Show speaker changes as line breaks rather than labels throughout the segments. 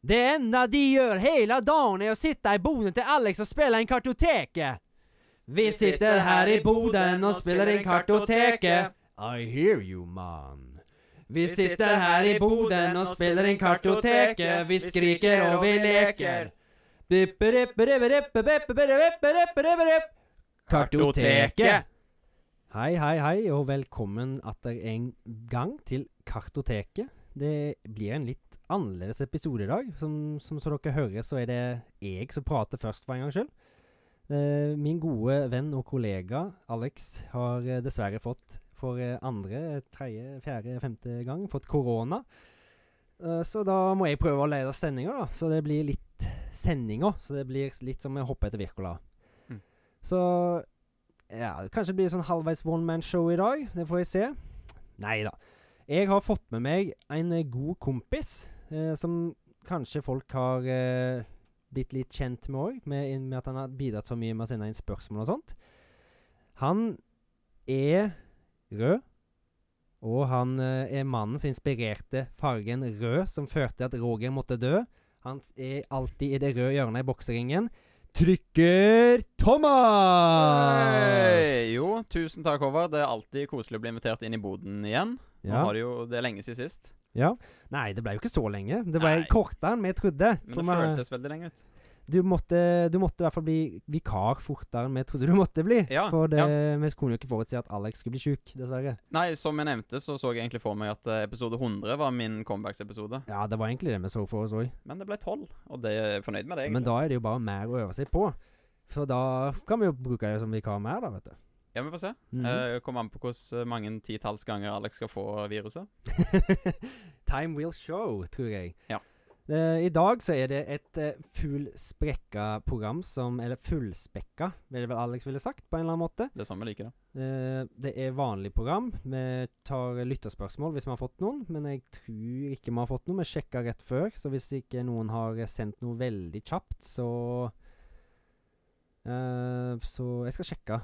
Det enda de gjør hele dagen er å sitte i boden til Alex og spille en kartoteke. Vi sitter her i boden og spiller en kartoteke. I hear you, man. Vi sitter her i boden og spiller en kartoteke. Vi skriker og vi leker. Bipperipperipperipperipperipperipperipperipp. Kartoteke. Hei, hei, hei, og velkommen atter en gang til Kartoteket. Det blir en litt annerledes episode i dag. Som, som så dere hører, så er det jeg som prater først, for en gangs skyld. Eh, min gode venn og kollega Alex har eh, dessverre fått for eh, andre, tredje, fjerde, femte gang fått korona. Eh, så da må jeg prøve å lede sendinga, da. Så det blir litt sendinger. Så det blir litt som å hoppe etter Wirkola.
Mm.
Så ja, kanskje det blir sånn halvveis one man show i dag. Det får jeg se. Nei da. Jeg har fått med meg en eh, god kompis, eh, som kanskje folk har eh, blitt litt kjent med òg, med, i- med at han har bidratt så mye med å sende inn spørsmål og sånt. Han er rød, og han eh, er mannen som inspirerte fargen rød, som førte til at Roger måtte dø. Han s- er alltid i det røde hjørnet i bokseringen. Trykker Thomas!
Hei! Jo, tusen takk, Håvard. Det er alltid koselig å bli invitert inn i boden igjen. Nå
Ja.
har det jo Det er lenge siden sist.
Ja. Nei, det ble jo ikke så lenge. Det ble
Nei.
kortere enn vi trodde.
Men
for
det
vi-
føltes veldig lenge ut.
du, måtte, du måtte i hvert fall bli vikar fortere enn vi trodde du måtte bli.
Ja,
for det, vi kunne jo ikke forutsi at Alex skulle bli sjuk, dessverre.
Nei, som jeg nevnte, så så jeg egentlig for meg at eh, episode 100 var min comebacksepisode.
Ja, det var egentlig det vi så for oss òg.
Men det ble 12, og det er jeg fornøyd med det,
Men
egentlig.
da er det jo bare mer å øve seg på. For da kan vi jo bruke det som vikar mer, da, vet du.
Ja, vi får se.
Mhm.
Eh, Kommer an på hvor mange titalls ganger Alex skal få viruset.
Time will show, tror jeg.
Eh. Ja.
Eh, I dag så er det et uh, fullspekka program som Eller fullspekka, vil det vel Alex ville sagt, på en eller annen måte.
Det er sånn vi liker det.
Eh, det er vanlig program. Vi tar lytterspørsmål hvis vi har fått noen, men jeg tror ikke vi har fått noen. Vi sjekka rett før, så hvis ikke noen har eh, sendt noe veldig kjapt, så eh, Så jeg skal sjekke.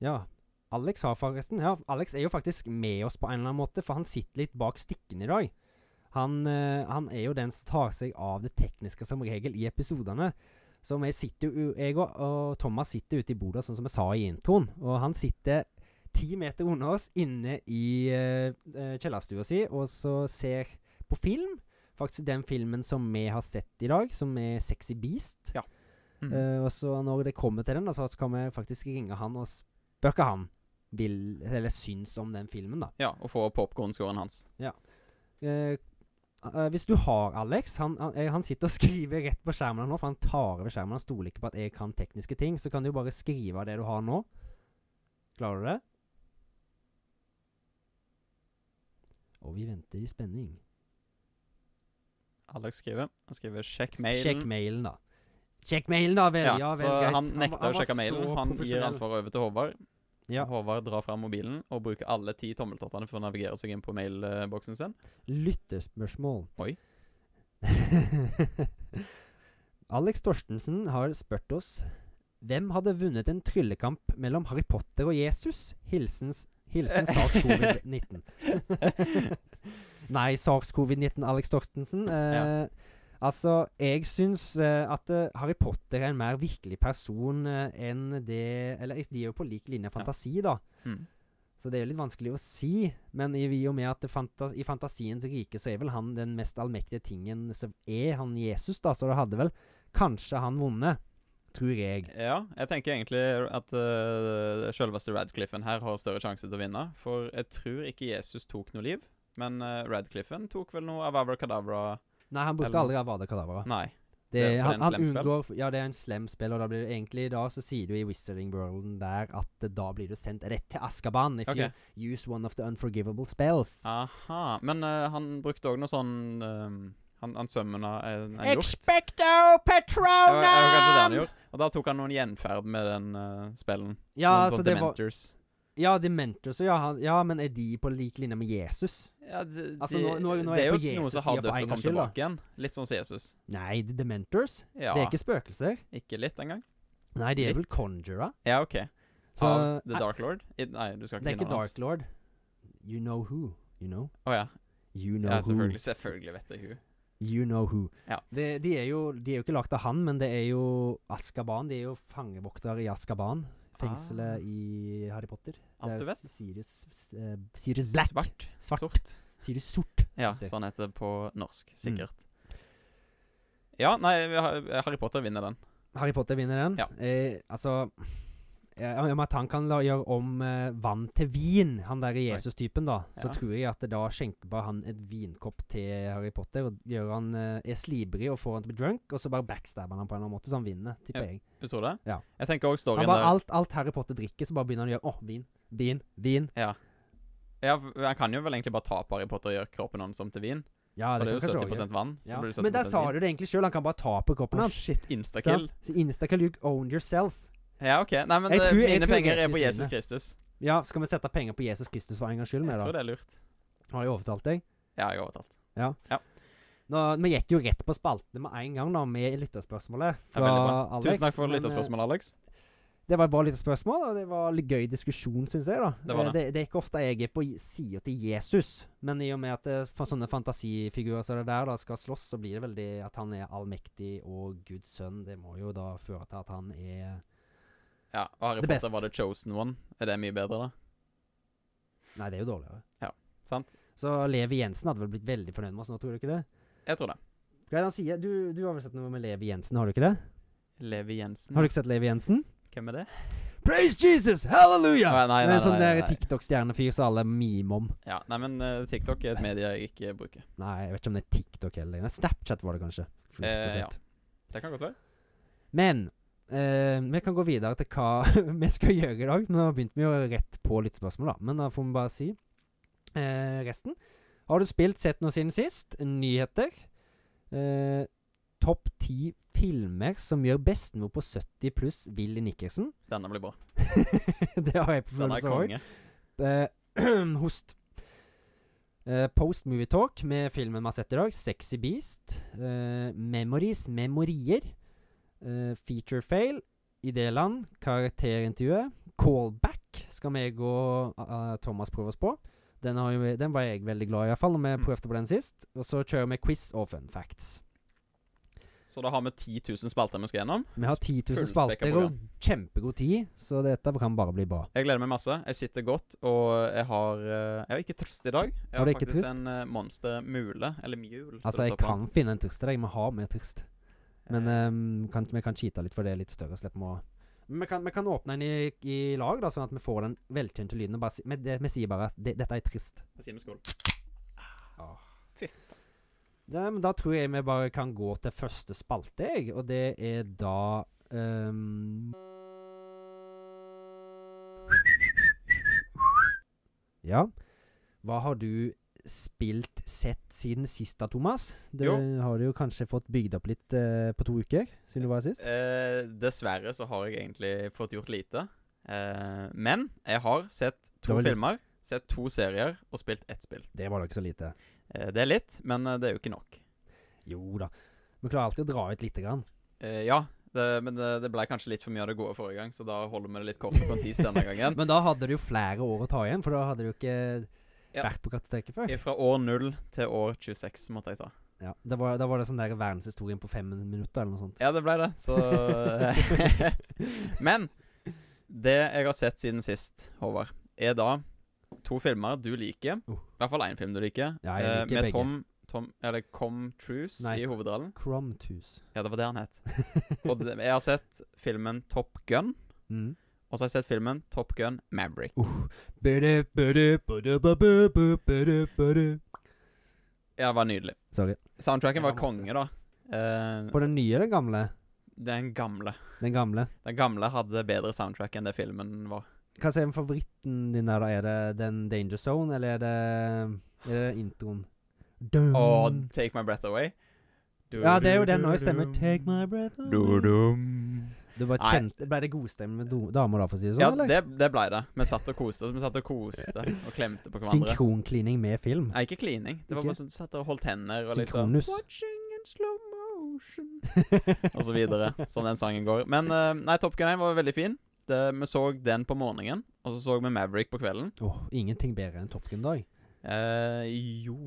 Ja. Alex har forresten Ja, Alex er jo faktisk med oss på en eller annen måte, for han sitter litt bak stikkene i dag. Han, eh, han er jo den som tar seg av det tekniske som regel i episodene. Så vi sitter jo, jeg og, og Thomas sitter ute i bordet, sånn som jeg sa i introen. Og han sitter ti meter unna oss inne i eh, eh, kjellerstua si og så ser på film. Faktisk den filmen som vi har sett i dag, som er 'Sexy Beast'.
Ja. Mhm.
Eh, og så når det kommer til den, da, så kan vi faktisk ringe han og spørre hva han vil, eller syns om den filmen, da.
Ja, og få popkornskåren hans.
Eh, eh, hvis du har Alex han, han, eh, han sitter og skriver rett på skjermen nå, for han tar over skjermen. Han stoler ikke på at jeg kan tekniske ting. Så kan du jo bare skrive av det du har nå. Klarer du det? Og vi venter i spenning.
Alex skriver. Han skriver 'sjekk mailen'.
Sjekk mailen, da. Sjekk mailen, da vel! Ja,
Ja,
vel,
så
greit.
han nekter
var-
å sjekke
var
mailen.
så
Han gir
profesjonell.
ansvaret over til Håvard.
Ja.
Håvard drar fram mobilen og bruker alle ti tommeltottene for å navigere seg inn på mailboksen sin.
Lyttespørsmål.
Oi.
Alex Torstensen har spurt oss Hvem hadde vunnet en tryllekamp mellom Harry Potter og Jesus? Hilsens, hilsen SARS-covid-19. Nei, SARS-covid-19, Alex Torstensen. Eh, Altså, jeg syns eh, at eh, Harry Potter er en mer virkelig person eh, enn det Eller de er jo på lik linje fantasi, da.
Mm.
Så det er jo litt vanskelig å si, men i i og med at det fanta i fantasiens rike så er vel han den mest allmektige tingen som er han Jesus, da, så det hadde vel kanskje han vunnet, tror jeg.
Ja, jeg tenker egentlig at uh, selveste Radcliffen her har større sjanse til å vinne. For jeg tror ikke Jesus tok noe liv, men eh, Radcliffen tok vel noe av Avra Kadavra
Nei, han brukte
Eller-
aldri Avada Kadavra.
Nei.
Det,
det er for
han,
en
han
slem spill.
unngår Ja, det er en slem spill, og da blir det egentlig da så sier du i Wizarding Worlden der at eh, da blir du sendt rett til Askaban if
Ok.
you use one of the unforgivable spells.
Aha. Men eh, han brukte òg noe sånn eh, Han, han sømmena en, en hjort.
Expecto
Det var- det var kanskje det han
Patronum!
gjorde. Og da tok han noen gjenferd med den eh, spillen.
Ja,
noen
altså
sånn
det var
Dementors.
Ja, Dementors og ja, han, ja, men er de på lik linje med Jesus?
Ja, det,
Altså,
det-
nå- nå- nå er
det
jeg
er
på
jo noe
Jesus'
som har
side for
dødd
en gangs
og kommet
skyld, da.
tilbake igjen. Litt sånn som Jesus.
Nei, det er Dementors?
Ja,
Det er
ikke,
ikke spøkelser?
litt engang.
Nei, de er vel
Litt.
conjura.
Ja, OK.
Så
Av The
eh,
Dark Lord? I, nei, du skal
det
ikke
er
si
ikke
navnet hans.
Dark Lord. You know who. You know.
Å ja.
You know
ja,
who.
selvfølgelig. Selvfølgelig vet jeg hun.
You know who.
Ja.
Det, de, er jo, de er jo ikke lagd av han, men det er jo Askaban. De er jo fangevoktere i Askaban. Fengselet
Ah.
i Harry Potter.
Alt
Det er
du vet.
S- Sirius, s- eh, Sirius Black.
Svart.
Svart. Mm.
Sort.
Sirius Sort.
Ja,
heter det.
sånn heter det på norsk, sikkert. Ja, nei, vi har- Harry Potter vinner den.
Harry Potter vinner den.
Ja.
Eh, altså eh, Om at han kan la, gjøre om eh, vann til vin, han der Jesus-typen, da, så
Ja.
tror jeg at da skjenker bare han et vinkopp til Harry Potter og gjør han eh, er slibrig og får han til å bli drunk, og så bare backstabber han ham på en eller annen måte, så han vinner, tipper jeg.
Du tror det?
Ja.
Jeg tenker også storyen
Han bare,
der
alt, alt Harry Potter drikker, så bare begynner han å gjøre Å, vin, vin, vin.
Ja, for Han kan jo vel egentlig bare ta på Harry Potter og gjøre kroppen hans om til vin.
Ja,
Og
det,
det er
kan
jo
kanskje
70
også-
vann. Så
ja.
blir det 70
Men der sa
vin.
du det egentlig sjøl, han kan bare ta på kroppen
Å,
hans.
shit. Instakill.
sant? Så Instakill you own yourself.
Ja, OK. Nei, men
Jeg
eh,
tror- jeg
mine
tror
penger er
Jesus
på Jesus
vinner.
Kristus.
Ja, skal vi sette penger på Jesus Kristus for en gangs skyld?
Jeg
Med, da?
tror det er lurt.
Har jeg overtalt deg?
Ja, jeg har overtalt.
Nå, vi gikk jo rett på spaltene med en gang da, med lytterspørsmålet.
Ja,
fra
veldig bra.
Alex,
Tusen takk for
men, eh,
lytterspørsmålet, Alex.
Det var et bra lytterspørsmål, og det var litt gøy diskusjon, syns jeg. da.
Det var
Eh, det. det er ikke ofte jeg er på sida til Jesus, men i og med at eh, for sånne fantasifigurer som det der da skal slåss, så blir det veldig at han er allmektig og Guds sønn. Det må jo da føre til at han er
Ja, og Harry
The
Potter
best.
var the chosen one. Er det mye bedre, da?
Nei, det er jo dårligere.
Sant?
Så Levi Jensen hadde vel blitt veldig fornøyd med oss nå, tror du ikke det?
Jeg tror det.
Hva er det han sier? Du, du har vel sett noe med Levi Jensen, har du ikke det?
Levi Jensen.
Har du ikke sett Levi Jensen?
Hvem er det?
Praise Jesus! Hallelujah!
Nei, nei,
Det er
nei,
en sånn
nei,
der
nei.
TikTok-stjernefyr som alle mimer om.
Ja, Nei, men eh, TikTok er et medie jeg ikke bruker.
Nei, jeg vet ikke om det er TikTok heller. Nei, Snapchat var det kanskje. rett og
Eh, ja.
slett.
Det kan godt være.
Men eh, vi kan gå videre til hva vi skal gjøre i dag. Nå begynte vi jo rett på litt spørsmål, da. Men da får vi bare si eh, resten. Har du spilt, sett noe siden sist? Nyheter. Eh, Topp ti filmer som gjør bestemor på 70 pluss Willy Nikkersen.
Denne blir bra.
det har jeg på
Denne er
følelse òg.
konge.
Eh, host. Eh, post Movie Talk med filmen vi har sett i dag, 'Sexy Beast'. Eh, 'Memories', 'Memorier'. Eh, feature fail. Idéland. Karakterintervjuet. 'Callback' skal meg og eh, Thomas prøve oss på. Den, har jo, den var jeg veldig glad i, iallfall, når vi
Mm.
prøvde på den sist. Og så kjører vi quiz og fun facts.
Så da har vi 10 000 spalter vi skal gjennom.
Vi har 10 000
Fullspekka
spalter og kjempegod tid, så dette kan bare bli bra.
Jeg gleder meg masse. Jeg sitter godt, og jeg har eh, Jeg har ikke trøst i dag. Jeg
Har
har
du ikke
faktisk
trøst?
en eh, monster mule, eller mule. som
Altså,
det
jeg
står på.
kan finne en trist til deg. Vi har mer trist. Men
Eh,
ehm, kan, vi kan cheate litt, for det er litt større. Slipp må Men vi kan, vi kan åpne den i, i lag, da, sånn at vi får den velkjente lyden. Og bare, si- men det, vi sier bare at det, dette er trist.
jeg sier med skål.
Ja, men da tror jeg vi bare kan gå til første spalte, jeg. Og det er da ehm, Ja. Hva har du spilt, sett siden sist da, Thomas? Det
Jo.
har du jo kanskje fått bygd opp litt eh, på to uker, siden du var her sist.
Eh, dessverre så har jeg egentlig fått gjort lite. Eh, men jeg har sett to
Det var litt-
filmer, sett to serier og spilt ett spill.
Det var da ikke så lite.
Eh, det er litt, men eh, det er jo ikke nok.
Jo da. Vi klarer alltid å dra ut lite grann.
Eh, ja, det, men det, det ble kanskje litt for mye av det gode forrige gang, så da holder vi det litt kort og konsist denne gangen.
Men da hadde du jo flere år å ta igjen, for da hadde du ikke
Ja.
vært på kartoteket før.
Fra år 0 til år 26 måtte jeg ta.
Ja, Da var, da var det sånn der verdenshistorien på fem minutter, eller noe sånt.
Ja, det ble det. Så eh, Men det jeg har sett siden sist, Håvard, er da to filmer du liker.
Oh.
I hvert fall én film du liker.
Ja, jeg
eh,
liker
med
begge.
Tom, Tom Eller Com Truce
Nei,
i hovedrollen.
Cromtus.
Ja, det var det han het. Og det, jeg har sett filmen Top Gun.
Mm.
Og så har jeg sett filmen Top Gun Maverick.
Bødu, bødu, bødu, bødu, bødu, bødu, bødu.
Ja, det var nydelig.
Sorry.
Soundtracken
Ja,
var konge, da. Eh,
På den nye eller den gamle?
den gamle.
Den gamle.
Den gamle hadde bedre soundtrack enn det filmen var.
Hva er favoritten din der, da? Er det den Danger Zone, eller er det, er det introen? Dun.
Og Take My Breath Away.
Ja, det er jo den òg, stemmer. Take my breath away.
Du-dum.
Du bare
Nei.
kjente, Ble det godstemme med do- damer da, for å si det sånn?
Ja,
eller?
det, det blei det. Vi satt og koste oss. Vi satt og koste og klemte på hverandre.
Synkronklining med film.
Nei, ikke klining. Det var
Ikke?
bare sånn satt og holdt hender og liksom
Synkronus.
Watching in slow motion Og så videre. Sånn den sangen går. Men eh, nei, Top Gun 1 var veldig fin. Det, vi så den på morgenen, og så så vi Maverick på kvelden.
Åh, ingenting bedre enn Top Gun dag.
Eh, jo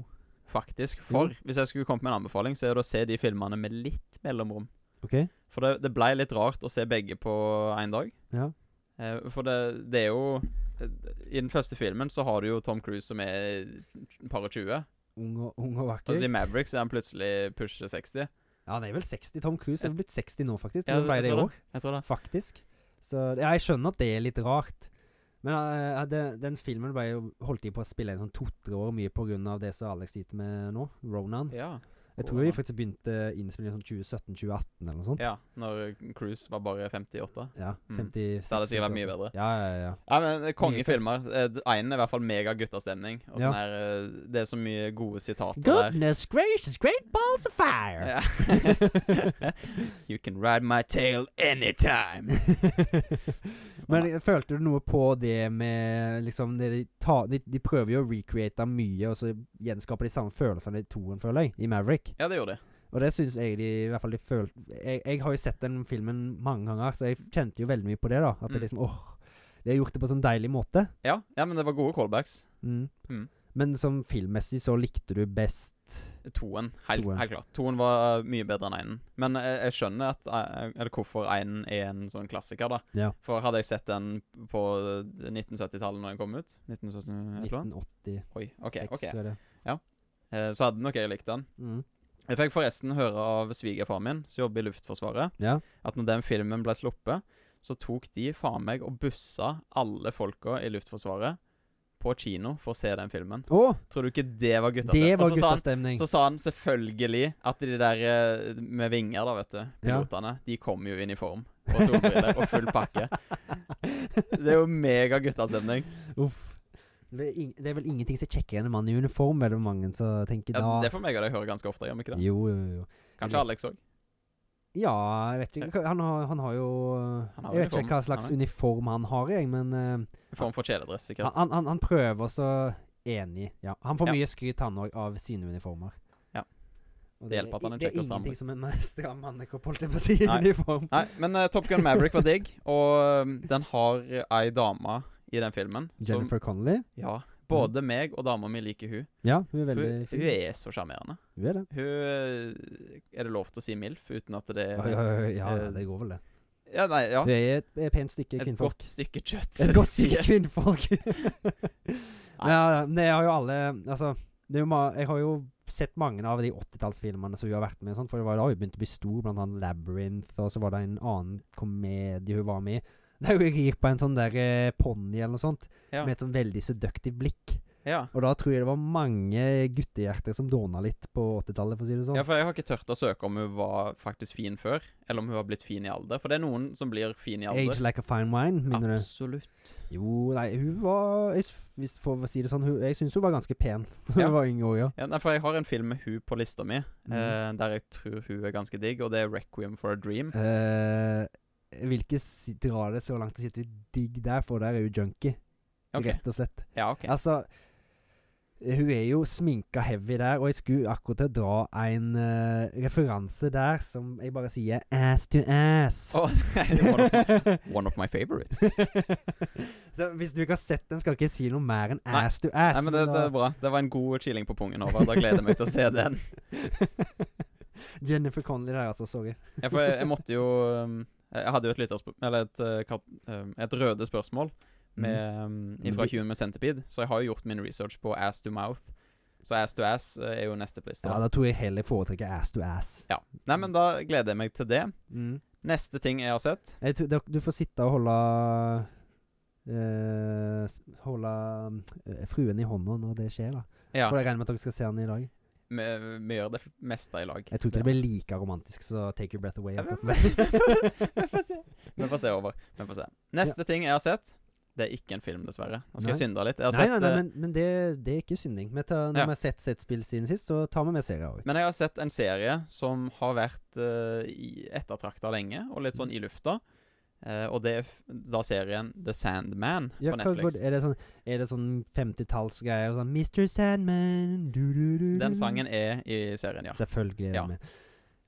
faktisk. For hvis jeg skulle kommet med en anbefaling, så er det å se de filmene med litt mellomrom.
OK?
For det, det blei litt rart å se begge på én dag.
Ja.
Eh, For det, det er jo eh, I den første filmen så har du jo Tom Cruise som er par og 20.
Ung og, ung og vakker.
Altså I Mavericks er han plutselig pusher 60.
ja, han er vel 60. Tom Cruise er vel blitt 60 nå, faktisk.
Ja,
Han ble
jeg
det i
tror
år,
det. Jeg tror det.
faktisk. Så ja, jeg skjønner at det er litt rart. Men eh, det, den filmen ble jo, holdt de på å spille inn sånn to-tre år mye pga. det som Alex sliter med nå, Ronan.
Ja.
Jeg tror
Ronan.
vi faktisk begynte innspilling sånn 2017-2018 eller noe sånt.
ja. Når Cruise var bare 58.
Ja,
Mm.
56
Det hadde sikkert vært mye bedre.
Ja, ja, ja.
Ja, men eh,
Mye
Kongefilmer. Einen er i hvert fall mega guttastemning. Og
Ja.
sånn her, eh, det er så mye gode sitater der.
Goodness gracious, great balls of fire!
Ja. you can ride my tail anytime.
Men følte du noe på det med liksom det de, ta, de, de prøver jo å recreate mye, og så gjenskaper de samme følelsene i toen, føler jeg, i Maverick.
Ja, det gjorde de.
Og det syns jeg de i hvert fall de følte jeg, jeg har jo sett den filmen mange ganger, så jeg kjente jo veldig mye på det, da. At det
Mm.
liksom åh De har gjort det på en sånn deilig måte.
Ja, ja, men det var gode callbacks.
Mm.
Mm.
Men som filmmessig så likte du best
Toen. Helt,
Toen.
helt klart. Toen var eh, mye bedre enn einen. Men jeg, jeg skjønner at, eh, eller hvorfor einen er en sånn klassiker, da.
Ja.
For hadde jeg sett den på 1970-tallet når den kom ut 1970 et eller annet?
1986,
Oi, OK. ok
tror jeg det.
Eh, Så hadde nok jeg likt den.
Mm.
Jeg fikk forresten høre av svigerfaren min, som jobber i Luftforsvaret,
Ja.
at når den filmen ble sluppet, så tok de faen meg og bussa alle folka i Luftforsvaret på kino for å se den filmen.
Å!
Tror du ikke det var guttastemning?
Det var
Og så sa han-
guttastemning.
Så sa han selvfølgelig at de der eh, med vinger, da, vet du, pilotene, de kom jo i uniform og solbriller og full pakke. Det er jo mega guttastemning.
Uff. Det er, ing- det er vel ingenting som er kjekkere enn en mann i uniform, er det mange som tenker
Ja,
da.
det får meg og deg høre ganske ofte, gjør vi ikke det?
Jo, jo, jo.
Kanskje Alex òg.
Ja, jeg vet ikke. Han har, han har jo
Han har
Jeg vet ikke hva
uniform,
slags
han
uniform han har, jeg, men eh,
Form for kjeledress, sikkert.
han, han, han prøver også enig. Ja. Han får
Ja.
mye skryt, han òg, av sine uniformer.
Ja.
Og
Det hjelper at han er
det
kjekk og
er
stram.
ingenting som en stram mannekropp, holdt jeg på å si,
Nei.
uniform.
Nei, men eh, Top Gun Maverick var digg, og eh, den har eh, ei dame i den filmen som
Jennifer Connolly.
Ja. Både meg og dama mi liker hun.
Ja, hun er
Hun,
veldig
hun
fin.
er så sjarmerende.
Hun er det.
Hun eh, Er det lov til å si MILF uten at det
Ja,
er
ja, ja, ja,
eh,
det går vel, det.
Ja, nei, ja.
Hun er et, et pent stykke
Et
kvinnfolk.
godt stykke kjøtt.
Et
som de
godt stykke
sier.
kvinnfolk. Men ja, men jeg har jo alle Altså, det er jo ma jeg har jo sett mange av de 80-tallsfilmene som hun har vært med i. og sånt, For det var jo da hun begynte å bli stor, blant annet Labyrinth, og så var det en annen komedie hun var med i. Der hun rir på en sånn der eh, ponni eller noe sånt,
Ja.
med et sånn veldig seduktivt blikk.
Ja.
Og da tror jeg det var mange guttehjerter som dåna litt på 80-tallet, for å si det sånn.
ja, for jeg har ikke turt å søke om hun var faktisk fin før, eller om hun har blitt fin i alder. For det er noen som blir fin i
Age
alder.
like a fine wine, minner du?
Absolutt.
Jo, nei, hun var jeg s- Hvis for å si det sånn, hun, jeg syns hun var ganske pen. Hun
Ja.
var yngre òg, ja.
Ja, nei, for jeg har en film med hun på lista mi, eh,
Mhm.
der jeg tror hun er ganske digg, og det er 'Requiem for a Dream'.
Eh, Hvilke si- drar det så langt til å sitte digg der, for der er hun junkie,
Ok.
rett og slett.
Ja, ok.
Altså hun er jo sminka heavy der, og jeg skulle akkurat til å dra en eh, referanse der som jeg bare sier ass to ass.
Å, det var noe- One of my favorites.
så hvis du ikke har sett den, skal du ikke si noe mer enn
Nei.
ass to ass.
Nei, men det, det
da-
er bra. Det var en god chilling på pungen over. Da gleder jeg meg til å se den.
Jennifer Connelly der, altså. Sorry.
Jeg, for jeg, jeg måtte jo um, Jeg hadde jo et lytterspørsmål Eller et, eh, kat, um, et røde spørsmål
Mm.
med, um, fra
Men de-
Human Centipede, så jeg har jo gjort min research på ass to mouth. Så ass to ass eh, er jo neste på lista.
Ja, da tror jeg heller jeg foretrekker ass to ass.
Nei, men da gleder jeg meg til det.
Mm.
Neste ting jeg har sett
Jeg tror, dere- du får sitte og holde eh, s- Holde mm, eh, fruen i hånda når det skjer, da.
Ja,
For jeg regner med at dere skal se den i dag.
vi, vi gjør det meste i lag.
Jeg tror ikke det blir like romantisk så Take Your Breath Away.
Ja,
akkurat.
Vi får se. Vi får se over. Vi får se. Neste ting jeg har sett Det er ikke en film, dessverre. Nå skal jeg
Nei.
synde litt. Jeg har
Nei, nei,
sett,
nei,
eh,
men, men det, det er ikke synding. Vi tar, når
Ja.
vi har sett sett spill siden sist, så tar vi med serier òg.
Men jeg har sett en serie som har vært uh, ettertrakta lenge, og litt sånn i lufta. Eh, og det er f- da serien The Sandman
Ja,
på
hva går
Netflix.
det- er det sånn, er det sånn 50-tallsgreier? Sånn Mr. Sandman du, du, du, du.
Den sangen er i serien, ja.
Selvfølgelig er det
Ja.
med.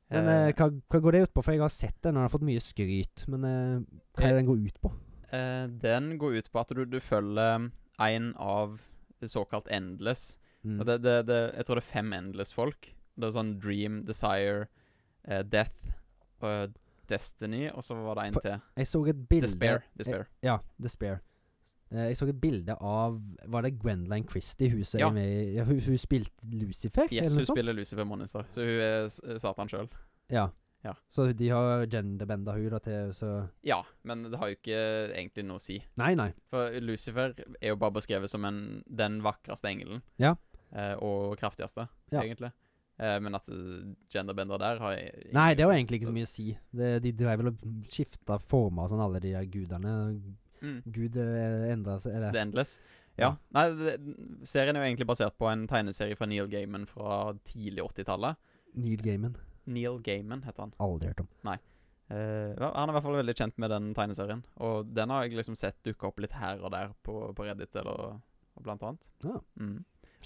Men eh, hva, hva går det ut på? For jeg har sett den, og den har fått mye skryt. Men eh, hva er det den går ut på?
um, Eh, den går ut på at du, du følger en av såkalt Endless,
Mm.
Og det, det, det, jeg tror det er fem Endless-folk. Det er sånn Dream, Desire, eh, Death og Destiny, og så var det en
For-
til.
Jeg så et bilde
Despair. Despair.
Ja, Despair. Eh, Jeg så et bilde av Var det Gwendoline Christie hun som
Ja.
er med i ja, hun, hun spilte Lucifer?
Yes,
eller noe
hun
sånt?
spiller Lucifer Monster, så hun er s- eh, Satan sjøl.
Ja.
Ja.
Så de har genderbenda hun da til så
Ja, men det har jo ikke eh, egentlig noe å si.
Nei, nei.
For Lucifer er jo bare beskrevet som en, den vakreste engelen.
Ja.
Eh, og kraftigste,
Ja.
egentlig. Eh, men at eh, genderbender der har jeg ingen
Nei, det var
liksom-
egentlig ikke så mye å si. Det, de drev vel og skifta former og sånn, alle de der gudene.
Mm.
Gud endra seg
The
Eller
Endless. Ja.
Ja.
Nei, det, serien er jo egentlig basert på en tegneserie fra Neil Gaiman fra tidlig 80-tallet.
Neil Gaiman.
Neil Gaiman heter han.
Aldri hørt om.
Eh, ja, han er i hvert fall veldig kjent med den tegneserien. Og den har jeg liksom sett dukke opp litt her og der på, på Reddit eller og blant annet.
Ja.
Mm.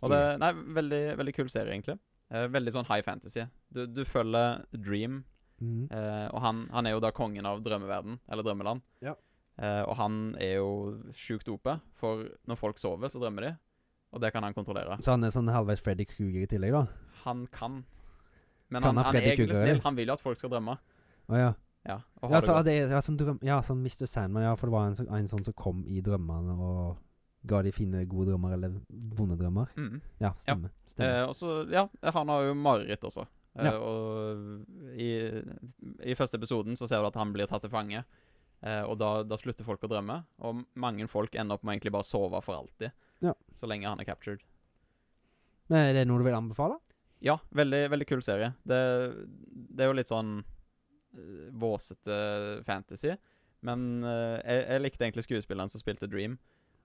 Og det, nei, veldig, veldig kul serie, egentlig. Eh, veldig sånn high fantasy. Du, du følger Dream,
Mhm.
eh, og han, han er jo da kongen av drømmeverden, eller drømmeland.
Ja.
Eh, og han er jo sjukt ope, for når folk sover, så drømmer de. Og det kan han kontrollere.
Så han er sånn halvveis Freddy Kruger i tillegg, da?
Han kan. Men
Kan
han,
han
han er
Freddy
egentlig
Krueger,
snill.
eller?
Han vil jo at folk skal drømme.
Å ja.
Ja, og ha
Ja,
det
så,
godt.
det, ja, sånn drøm, ja, sånn Mr. Sandman, ja. For det var en, sånn- en sånn som kom i drømmene og ga de fine, gode drømmer, eller vonde drømmer.
Mm.
Ja, stemmer. stemmer.
Eh, og så, ja, han har jo mareritt også. Eh,
Ja.
Og i, i første episoden så ser du at han blir tatt til fange. Eh, og da, da slutter folk å drømme. Og mange folk ender opp med å egentlig bare sove for alltid.
Ja.
Så lenge han er captured.
Men er det noe du vil anbefale?
Ja, veldig, veldig kul serie. Det, det er jo litt sånn eh, våsete fantasy. Men eh, jeg, jeg likte egentlig skuespilleren som spilte Dream.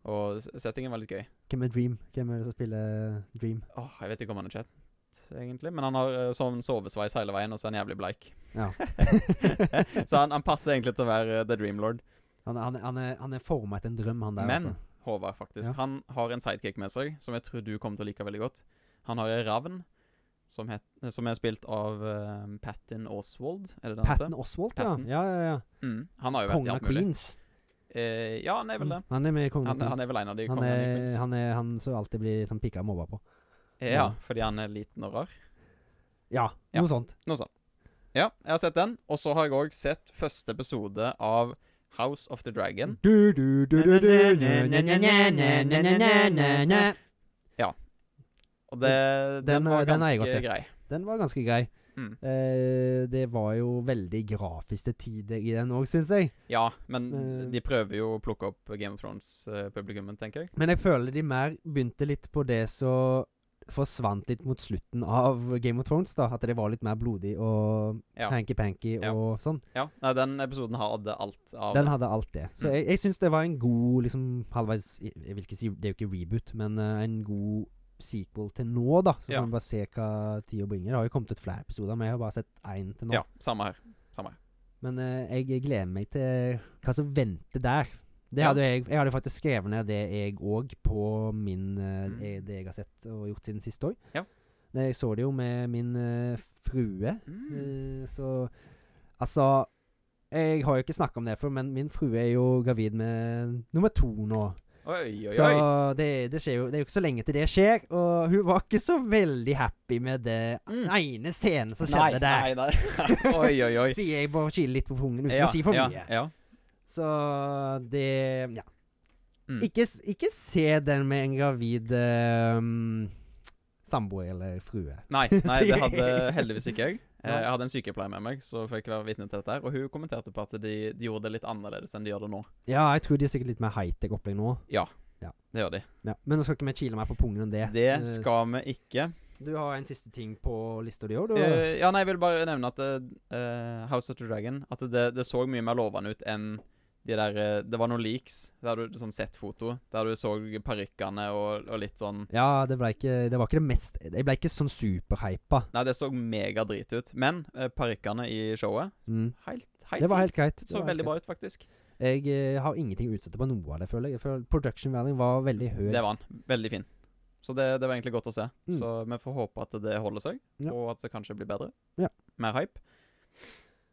Og s- settingen var litt gøy.
Hvem er Dream? Hvem er det som spiller Dream?
Åh, Jeg vet ikke om han er chat, egentlig. Men han har eh, sånn sovesveis hele veien, og så er han jævlig bleik.
Ja.
Så han, han passer egentlig til å være eh, The Dreamlord.
han, han, han, er, han er forma etter en drøm, han der,
Men
altså.
Håvard, faktisk.
Ja.
Han har en sidekick med seg som jeg tror du kommer til å like veldig godt. Han har en ravn som, het, som er spilt av eh, Patton Oswald. Er det det han heter?
Patton Oswald,
Patton.
ja. Ja, ja, ja.
Mm, han har jo vært
Kongen
i
av
alt mulig.
Queens.
Eh, ja, han er vel det.
Mm, Han er med i Kongen av
Han, han er
Queens.
vel en av de
Han
kongene i
er,
Queens.
han er han som alltid blir sånn pikka og mobba på.
Eh, ja,
ja.
fordi han er liten og rar.
Ja,
Ja.
noe sånt.
Noe sånt. Ja, jeg har sett den. Og så har jeg òg sett første episode av House of the Dragon.
Du, du, du, du, du, du, na, na, na, na, na, na, na, na, na.
Og det, den,
Den, eh,
var
den har
ganske
jeg også sett.
grei.
Den var ganske grei.
Mm.
Eh, det var jo veldig grafiske tider i den òg, syns jeg.
Ja, men
Eh.
de prøver jo å plukke opp Game of Thrones-publikummet, tenker jeg.
Men jeg føler de mer begynte litt på det som forsvant litt mot slutten av Game of Thrones. da At det var litt mer blodig og
Ja.
hanky-panky
Ja.
og sånn.
ja. Nei, den episoden hadde alt av
Den hadde alt det. Så
Mm.
jeg, jeg syns det var en god liksom halvveis jeg, jeg vil ikke si, Det er jo ikke reboot, men eh, en god sequel til nå, da. Så
Ja.
får vi bare se hva tida bringer. Det har jo kommet ut flere episoder, men jeg har bare sett én til nå.
Ja, samme her. Samme her.
Men eh, jeg gleder meg til hva som venter der. Det
Ja.
hadde jeg, jeg hadde faktisk skrevet ned det jeg òg på min eh,
Mm.
eh, Det jeg har sett og gjort siden sist år.
Ja.
Men Jeg så det jo med min eh, frue. eh, så Altså Jeg har jo ikke snakka om det før, men min frue er jo gravid med nummer to nå.
Oi, oi,
Så
oi.
det, det skjer jo Det er jo ikke så lenge til det skjer. Og hun var ikke så veldig happy med det
Mm.
ene scenen som skjedde der.
Nei, nei. oi, oi, oi.
Sier jeg bare kiler litt på pungen uten
Ja,
å si for
ja,
mye.
Ja.
Så det Ja.
Mm.
Ikke, s- ikke se den med en gravid ehm, samboer eller frue.
Nei, nei, det hadde heldigvis ikke jeg. Eh,
Nei.
Jeg hadde en sykepleier med meg, så fikk være vitne til dette. her Og hun kommenterte på at de, de gjorde det litt annerledes enn de gjør det nå.
Ja, jeg tror de er sikkert litt mer high-tech opplegg nå.
Det gjør de.
Ja. Men nå skal ikke vi kile mer på pungen enn det.
Det
Eh,
skal vi ikke.
Du har en siste ting på lista di òg, du?
Eh, ja, nei, jeg vil bare nevne at eh, House of the Dragon At det, det så mye mer lovende ut enn de der eh, Det var noen leaks, der du sånn sett-foto, der du så parykkene og, og litt sånn
ja, det ble ikke Det var ikke det mest Jeg ble ikke sånn superhypa.
Nei, det så megadrit ut. Men uh, parykkene i showet
Mm.
Helt, helt
Det var helt
fint.
greit. Det
Så
var helt
veldig
greit.
bra ut, faktisk.
Jeg eh, har ingenting å utsette på noe av det, føler jeg. jeg føler production value var veldig høy.
Det var han. Veldig fin. Så det, det var egentlig godt å se.
Mm.
Så vi får håpe at det holder seg,
Ja.
og at det kanskje blir bedre.
Ja.
Mer hype.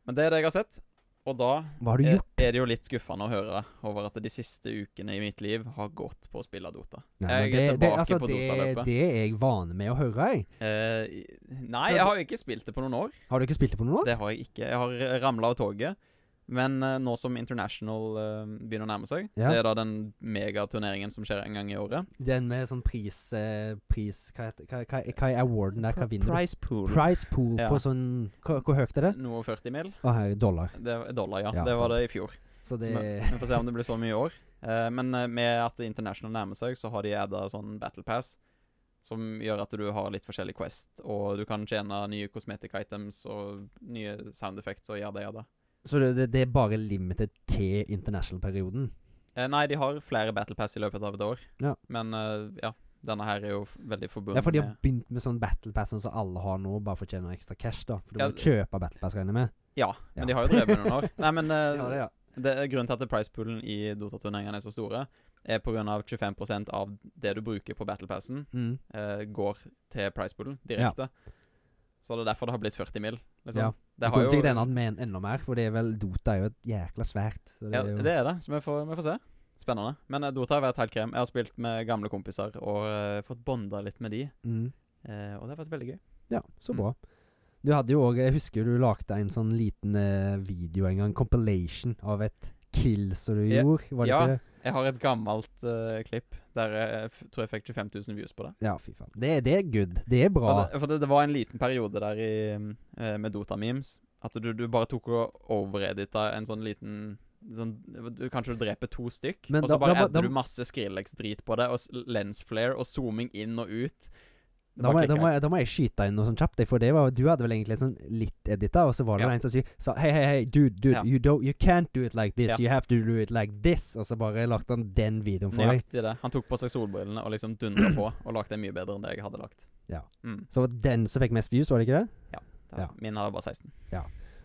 Men det er det jeg har sett. Og da
Hva har du
er,
gjort?
er det jo litt skuffende å høre over at de siste ukene i mitt liv har gått på å spille Dota.
Nei, men
jeg er
det, det,
tilbake
altså,
på
det,
Dota-løpet.
det er jeg vane med å høre. Jeg.
Eh, i- nei,
Så
jeg
det-
har jo ikke spilt det på noen år.
Har du ikke spilt det på noen år?
Det har jeg ikke. Jeg har ramla av toget. Men eh, nå som International eh, begynner å nærme seg,
Ja.
det er da den megaturneringen som skjer en gang i året
Den med sånn pris, eh, pris hva, heter, hva, hva, hva er awarden der? Hva vinner du?
Price pool.
Price pool
Ja.
på sånn Hvor, hvor høyt er det?
Noe 40 mil.
Å, her, dollar.
Det er dollar, ja.
Ja,
det var
sant.
det i fjor.
Så
Så
det
Vi får se om det blir så mye i år. Eh, men eh, med at International nærmer seg, så har de adda sånn battle pass. Som gjør at du har litt forskjellig quest, og du kan tjene nye cosmetic items og nye sound effects og jada jada.
Så det, det, det er bare limited til international-perioden?
Eh, nei, de har flere battle pass i løpet av et år,
Ja.
men eh, ja. Denne her er jo f- veldig forbundet
Ja, for de har
med
begynt med sånn battle pass som alle har nå, bare for å tjene ekstra cash, da. For du
Ja,
må kjøpe battle pass, regner jeg med.
Ja, men
Ja.
de har jo drevet med noen år. Nei, men eh,
Ja, det, ja.
Det er grunnen til at pricepoolen i Dota-turneringene er så store, er pga. 25 av det du bruker på battlepassen,
Mm.
eh, går til pricepoolen direkte. Så det er derfor det har blitt 40 mil. Liksom.
Ja.
Det
Det
har
kunne sikkert
jo
enda med en enda mer, for det er vel Dota er jo et jækla svært. Så det
ja,
er jo,
Det er det, så vi får, vi får se. Spennende. Men eh, Dota har vært helt krem. Jeg har spilt med gamle kompiser og eh, fått bonda litt med de,
Mm.
eh, og det har vært veldig gøy.
Ja, så
Mm.
bra. Du hadde jo òg Jeg husker jo du lagde en sånn liten eh, video en gang, compilation av et kill som du
Ja.
gjorde. Var det
Ja.
ikke det?
Jeg har et gammelt eh, klipp der jeg f tror jeg fikk 25 000 views på det.
Ja, fy faen. Det, det er good. Det er bra.
For, det, for det, det var en liten periode der i, eh, med Dota-memes at du, du bare tok og overedita en sånn liten sånn, du, Kanskje du dreper to stykk,
Men
og
da-
så
da
bare
må- da
adder du
må-
masse Skrillex-drit på det, og s- lensflare og zooming inn og ut. Det
Da må,
bare
jeg, da, må
klikket helt.
jeg, da må jeg skyte inn noe sånn kjapt. For det var, du hadde vel egentlig sånn litt edita, og så var det
Ja.
en som sier sa, Hei, hei, hei, dude, dude,
Ja.
you, don't, you can't do it like this.
Ja.
You have to do it like this. Og så bare lagde han den videoen for deg.
Nøyaktig det. Han tok på seg solbrillene og liksom dundra på, og lagde det mye bedre enn det jeg hadde lagt.
Ja.
Mm,
Så var det den som fikk mest views, var det ikke det?
da,
Ja.
Min har bare 16.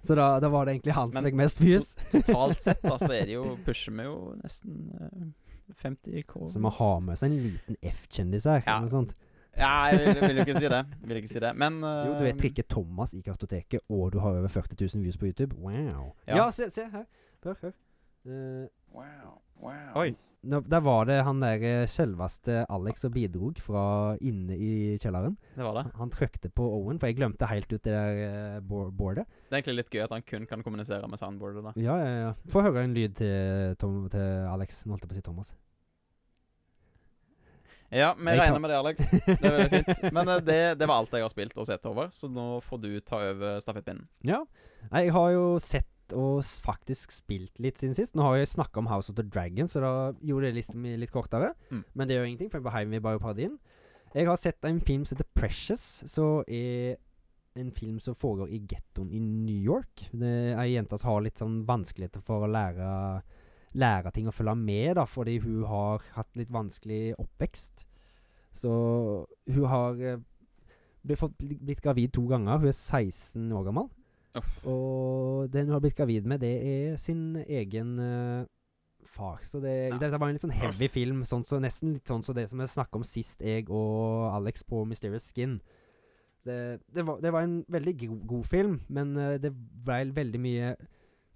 Så da, da var det egentlig han som
Men-
fikk mest views.
Totalt sett da, så er det jo pusher vi jo nesten eh, 50 K.
Så vi har med oss en liten F-kjendis her.
Ja.
eller noe sånt.
Ja, jeg vil, vil jo ikke si det. Vil ikke si det. Men
Jo, du er
eh,
Trikke Thomas i Kartoteket, og du har over 40 000 views på YouTube. Wow.
Ja.
Ja, se, se her. Hør, hør. Eh,
Oi.
nå, der var det han der eh, selveste Alex som bidrog fra inne i kjelleren.
Det var det.
Han trykte på Owen, for jeg glemte helt ut det der eh, bo- boardet.
Det er egentlig litt gøy at han kun kan kommunisere med soundboardet. da
Ja, ja, ja. Få høre en lyd til, Tom, til Alex. Nå holdt jeg på å si Thomas.
Ja, vi
Jeg
regner
kan-
med det, Alex. Det er veldig fint. Men eh, det, det var alt jeg har spilt og sett over, så nå får du ta over stafettpinnen.
Ja. Nei, jeg har jo sett og s- faktisk spilt litt siden sist. Nå har jeg snakka om House of the Dragon, så da gjorde det liksom litt kortere.
Mm.
Men det gjør ingenting, for jeg bare heiv meg bare på det inn. Jeg har sett en film som heter Precious, som er en film som foregår i gettoen i New York. Det er Ei jente som har litt sånn vanskeligheter for å lære, lære ting og følge med, da, fordi hun har hatt litt vanskelig oppvekst. Så hun har eh, blitt, fått- blitt gravid to ganger. Hun er 16 år gammel. Og den hun har blitt gravid med, det er sin egen eh, far. Så det,
Ja.
dette var en litt sånn heavy film. Sånn så, nesten litt sånn som det som vi snakka om sist, jeg og Alex på Mysterious Skin. Det, det, var, det var en veldig go god film, men eh, det ble veldig mye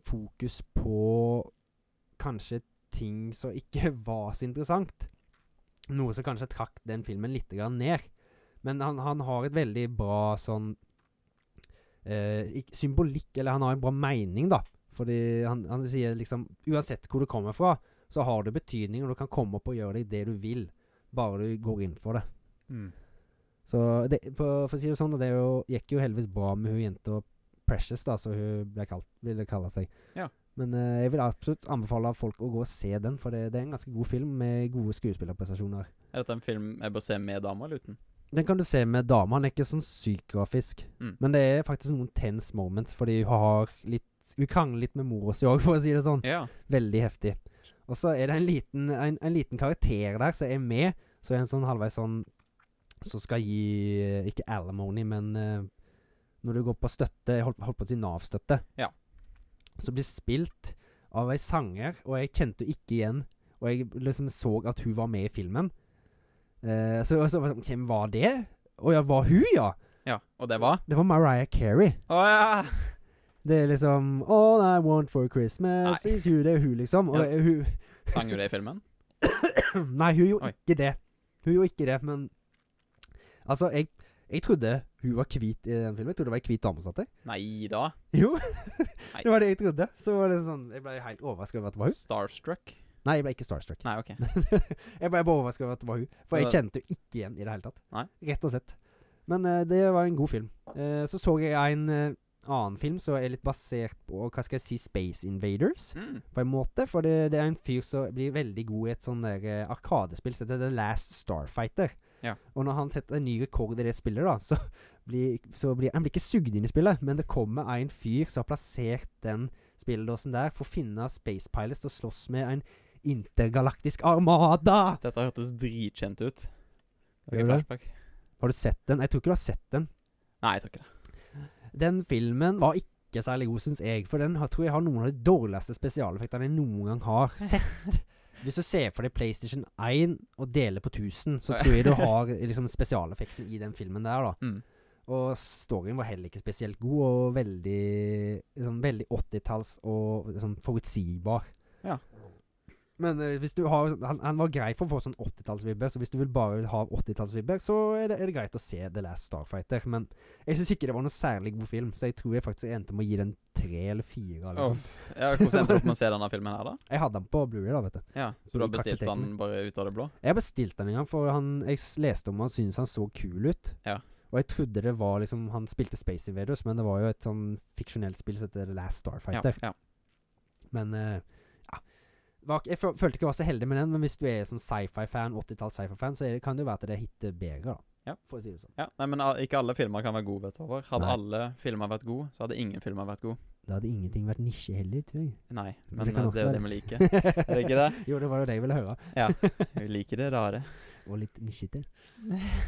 fokus på kanskje ting som ikke var så interessant. Noe som kanskje trakk den filmen litt grann ned. Men han, han har et veldig bra sånn eh, ikk- symbolikk, eller han har en bra mening, da. Fordi han, han sier liksom Uansett hvor du kommer fra, så har det betydning, og du kan komme opp og gjøre deg det du vil, bare du går inn for det.
Mm.
Så det, for, for å si det sånn, da, det er jo, gikk jo heldigvis bra med hun jenta Precious, da, som hun ble kalt, ville kalle seg.
Ja.
Men eh, jeg vil absolutt anbefale folk å gå og se den, for det, det er en ganske god film med gode skuespillerprestasjoner.
Er dette en film jeg bør se med dama eller uten?
Den kan du se med dama. Han er ikke sånn sykt grafisk.
Mm.
Men det er faktisk noen tense moments, fordi hun har litt Hun krangler litt med mora si òg, for å si det sånn.
Ja.
Veldig heftig. Og så er det en liten, en, en liten karakter der som er med, som er en sånn halvveis sånn Som skal gi eh, Ikke alimony, men eh, når du går på støtte Jeg holdt, holdt på å si Nav-støtte.
Ja.
Som blir spilt av ei sanger, og jeg kjente henne ikke igjen. Og jeg liksom så at hun var med i filmen. Eh, så, så var jeg sånn, Hvem var det? Å ja, var hun, ja?
ja. Og det var
Det var Mariah Carey.
Å ja!
Det er liksom All I want for Christmas
Nei.
is you. Det er hun, liksom. Og
Ja.
eh, hun
Sang jo det i filmen?
Nei, hun gjorde
Oi.
ikke det. Hun gjorde ikke det, men Altså, jeg, jeg trodde hun var hvit i den filmen. Jeg trodde det var ei hvit dame som satt der.
Nei da.
Jo,
Nei.
det var det jeg trodde. Så var det sånn Jeg ble helt overraska over at det var hun.
Starstruck?
Nei, jeg ble ikke starstruck.
Nei, OK.
jeg ble bare overraska over at det var hun. For jeg
Men-
kjente jo ikke igjen i det hele tatt.
Nei.
Rett og slett. Men eh, det var en god film. Eh, så så jeg en eh, annen film som er litt basert på Hva skal jeg si Space Invaders,
Mm.
på en måte. For det, det er en fyr som blir veldig god i et sånn der eh, arkadespill som heter The Last Starfighter.
Ja.
Og når han setter en ny rekord i det spillet, da, så blir, så blir han blir ikke sugd inn i spillet, men det kommer en fyr som har plassert den spilledåsen der for å finne Space Pilots til å slåss med en intergalaktisk armada.
Dette hørtes dritkjent ut. Ok,
Gjør det?
flashback.
Har du sett den? Jeg tror ikke du har sett den.
Nei, jeg tror ikke det.
Den filmen var ikke særlig god, syns jeg. For den har, tror jeg har noen av de dårligste spesialeffektene jeg noen gang har sett. Hvis du ser for deg PlayStation 1 og deler på 1000, så tror jeg du har liksom, spesialeffekten i den filmen der, da.
Mm.
Og storyen var heller ikke spesielt god, og veldig liksom, veldig 80-talls og liksom, forutsigbar.
Ja.
Men eh, hvis du har han, han var grei for å få sånn 80-tallsvibber, så hvis du vil bare vil ha 80-tallsvibber, så er det, er det greit å se The Last Starfighter. Men jeg syns ikke det var noe særlig god film, så jeg tror jeg faktisk endte med å gi den tre eller fire. Eller
Oh.
sånn.
Ja, hvordan endte du opp med å se denne filmen her, da?
Jeg hadde den på Bluey, da, vet du.
Ja, Så du har bestilt
Kartotekene.
den bare ut av det blå?
Jeg bestilte den en gang, for han, jeg s- leste om han syntes han så kul ut.
Ja.
Og jeg trodde det var liksom Han spilte Space Invaders, men det var jo et sånn fiksjonelt spill som heter The Last
Ja,
Starfighter.
ja.
Men eh, ja. Var, ikke- jeg fø- følte ikke jeg var så heldig med den, men hvis du er som sci-fi-fan, 80-talls sci-fi-fan, så er det, kan det jo være at det hitter bedre, da.
Ja.
For å si det sånn.
ja. Nei, men ah, ikke alle filmer kan være gode, vet du. Håvard. Hadde
Nei.
alle filmer vært gode, så hadde ingen filmer vært gode.
Da hadde ingenting vært nisje heller, tror jeg.
Nei,
Men
men
det
eh,
kan
det,
også
er jo
være.
det vi liker. Er det ikke det?
jo, det var jo det jeg ville høre.
Vi liker det rare.
Og litt nisjete.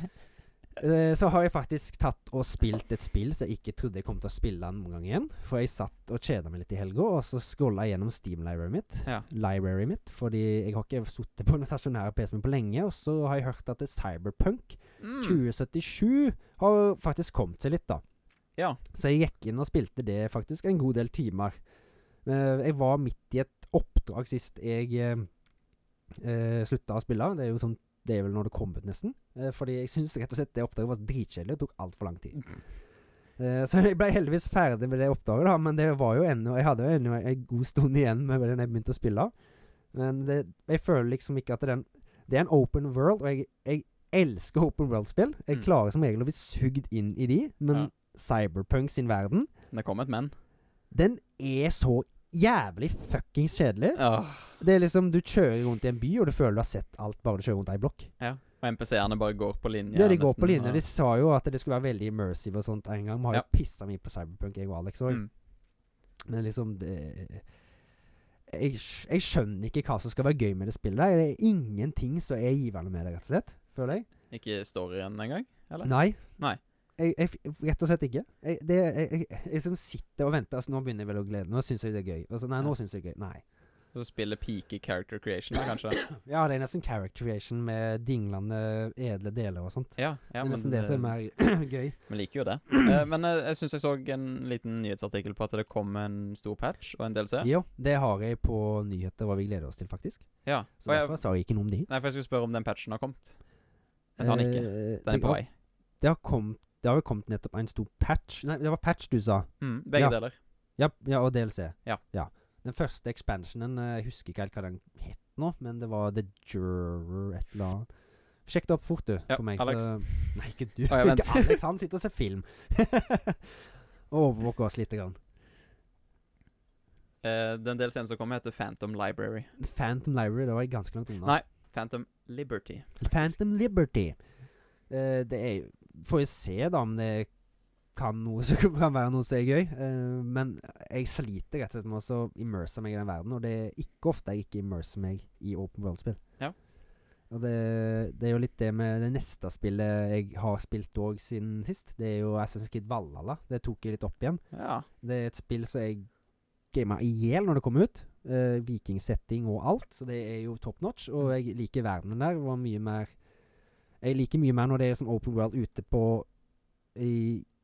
Eh, Så har jeg faktisk tatt og spilt et spill som jeg ikke trodde jeg kom til å spille noen gang igjen. For jeg satt og kjeda meg litt i helga, og så scrolla jeg gjennom Steam-libraryet mitt.
Ja.
Library mitt Fordi jeg har ikke sittet på den stasjonære PC-en min på lenge. Og så har jeg hørt at det Cyberpunk
Mm.
2077 har faktisk kommet seg litt, da.
Ja.
Så jeg gikk inn og spilte det faktisk en god del timer. Eh, jeg var midt i et oppdrag sist jeg eh, eh, slutta å spille. Det er jo sånn det er vel når det kom ut, nesten. Eh, fordi jeg syns rett og slett det oppdraget var dritkjedelig og tok altfor lang tid.
Mm.
Eh, så jeg ble heldigvis ferdig med det oppdraget, da, men det var jo ennå Jeg hadde jo ennå en god stund igjen med den jeg begynte å spille. Men det, jeg føler liksom ikke at den Det er en open world, og jeg, jeg elsker open world-spill. Jeg
Mm.
klarer som regel å bli sugd inn i de, men
Ja.
Cyberpunk sin verden,
Det kom et men.
den er så jævlig fuckings kjedelig.
Åh.
Det er liksom Du kjører rundt i en by, og du føler du har sett alt bare du kjører rundt ei blokk.
Og NPC-ene bare går på linje.
Ja, de går på
nesten,
linje.
og-
De sa jo at det skulle være veldig immersive og sånt en gang. Vi har
Ja.
jo pissa mye på Cyberpunk, jeg og Alex òg.
Mm.
Men liksom det, jeg, skj- jeg skjønner ikke hva som skal være gøy med det spillet. her. Det er ingenting som er givende med det, rett og slett. Føler jeg.
Ikke storyen engang? Eller?
Nei.
Nei.
Jeg, jeg, f- rett og slett ikke. Jeg, det, jeg, jeg, jeg liksom sitter og venter. Altså, nå begynner jeg vel å glede Nå syns jeg det er gøy. Altså, nei,
Ja.
nå syns jeg det er gøy. Nei.
Så spiller peaky character creation, da, kanskje?
Ja, det er nesten character creation med dinglende edle deler og sånt.
Ja, ja
det er
men eh,
nesten det som er mer gøy.
Vi liker jo det. Eh, men eh, jeg syns jeg så en liten nyhetsartikkel på at det kom en stor patch og en DLC.
Jo, det har jeg på nyheter hva vi gleder oss til, faktisk.
Ja.
Så
Og jeg,
derfor sa jeg ikke noe om de.
nei, for jeg skulle spørre om den patchen har kommet. Men han ikke.
Eh,
Den er på vei.
Det har, kommet, det har jo kommet nettopp en stor patch Nei, det var patch du sa.
Mm, begge
Ja.
deler.
Ja, ja og DLC.
Ja.
Den første expansionen, eh, jeg husker ikke helt hva den het nå, men det var The Juror et eller annet. Sjekk det opp fort, du.
Ja,
for meg,
Alex.
Så, nei, ikke du.
Å, ja, vent.
ikke Alex, han sitter og ser film. og overvåker oss lite grann.
Eh, den DLC-en som kommer, heter Phantom Library.
Phantom Library, det var jeg ganske langt unna.
Nei. Phantom Liberty.
Phantom Liberty. Eh, det er Får jo se, da, om det kan, noe, som kan være noe som er gøy. Eh, men jeg sliter rett og slett med å immerse meg i den verden, og det er ikke ofte jeg ikke immerser meg i open world-spill.
Ja.
Og det, det er jo litt det med det neste spillet jeg har spilt òg siden sist. Det er jo Assassin's Creed Valhalla. Det tok jeg litt opp igjen.
Ja.
Det er et spill som jeg gama i hjel når det kom ut. Eh, vikingsetting og alt, så det er jo top notch.
Mm.
Og jeg liker verdenen der. Og mye mer Jeg liker mye mer når det er som open world ute på i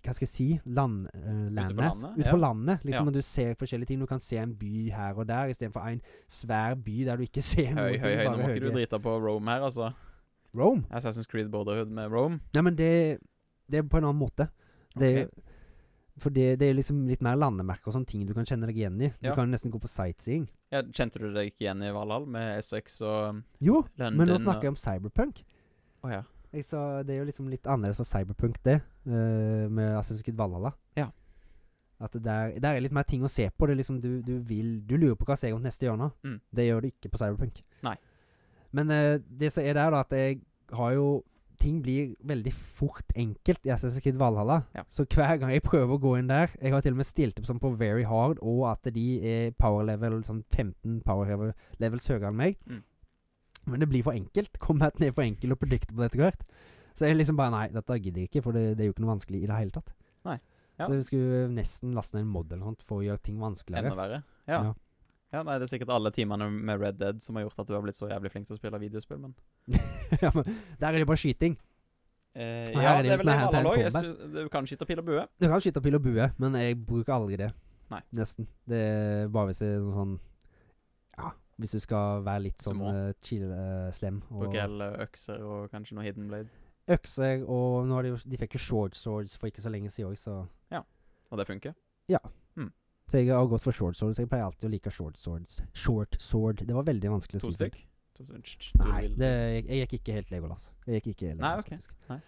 Hva skal jeg si? Land, eh, landet.
landet,
Ute
ja.
på landet. Liksom,
Ja.
og Du ser forskjellige ting. Du kan se en by her og der, istedenfor en svær by der du ikke ser noe.
Høy, høy, høy. Nå må ikke du drite på Rome her, altså.
Rome.
Assassin's Creed Borderhood med Rome.
Nei, men det, det er på en annen måte. Det er, For det, det er liksom litt mer landemerker og sånne ting du kan kjenne deg igjen i. Du
Ja.
kan nesten gå på sightseeing.
Ja, kjente du deg ikke igjen i Valhall med Essex og
Jo,
London?
men nå snakker jeg om cyberpunk.
og- Å ja.
Jeg sa, det er jo liksom litt annerledes fra Cyberpunk, det. eh, med Assassin's Creed Valhalla.
Ja.
At det der, der er litt mer ting å se på. Det er liksom du, du, vil, du lurer på hva som er rundt neste hjørne.
Mm.
Det gjør du ikke på Cyberpunk.
Nei.
Men eh, det som er der, da, at jeg har jo Ting blir veldig fort enkelt i Assassin's Creed Valhalla.
Ja.
Så hver gang jeg prøver å gå inn der Jeg har til og med stilt opp sånn på very hard, og at de er power level sånn 15 power level- levels høyere enn meg.
Mm.
Men det blir for enkelt. Combaten er for enkel og predictable etter hvert. Så jeg liksom bare Nei, dette gidder jeg ikke, for det, det er jo ikke noe vanskelig i det hele tatt.
Nei. Ja.
Så vi skulle nesten laste ned en mod eller noe sånt for å gjøre ting vanskeligere.
Enda verre. Ja.
Ja.
ja. nei, Det er sikkert alle timene med Red Dead som har gjort at du har blitt så jævlig flink til å spille videospill, men
ja, men der er det jo bare skyting.
eh,
Og her
Ja,
er det
det er
jo
vel det
med
Valhall
hand-to-hand
òg. Du kan skyte pil og bue.
Du kan skyte pil og bue, men jeg bruker aldri det.
Nei.
Nesten. Det er bare hvis det er noe sånn Ja, hvis du skal være litt
Så
sånn
må.
eh, chill, eh, slem. Og
Bruke hele økser og kanskje noe Hidden Blade.
økser, og nå har de jo De fikk jo short swords for ikke så lenge siden òg, så
Og det funker.
Så jeg har gått for short swords. Jeg pleier alltid å like short swords. Short sword. Det var veldig vanskelig å
To
si.
stykk. To stykk.
Nei, det, jeg, jeg gikk ikke helt Legolas. Jeg gikk ikke Legolas,
Nei, ok.
faktisk.
Nei.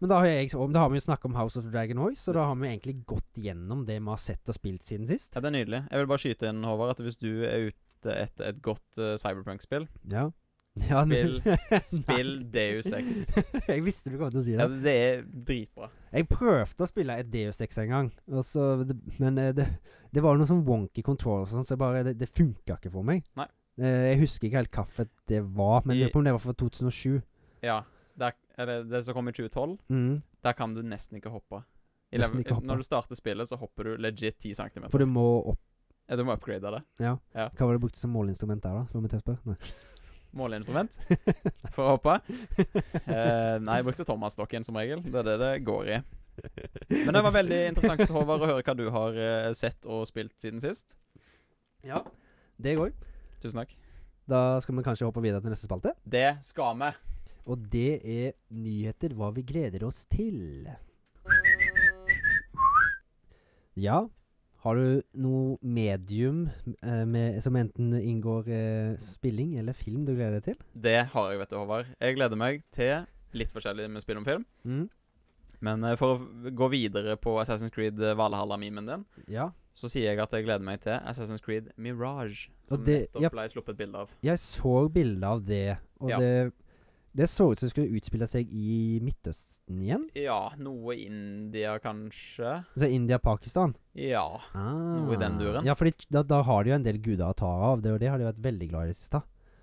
Men da har, jeg, om- da har vi jo snakket om House of the Dragon òg, så da har vi egentlig gått gjennom det vi har sett og spilt siden sist.
Ja, det er nydelig. Jeg vil bare skyte inn, Håvard, at hvis du er ute etter et godt eh, cyberpunk-spill
Ja. Ja,
Spill-
nei.
Spill Deus Ex.
jeg visste du kom til å si
Ja,
det.
det er dritbra.
Jeg prøvde å spille et Deus Ex en gang, og så, det, men eh, det, det var noe sånn wonky control og sånn, så jeg bare, det, det funka ikke for meg.
Nei.
Eh, Jeg husker ikke helt hvilket det var, men jeg lurer på om det var fra 2007.
Ja. Der, eller det som kom i 2012,
Mm.
der kan du nesten ikke hoppe. I
Nesten
level-
ikke hoppe.
Når du starter spillet, så hopper du legit 10 cm.
For du må opp
Ja, du må upgrade det.
Ja.
Ja.
Hva var det du brukte som måleinstrument der, da? Skal vi til å spørre? Nei.
Måleinstrument for å hoppe. Eh, nei, jeg brukte Thomas-stokken som regel. Det er det det går i. Men det var veldig interessant, Håvard, å høre hva du har eh, sett og spilt siden sist.
Ja, det går.
Tusen takk.
Da skal vi kanskje hoppe videre til neste spalte.
Det skal vi.
Og det er nyheter hva vi gleder oss til. Ja, har du noe medium eh, med, som enten inngår eh, spilling eller film du gleder deg til?
Det har jeg, vet du, Håvard. Jeg gleder meg til litt forskjellig med spill om film.
Mm.
Men eh, for å v- gå videre på Assassin's Creed eh, Valhalla-memen din,
Ja.
så sier jeg at jeg gleder meg til Assassin's Creed Mirage. Som
det-
nettopp
ja.
ble sluppet bilde av.
Jeg så bilde av det, og
Ja.
det, det så ut som det skulle utspille seg i Midtøsten igjen.
Ja, noe India, kanskje.
Altså India-Pakistan.
Ja. i den duren.
Ja, fordi da, da har de jo en del guder å ta av. Det, og det har de vært veldig glad i i det siste.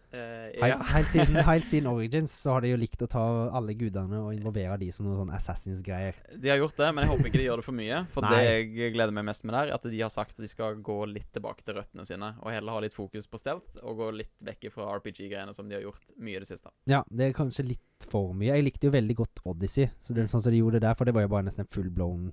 Eh,
Helt,
ja.
helt, siden, helt siden Origins så har de jo likt å ta alle gudene og involvere de som noen sånn assassins-greier.
De har gjort det, men jeg håper ikke de gjør det for mye. For
Nei.
det jeg gleder meg mest med der, er at de har sagt at de skal gå litt tilbake til røttene sine, og heller ha litt fokus på stealth, og gå litt vekk fra RPG-greiene som de har gjort mye i det siste.
Ja, det er kanskje litt for mye. Jeg likte jo veldig godt Odyssey, så det er sånn som de gjorde det der, for det var jo bare nesten en full-blown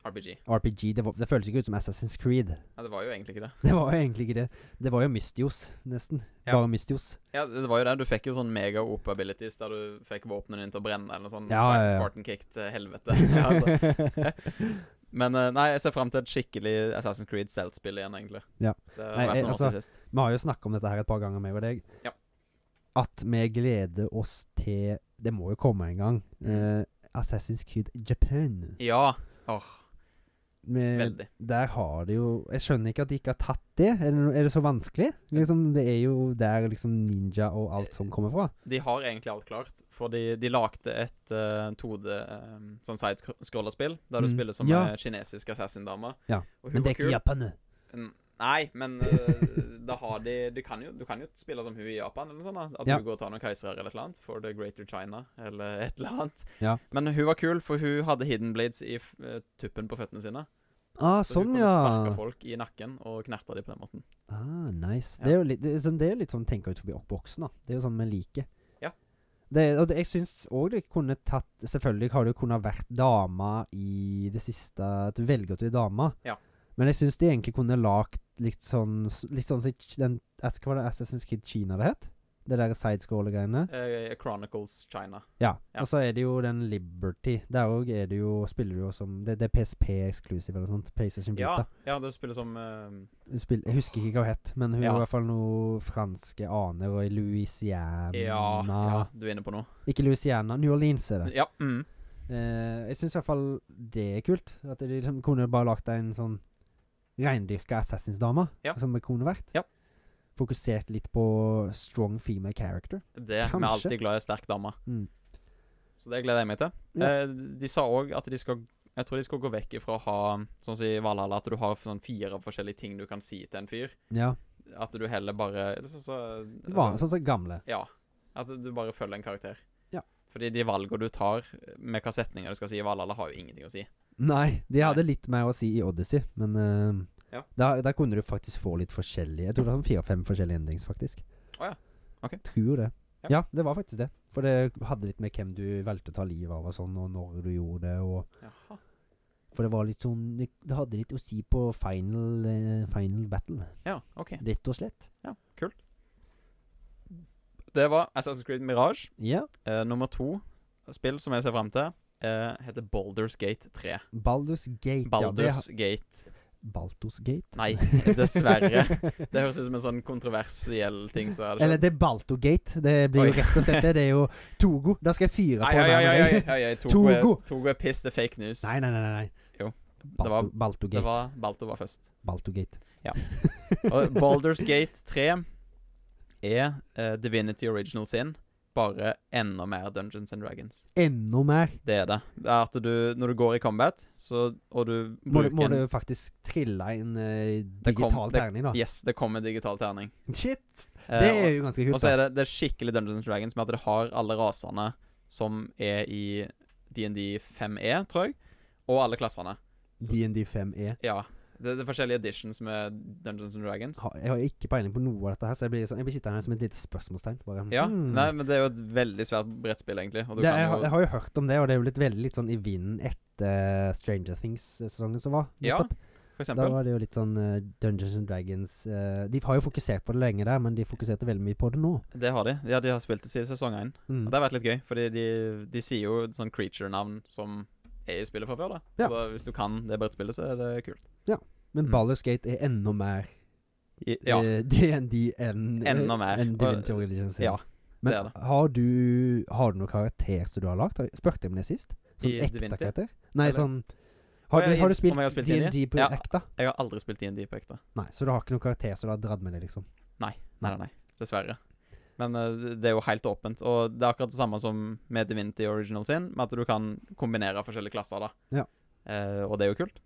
RPG.
RPG. Det, var, det føltes ikke ut som Assassin's Creed.
Ja, det var jo egentlig ikke det.
Det var jo egentlig ikke det. Det var jo Mystios, nesten.
Ja.
Bare Mystios.
Ja, det var jo det. Du fikk jo sånn mega op abilities der du fikk våpnene dine til å brenne, eller noe sånt.
Ja, ja, ja.
Spartan kick til helvete. Ja, altså. Men eh, nei, jeg ser frem til et skikkelig Assassin's Creed stealth-spill igjen, egentlig.
Ja.
Det har
Nei,
vært
jeg-
noen år
altså-
siden sist.
Vi har jo snakka om dette her et par ganger, meg og deg.
Ja.
At vi gleder oss til Det må jo komme en gang. eh, Assassin's Creed Japan.
Ja,
Med,
veldig.
Der har det jo Jeg skjønner ikke at de ikke har tatt det. Er det, no- er det så vanskelig? Liksom, det er jo der liksom ninja og alt sånt kommer fra.
De har egentlig alt klart, for de, de lagde et eh, 2D eh, sånn sidescroller-spill, der du
Mm.
spiller som
Ja.
en kinesisk assassin-dame.
Ja,
Og hun
Men det
var
er ikke
kul.
Japan.
N- Nei, men eh, da har de du kan, jo, du kan jo spille som hun i Japan, eller noe sånt. da. At
Ja.
hun går og tar noen keisere eller et eller annet. For the greater China, eller et eller annet.
Ja.
Men hun var kul, for hun hadde hidden blades i f- eh, tuppen på føttene sine.
Ah,
Så hun
sånn,
kunne sparke
ja.
folk i nakken og knerte dem på den måten.
Ah, nice.
Ja.
Det, er jo litt, det, er sånn, det er litt sånn tenke ut forbi boksen, da. Det er jo sånn vi liker.
Ja.
Det, og det, jeg syns òg det kunne tatt Selvfølgelig har det kunnet vært dame i det siste At du velger til dame.
Ja.
Men jeg syns de egentlig kunne lagd litt sånn Litt sånn som i den, Hva var det Assassin's Kid Kina det het? Det der sidescroller-greiene.
Eh, Chronicles China.
Ja.
Ja.
Og så er det jo den Liberty. Der òg er det jo Spiller du jo som Det, det er PSP-eksklusiv eller noe sånt. PlayStation
Ja,
Vita.
ja, det spiller som eh,
Hun spill- jeg husker ikke hva hun het, men hun
Ja.
er i hvert fall noe franske aner og i Louisiana
E ja, ja, du er inne på noe.
Ikke Louisiana, New Orleans er det.
Ja. Mm.
Eh, jeg syns i hvert fall det er kult. At de liksom kunne bare lagt en sånn reindyrka assassinsdame,
Ja.
som det kunne vært.
Ja.
Fokusert litt på strong female character.
Det Vi er
Kanskje.
alltid glad i sterk dame.
Mm.
Så det gleder jeg meg til.
Ja.
Eh, de sa òg at de skal Jeg tror de skal gå vekk ifra å ha Sånn som i Valhalla, at du har sånn fire forskjellige ting du kan si til en fyr.
Ja.
At du heller bare eller Sånn som
Det var sånn som gamle.
Ja. At du bare følger en karakter.
Ja.
Fordi de valgene du tar med hva setninger du skal si i Valhalla, har jo ingenting å si.
Nei, de hadde litt mer å si i Odyssey, men eh,
Ja.
der, der kunne du faktisk få litt forskjellig. Jeg tror det var sånn fire-fem forskjellige endings, faktisk.
Å ja. Ok.
Tror det.
Ja.
Ja. det var faktisk det. For det hadde litt med hvem du valgte å ta livet av og sånn, og når du gjorde det, og
Jaha.
For det var litt sånn Det det hadde litt å si på final, eh, final battle,
Ja, OK.
rett og slett.
Ja, Kult. Det var Assassin's Creed Mirage.
Ja.
Eh, nummer to spill som jeg ser fram til, eh, heter Baldur's Gate 3.
Baldur's Gate.
Baldur's
Ja,
Gate
det, Baldur's Gate?
Nei, dessverre. Det høres ut som en sånn kontroversiell ting som hadde
Eller det er Baltogate. Det blir jo
Oi.
rett og slett det. Det er jo Togo. Da skal jeg fyre
Ai,
på
ai,
den
ai,
med
ai,
deg.
ai, ai, Togo, er,
Togo.
Togo er piss, det er fake news.
Nei, nei, nei. nei, nei.
Jo.
Balto,
var- Det
Baltogate.
var Balto var først.
Baltogate.
Og Baldur's Gate 3 er eh, Divinity Original sin, bare enda mer Dungeons and Dragons.
Enda mer.
Det er det. Det er at du, når du går i combat, så, og du
Må,
bruker
du- må
en
du faktisk trille en eh,
kom-
digital
det-
terning, da.
Yes, det kommer en digital terning.
Shit!
Eh,
Det
og-
er jo ganske
Og
kult.
så
da.
er det, det er skikkelig Dungeons and Dragons med at det har alle rasene som er i DND 5E, E, tror jeg, og alle klassene.
DND 5E.
Ja. Det, det er forskjellige editions med Dungeons and Dragons.
Ha- Jeg har ikke peiling på noe av dette her, så jeg blir, sånn, jeg blir sittende her som et lite spørsmålstegn. Bare,
Ja,
hmm.
nei, men det er jo et veldig svært brettspill, egentlig. Og du
det, jeg, har-
kan
jeg
jo,
har jo hørt om det, og det er jo litt veldig litt sånn i vinden etter eh, Stranger Things-sesongen som var.
Ja,
nettopp.
for
da
eksempel.
var det jo litt sånn eh, Dungeons and Dragons eh, De har jo fokusert på det lenge der, men de fokuserte veldig mye på det nå.
Det har de. Ja, de har spilt det siden sesong 1.
Mm.
Og det har vært litt gøy, fordi de, de sier jo et sånn creature-navn som er i spillet fra før, da.
Ja.
Og da. Hvis du kan det brettspillet, så er det kult.
Men
Mm.
Baldur's Gate er enda mer
I, ja.
eh, DND enn
Enda mer.
enn
Og-
Divinity Origins.
ja,
men
det er det.
Har, du, har du noen karakter som du har lagd? Har- Spurte jeg om det sist? Sånn
I
ekte
Divinity?
karakter? Nei,
Eller-
sånn har
Å,
du,
jeg-
har du
om
spilt
jeg har spilt DND?
DND på
Ja.
ekte?
Jeg har aldri spilt D&D på ekte.
Nei, så du har ikke noen karakter som du har dratt med deg, liksom?
Nei, nei, nei. Dessverre. Men eh, det- det er jo helt åpent. Og det er akkurat det samme som med Divinity Original sin, med at du kan kombinere forskjellige klasser, da.
Ja.
Eh, og det er jo kult.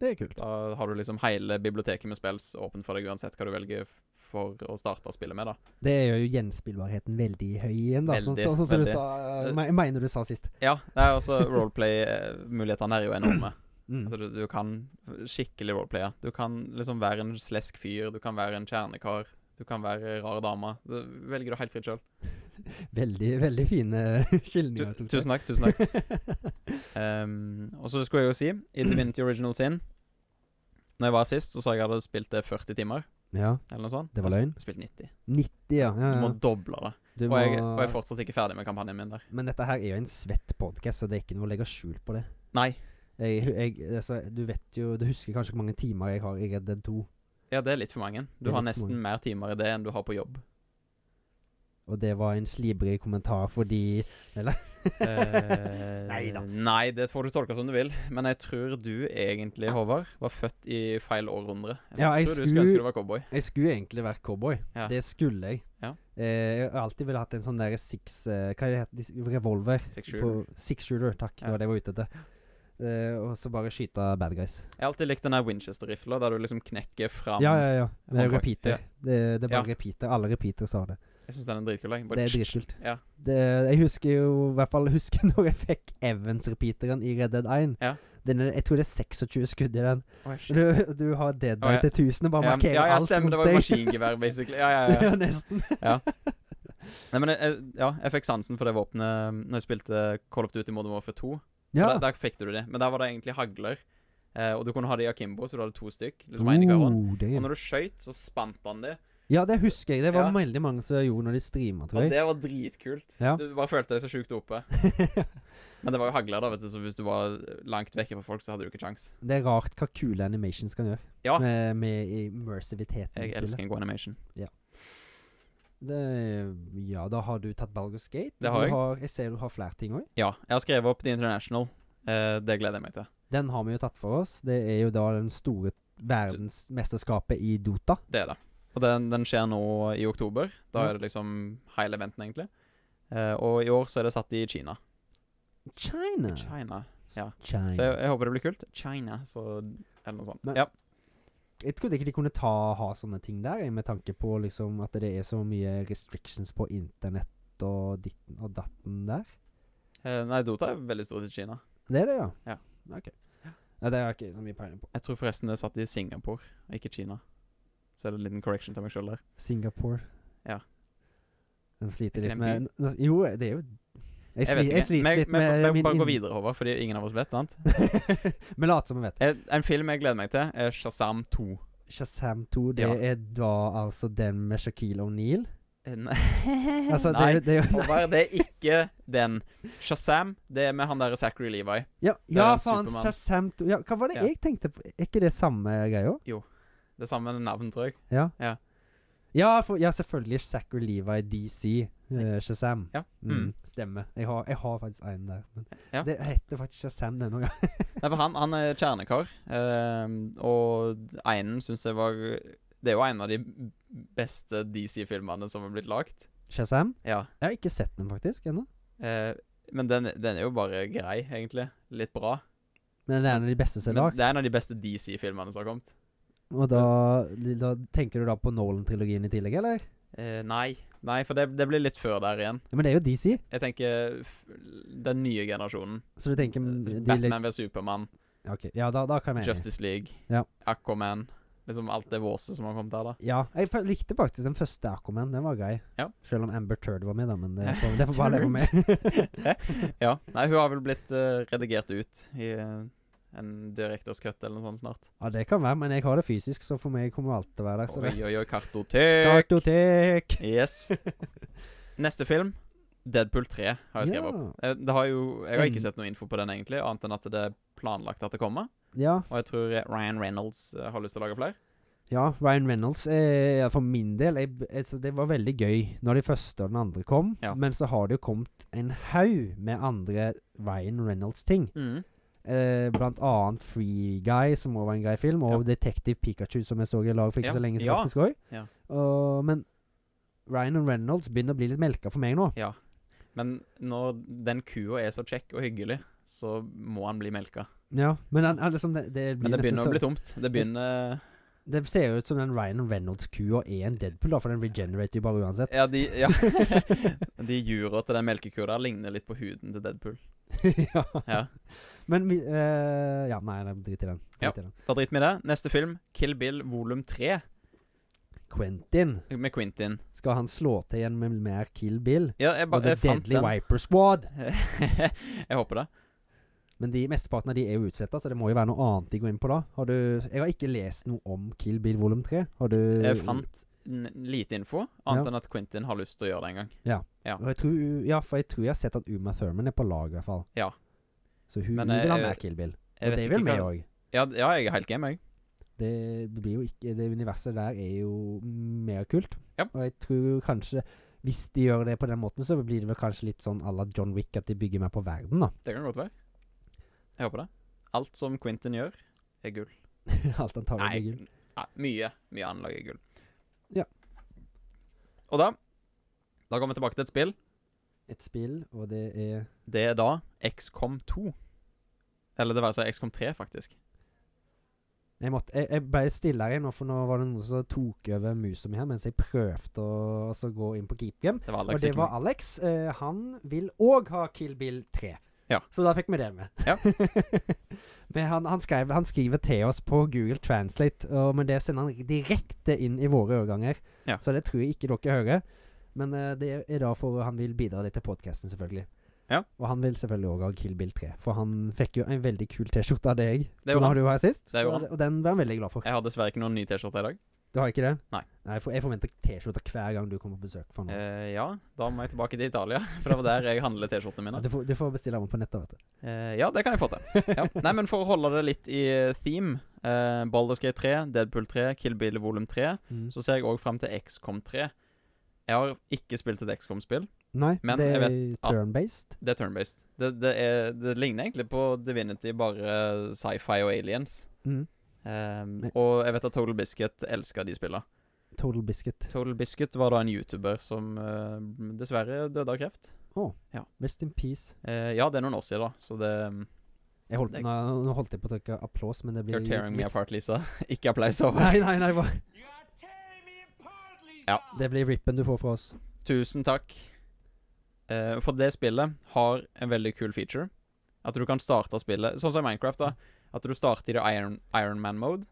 Det er kult.
Da har du liksom hele biblioteket med spills åpent for deg, uansett hva du velger for å starte spillet med, da.
Det gjør jo gjenspillbarheten veldig høy igjen, da. Sånn
Veldig,
sånn- sånn som du
veldig.
sa me- Jeg mener du sa sist.
Ja, det er også roleplay-mulighetene er jo enorme.
Mm.
Altså, du, du kan skikkelig roleplaye. Du kan liksom være en slesk fyr, du kan være en kjernekar, du kan være rar dame. Det velger du helt fritt sjøl.
Veldig, veldig fine
Tu
skildringer.
tusen takk, tusen takk. Ehm, og så skulle jeg jo si, i Divinity Original sin Når jeg var sist, så sa jeg at jeg hadde spilt det 40 timer,
ja.
eller noe sånt.
Det var
Jeg har
løgn.
sp- Spilt 90.
90, ja. ja,
Du må
ja.
doble det.
Du
Og jeg, og jeg er
må
fortsatt ikke ferdig med kampanjen min der.
Men dette her er jo en svett podkast, så det er ikke noe å legge skjul på det.
Nei.
Jeg, jeg, altså, du vet jo Du husker kanskje hvor mange timer jeg har i Red Dead 2,
Ja, det er litt for mange.
Det
Du
er
har
litt for
nesten
mange.
mer timer i det enn du har på jobb.
og det var en slibrig kommentar fordi Eller?
Eh,
Neida.
Nei, det får du tolke som du vil. Men jeg tror du egentlig, Håvard, var født i feil århundre. Jeg,
Ja, jeg
tror du
skulle-
skulle ønske du var cowboy.
Jeg skulle egentlig vært cowboy.
Ja.
Det skulle jeg.
Ja.
Eh, jeg har alltid villet hatt en sånn der six eh, Hva er det het? Dis- Revolver.
Six shooter.
På- Six shooter, takk.
Ja.
Det var det jeg var ute etter. Eh, og så bare skyte bad guys.
Jeg har alltid likt den der Winchester-rifla, der du liksom knekker fram
Ja, ja, ja. Det er
håndtak.
repeater.
Ja.
Det, det er bare
Ja.
repeater. Alle repeater sa det.
Jeg syns den er dritkul. jeg. Bare
Det er dritkult.
Ja.
Det, jeg husker jo i hvert fall husker når jeg fikk Evans-repeateren i Red Dead 1.
Ja.
Den er, jeg tror det er 26 skudd i den.
Oi, shit.
Du, du har dead
Å,
eye
ja.
til 1000 og bare
Ja,
markerer
ja, ja,
alt
stemmer. Det var
rundt deg.
maskingevær, basically. Ja, ja, ja.
ja, nesten.
Ja. Nei, men jeg, jeg, ja, jeg fikk sansen for det våpenet um, når jeg spilte Call of Duty Modern Warfare 2. For Der, der fikk du det, men der var det egentlig hagler. Eh, og du kunne ha det i akimbo, så du hadde to stykk. Liksom en i hver hånd.
Oh,
Og
damn.
når du skøyt, så spant han de.
ja, det husker jeg. Det var
Ja.
veldig mange som gjorde når de streama, tror
Og
jeg.
det var dritkult.
Ja.
Du bare følte deg så sjukt oppe. Men det var jo hagler, da, vet du, så hvis du var langt vekke fra folk, så hadde du ikke kjangs.
Det er rart hva kule animations kan gjøre
Ja.
med, med immersiviteten i
Jeg
spillet.
elsker en god animation.
Det, ja, da har du tatt Balgers Gate.
Det har jeg.
Du har, jeg ser du har flere ting òg.
Ja, jeg har skrevet opp The International. Eh, det gleder jeg meg til.
Den har vi jo tatt for oss. Det er jo da den store verdensmesterskapet i Dota.
Det er det. Og den, den skjer nå i oktober. Da
Ja.
er det liksom hele eventen, egentlig. Eh, og i år så er det satt i Kina.
China.
China.
China.
Så jeg, jeg håper det blir kult. China, så Eller noe sånt.
Men-
ja.
jeg trodde ikke de kunne ta, ha sånne ting der, jeg, med tanke på liksom at det er så mye restrictions på internett og ditten og datten der.
Eh, nei, Dota er veldig stor til Kina.
Det er det, ja?
Ja.
Ok. Ja, det har jeg ikke så mye peiling på.
Jeg tror forresten det er satt i Singapore, og ikke Kina. Så er det en liten correction til meg sjøl der.
Singapore.
Ja.
Den sliter
Er
litt
ikke det en
med n- Jo, eh, det er jo Jeg,
Jeg vet
sli-
ikke.
jeg sliter
Men jeg-
litt
men
med
jeg må bare
min
gå videre, Håvard, fordi ingen av oss vet. sant?
Men lat som vi vet.
Eh, En film jeg gleder meg til, er Shazam 2.
Shazam 2, det
Ja.
er da altså den med Shaquille O'Neal?
Eh, Nei,
Altså, det, er
Nei,
jo- det er jo
Håvard, det er ikke den. Shazam, det er med han derre Zachary Levi.
Ja,
er
ja
en
faen,
Superman.
Shazam 2 ja, Hva var det
Ja.
jeg tenkte på? Er ikke det samme greia?
Det samme navn, tror jeg.
Ja.
Ja.
Ja, for, ja, selvfølgelig Zachary Levi DC, eh, Shazam.
Ja.
Mm,
Mm.
stemmer. Jeg har, jeg har faktisk en der. Men
Ja.
Det heter faktisk Shazam denne gangen.
Nei, for han, han er kjernekar, eh, og Einen syns jeg var Det er jo en av de beste DC-filmene som er blitt lagd.
Shazam?
Ja.
Jeg har ikke sett den faktisk ennå.
Eh, men den, den er jo bare grei, egentlig. Litt bra.
Men det er en av de beste som
Men
er lagd.
det er en av de beste DC-filmene som har kommet.
Og da, da tenker du da på Nolan-trilogien i tillegg, eller?
Eh, nei. nei, for det, det blir litt før der igjen.
Ja, Men det er jo DC,
Jeg tenker f den nye generasjonen.
så du tenker mm,
Eh,
de leg-
Batman ved Supermann,
Ok, Ja, da, da kan jeg være enig.
Justice League,
Ja.
Aquaman. Liksom alt det våset som har kommet der, da.
Ja, jeg fø- likte faktisk den første Aquaman. Den var grei.
Ja.
Selv om Amber Turd var med, da. Men det får, det får bare leve med.
ja. Nei, hun har vel blitt eh, redigert ut i eh, en directors cut eller noe sånt snart.
ja, det kan være, men jeg har det fysisk, så for meg kommer hun alltid til å være der. Så
Oi,
det.
oi, oi, kartotek!
Kartotek!
Yes. Neste film, Deadpool 3, har jeg skrevet opp. Eh, Det har jo, jeg har
Mm.
ikke sett noe info på den, egentlig, annet enn at det er planlagt at det kommer.
Ja.
Og jeg tror eh, Ryan Reynolds eh, har lyst til å lage flere.
ja, Ryan Reynolds eh, For min del jeg, b- altså, Det var veldig gøy når de første og den andre kom.
Ja.
Men så har det jo kommet en haug med andre Ryan Reynolds-ting. Eh, blant annet Free Guy, som også var en grei film, og Detective Pikachu, som jeg så i lag for ikke
Ja.
så lenge siden.
Ja.
faktisk også.
Ja.
Og- men Ryan og Reynolds begynner å bli litt melka for meg nå.
Men når den kua er så kjekk og hyggelig, så må han bli melka.
Ja, Men han, han liksom det, det, blir
Men det
nesten
begynner å
så-
bli tomt. Det begynner
Det ser jo ut som den Ryan Reynolds-kua er E en Deadpool, da, for den regenerater jo bare uansett.
Ja, de, ja. de jura til den melkekua der ligner litt på huden til Deadpool.
ja.
Ja.
Men vi eh, Ja, nei, nei, drit i den. Drit
Ja.
i den.
Da driter vi i det. Neste film, Kill Bill volum 3,
Quentin,
med Quentin.
skal han slå til igjen med mer Kill Bill?
Ja, jeg, ba,
Og The
jeg fant
Deadly
den.
Wiper Squad.
jeg håper det.
Men de mesteparten av de er jo utsletta, så det må jo være noe annet de går inn på da. Har du Jeg har ikke lest noe om Kill Bill volum 3. Har du
Jeg fant n lite info,
Uh, Ja.
annet enn at Quentin har lyst til å gjøre det en gang.
Og jeg tror, Ja, for jeg tror jeg har sett at Uma Thurman er på lag, i hvert fall.
Ja.
Så hun,
Men
hun vil ha
jeg-
mer Kill Bill.
Jeg
Og
vet
det vil
ikke
vi
hva-
òg.
Ja, d- ja, jeg er helt game, jeg.
Det blir jo ikke Det universet der er jo mer kult.
Ja.
Og jeg tror kanskje Hvis de gjør det på den måten, så blir det vel kanskje litt sånn à la John Wick, at de bygger mer på verden, da.
Det kan godt være. Jeg håper det. Alt som Quentin gjør, er gull.
Alt antagelig
Nei,
blir gull.
nei, mye mye annet er gull.
Ja.
Og da Da går vi tilbake til et spill.
Et spill, og det er
Det er da XCOM 2. Eller det var altså XCOM 3, faktisk.
Jeg, måtte, jeg, jeg ble stille her nå, for nå var det noen som tok over musa mi her mens jeg prøvde å altså, gå inn på keepgame.
Det var
Og
Alex.
det
ikke
var
meg.
Alex. Eh, han vil òg ha Kill Bill 3.
Ja.
Så da fikk vi det med.
Ja.
men han, han, skrev, han skriver til oss på Google Translate, og, men det sender han direkte inn i våre øreganger.
Ja.
Så det tror jeg ikke dere hører. Men eh, det er da for han vil bidra litt til podkasten, selvfølgelig.
Ja.
Og han vil selvfølgelig òg ha Kill Bill 3, for han fikk jo en veldig kul T-skjorte av deg.
Det gjorde
Den
han.
har du her sist,
Det
så-
gjorde han.
og den ble han veldig glad for.
Jeg har dessverre ikke noen ny T-skjorte i dag.
Du har ikke det?
Nei.
for jeg forventer T-skjorter hver gang du kommer på besøk. For noe.
Eh, ja, da må jeg tilbake til Italia, for det var der jeg handler T-skjortene mine.
Du, får, du får bestille den på nettet, vet du.
Eh, ja, det kan jeg få til. Ja. Nei, men for å holde det litt i eh, theme uh, Baldur's Gate 3, Deadpool 3, Kill Bill volum 3.
Mm.
Så ser jeg òg fram til XCOM 3. Jeg har ikke spilt et XCOM-spill.
Nei,
men
det
jeg
er
vet at-
turn-based.
Det er turn-based. Det, det, er- det ligner egentlig på Divinity, bare sci-fi og aliens.
Mm.
Ehm,
Men-
og jeg vet at Total Biscuit elsker de spillene.
Total Biscuit.
Total Biscuit var da en YouTuber som eh, dessverre døde av kreft.
Rest in peace.
Eh, ja, det er noen år siden, da, så det
Jeg holdt,
Det-
nå, nå holdt jeg på å trykke applaus, men det blir
You're tearing me
litt-
apart, Lisa. ikke applaus over.
Nei, nei, nei. hva-
Ja.
Det blir rippen du får fra oss.
Tusen takk. Eh, for det spillet har en veldig kul feature. At du kan starte spillet Sånn som i Minecraft, da. At du starter i det Iron, Iron Man-mode.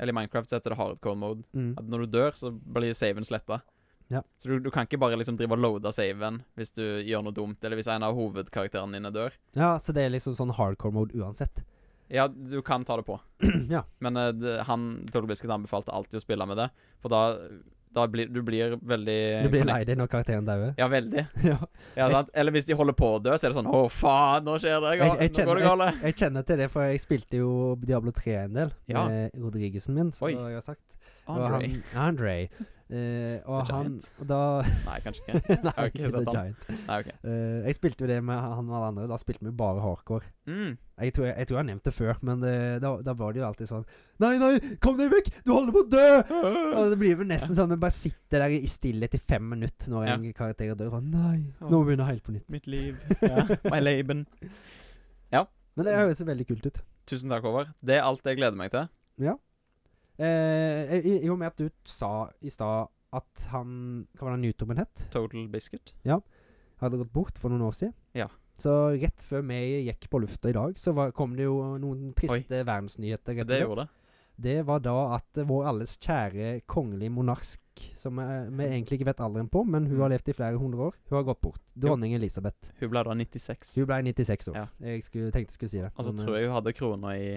Eller i Minecraft så heter det hardcore-mode.
Mm.
At når du dør, så blir saven sletta.
Ja.
Så du, du kan ikke bare liksom drive og loade saven hvis du gjør noe dumt, eller hvis en av hovedkarakterene dine dør.
Ja, så det er liksom sånn hardcore mode uansett.
Ja, du kan ta det på.
ja.
Men eh, det, han Total Biscuit anbefalte alltid å spille med det, for da, da blir du blir veldig
Du blir lei
connect-
deg når karakteren dauer.
Ja, veldig.
ja.
Ja, sant? Eller hvis de holder på å dø, så er det sånn Å, faen, nå skjer det!
Jeg- jeg
Nå går det
kjenner-
galt!
Jeg kjenner til det, for jeg spilte jo Diablo 3 en del
Ja.
med Rodriguesen min, som
Oi.
jeg har sagt. Og
Andre.
Han, Andre. Eh, og
The
han
Giant.
og da
Nei, kanskje ikke.
Nei,
har ikke
ikke The
sett han.
Giant.
Nei, ok.
Eh, jeg spilte jo det med han og alle andre. Da spilte vi jo bare hardcore.
Mm.
Jeg tror jeg, jeg tror jeg har nevnt det før, men det, da, da var det jo alltid sånn Nei, nei, kom deg vekk! Du holder på å dø! Og det blir vel nesten sånn at vi bare sitter der i stillhet i fem minutter når
Ja.
en karakter dør. Sånn, nei, nå må vi begynne helt på nytt.
Mitt liv. Ja. My laben.
Men det høres jo veldig kult ut.
Tusen takk, Håvard. Det er alt jeg gleder meg til.
Eh, i, I og med at du sa i stad at han Hva var det han youtuberen het?
Total Biscuit.
Hadde gått bort for noen år siden.
Ja.
Så rett før vi gikk på lufta i dag, så var, kom det jo noen triste verdensnyheter. Rett og
Det
slett.
gjorde det.
Det var da at eh, vår alles kjære kongelige monark, som eh, vi egentlig ikke vet alderen på, men hun
Mm.
har levd i flere hundre år, hun har gått bort. Dronning Elisabeth.
Hun ble da 96.
Hun ble 96 år.
Ja.
Jeg skulle, tenkte jeg skulle si det.
Og så
men, eh,
tror jeg hun hadde krona i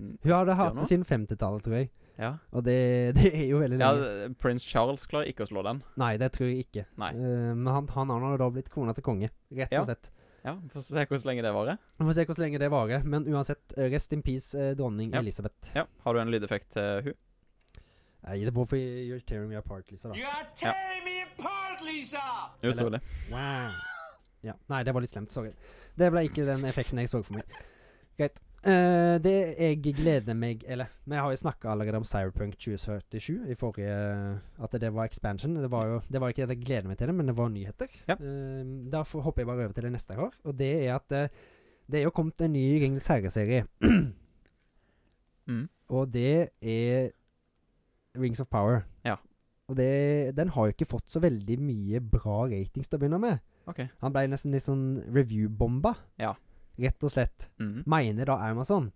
Hun hadde hatt
nå?
det siden 50-tallet, tror jeg.
Ja.
Og det, det er jo veldig
ja
lenge.
Prins Charles klarer ikke å slå den.
Nei, det tror jeg ikke.
Nei.
Eh, men han, han har nå da blitt kona til konge, rett
Ja.
og slett.
Ja, Få se hvor lenge det varer.
Vi får se hvor lenge det varer. Men uansett, eh, rest in peace, eh, dronning
Ja.
Elisabeth.
Ja. Har du en lydeffekt til hun?
Nei, det er hvorfor you're tearing me apart, Lisa, da.
are tearing me apart, Lisa!
Utrolig.
Wow. Ja. Nei, det var litt slemt. Sorry. Det ble ikke den effekten jeg så for meg. Greit. Eh, det jeg gleder meg Eller, vi har jo snakka allerede om Cyberpunk 2047 i forrige At det var expansion. Det var jo det var ikke at jeg gleder meg til det, men det var nyheter.
Ja.
Eh, derfor hopper jeg bare over til det neste jeg har, og det er at eh, det er jo kommet en ny Ringenes herre-serie.
Mm.
Og det er Rings of Power.
Ja.
Og det, den har jo ikke fått så veldig mye bra ratings til å begynne med.
OK.
Han ble nesten litt sånn review-bomba.
Ja.
Rett og slett.
Mm.
Mener da Amazon.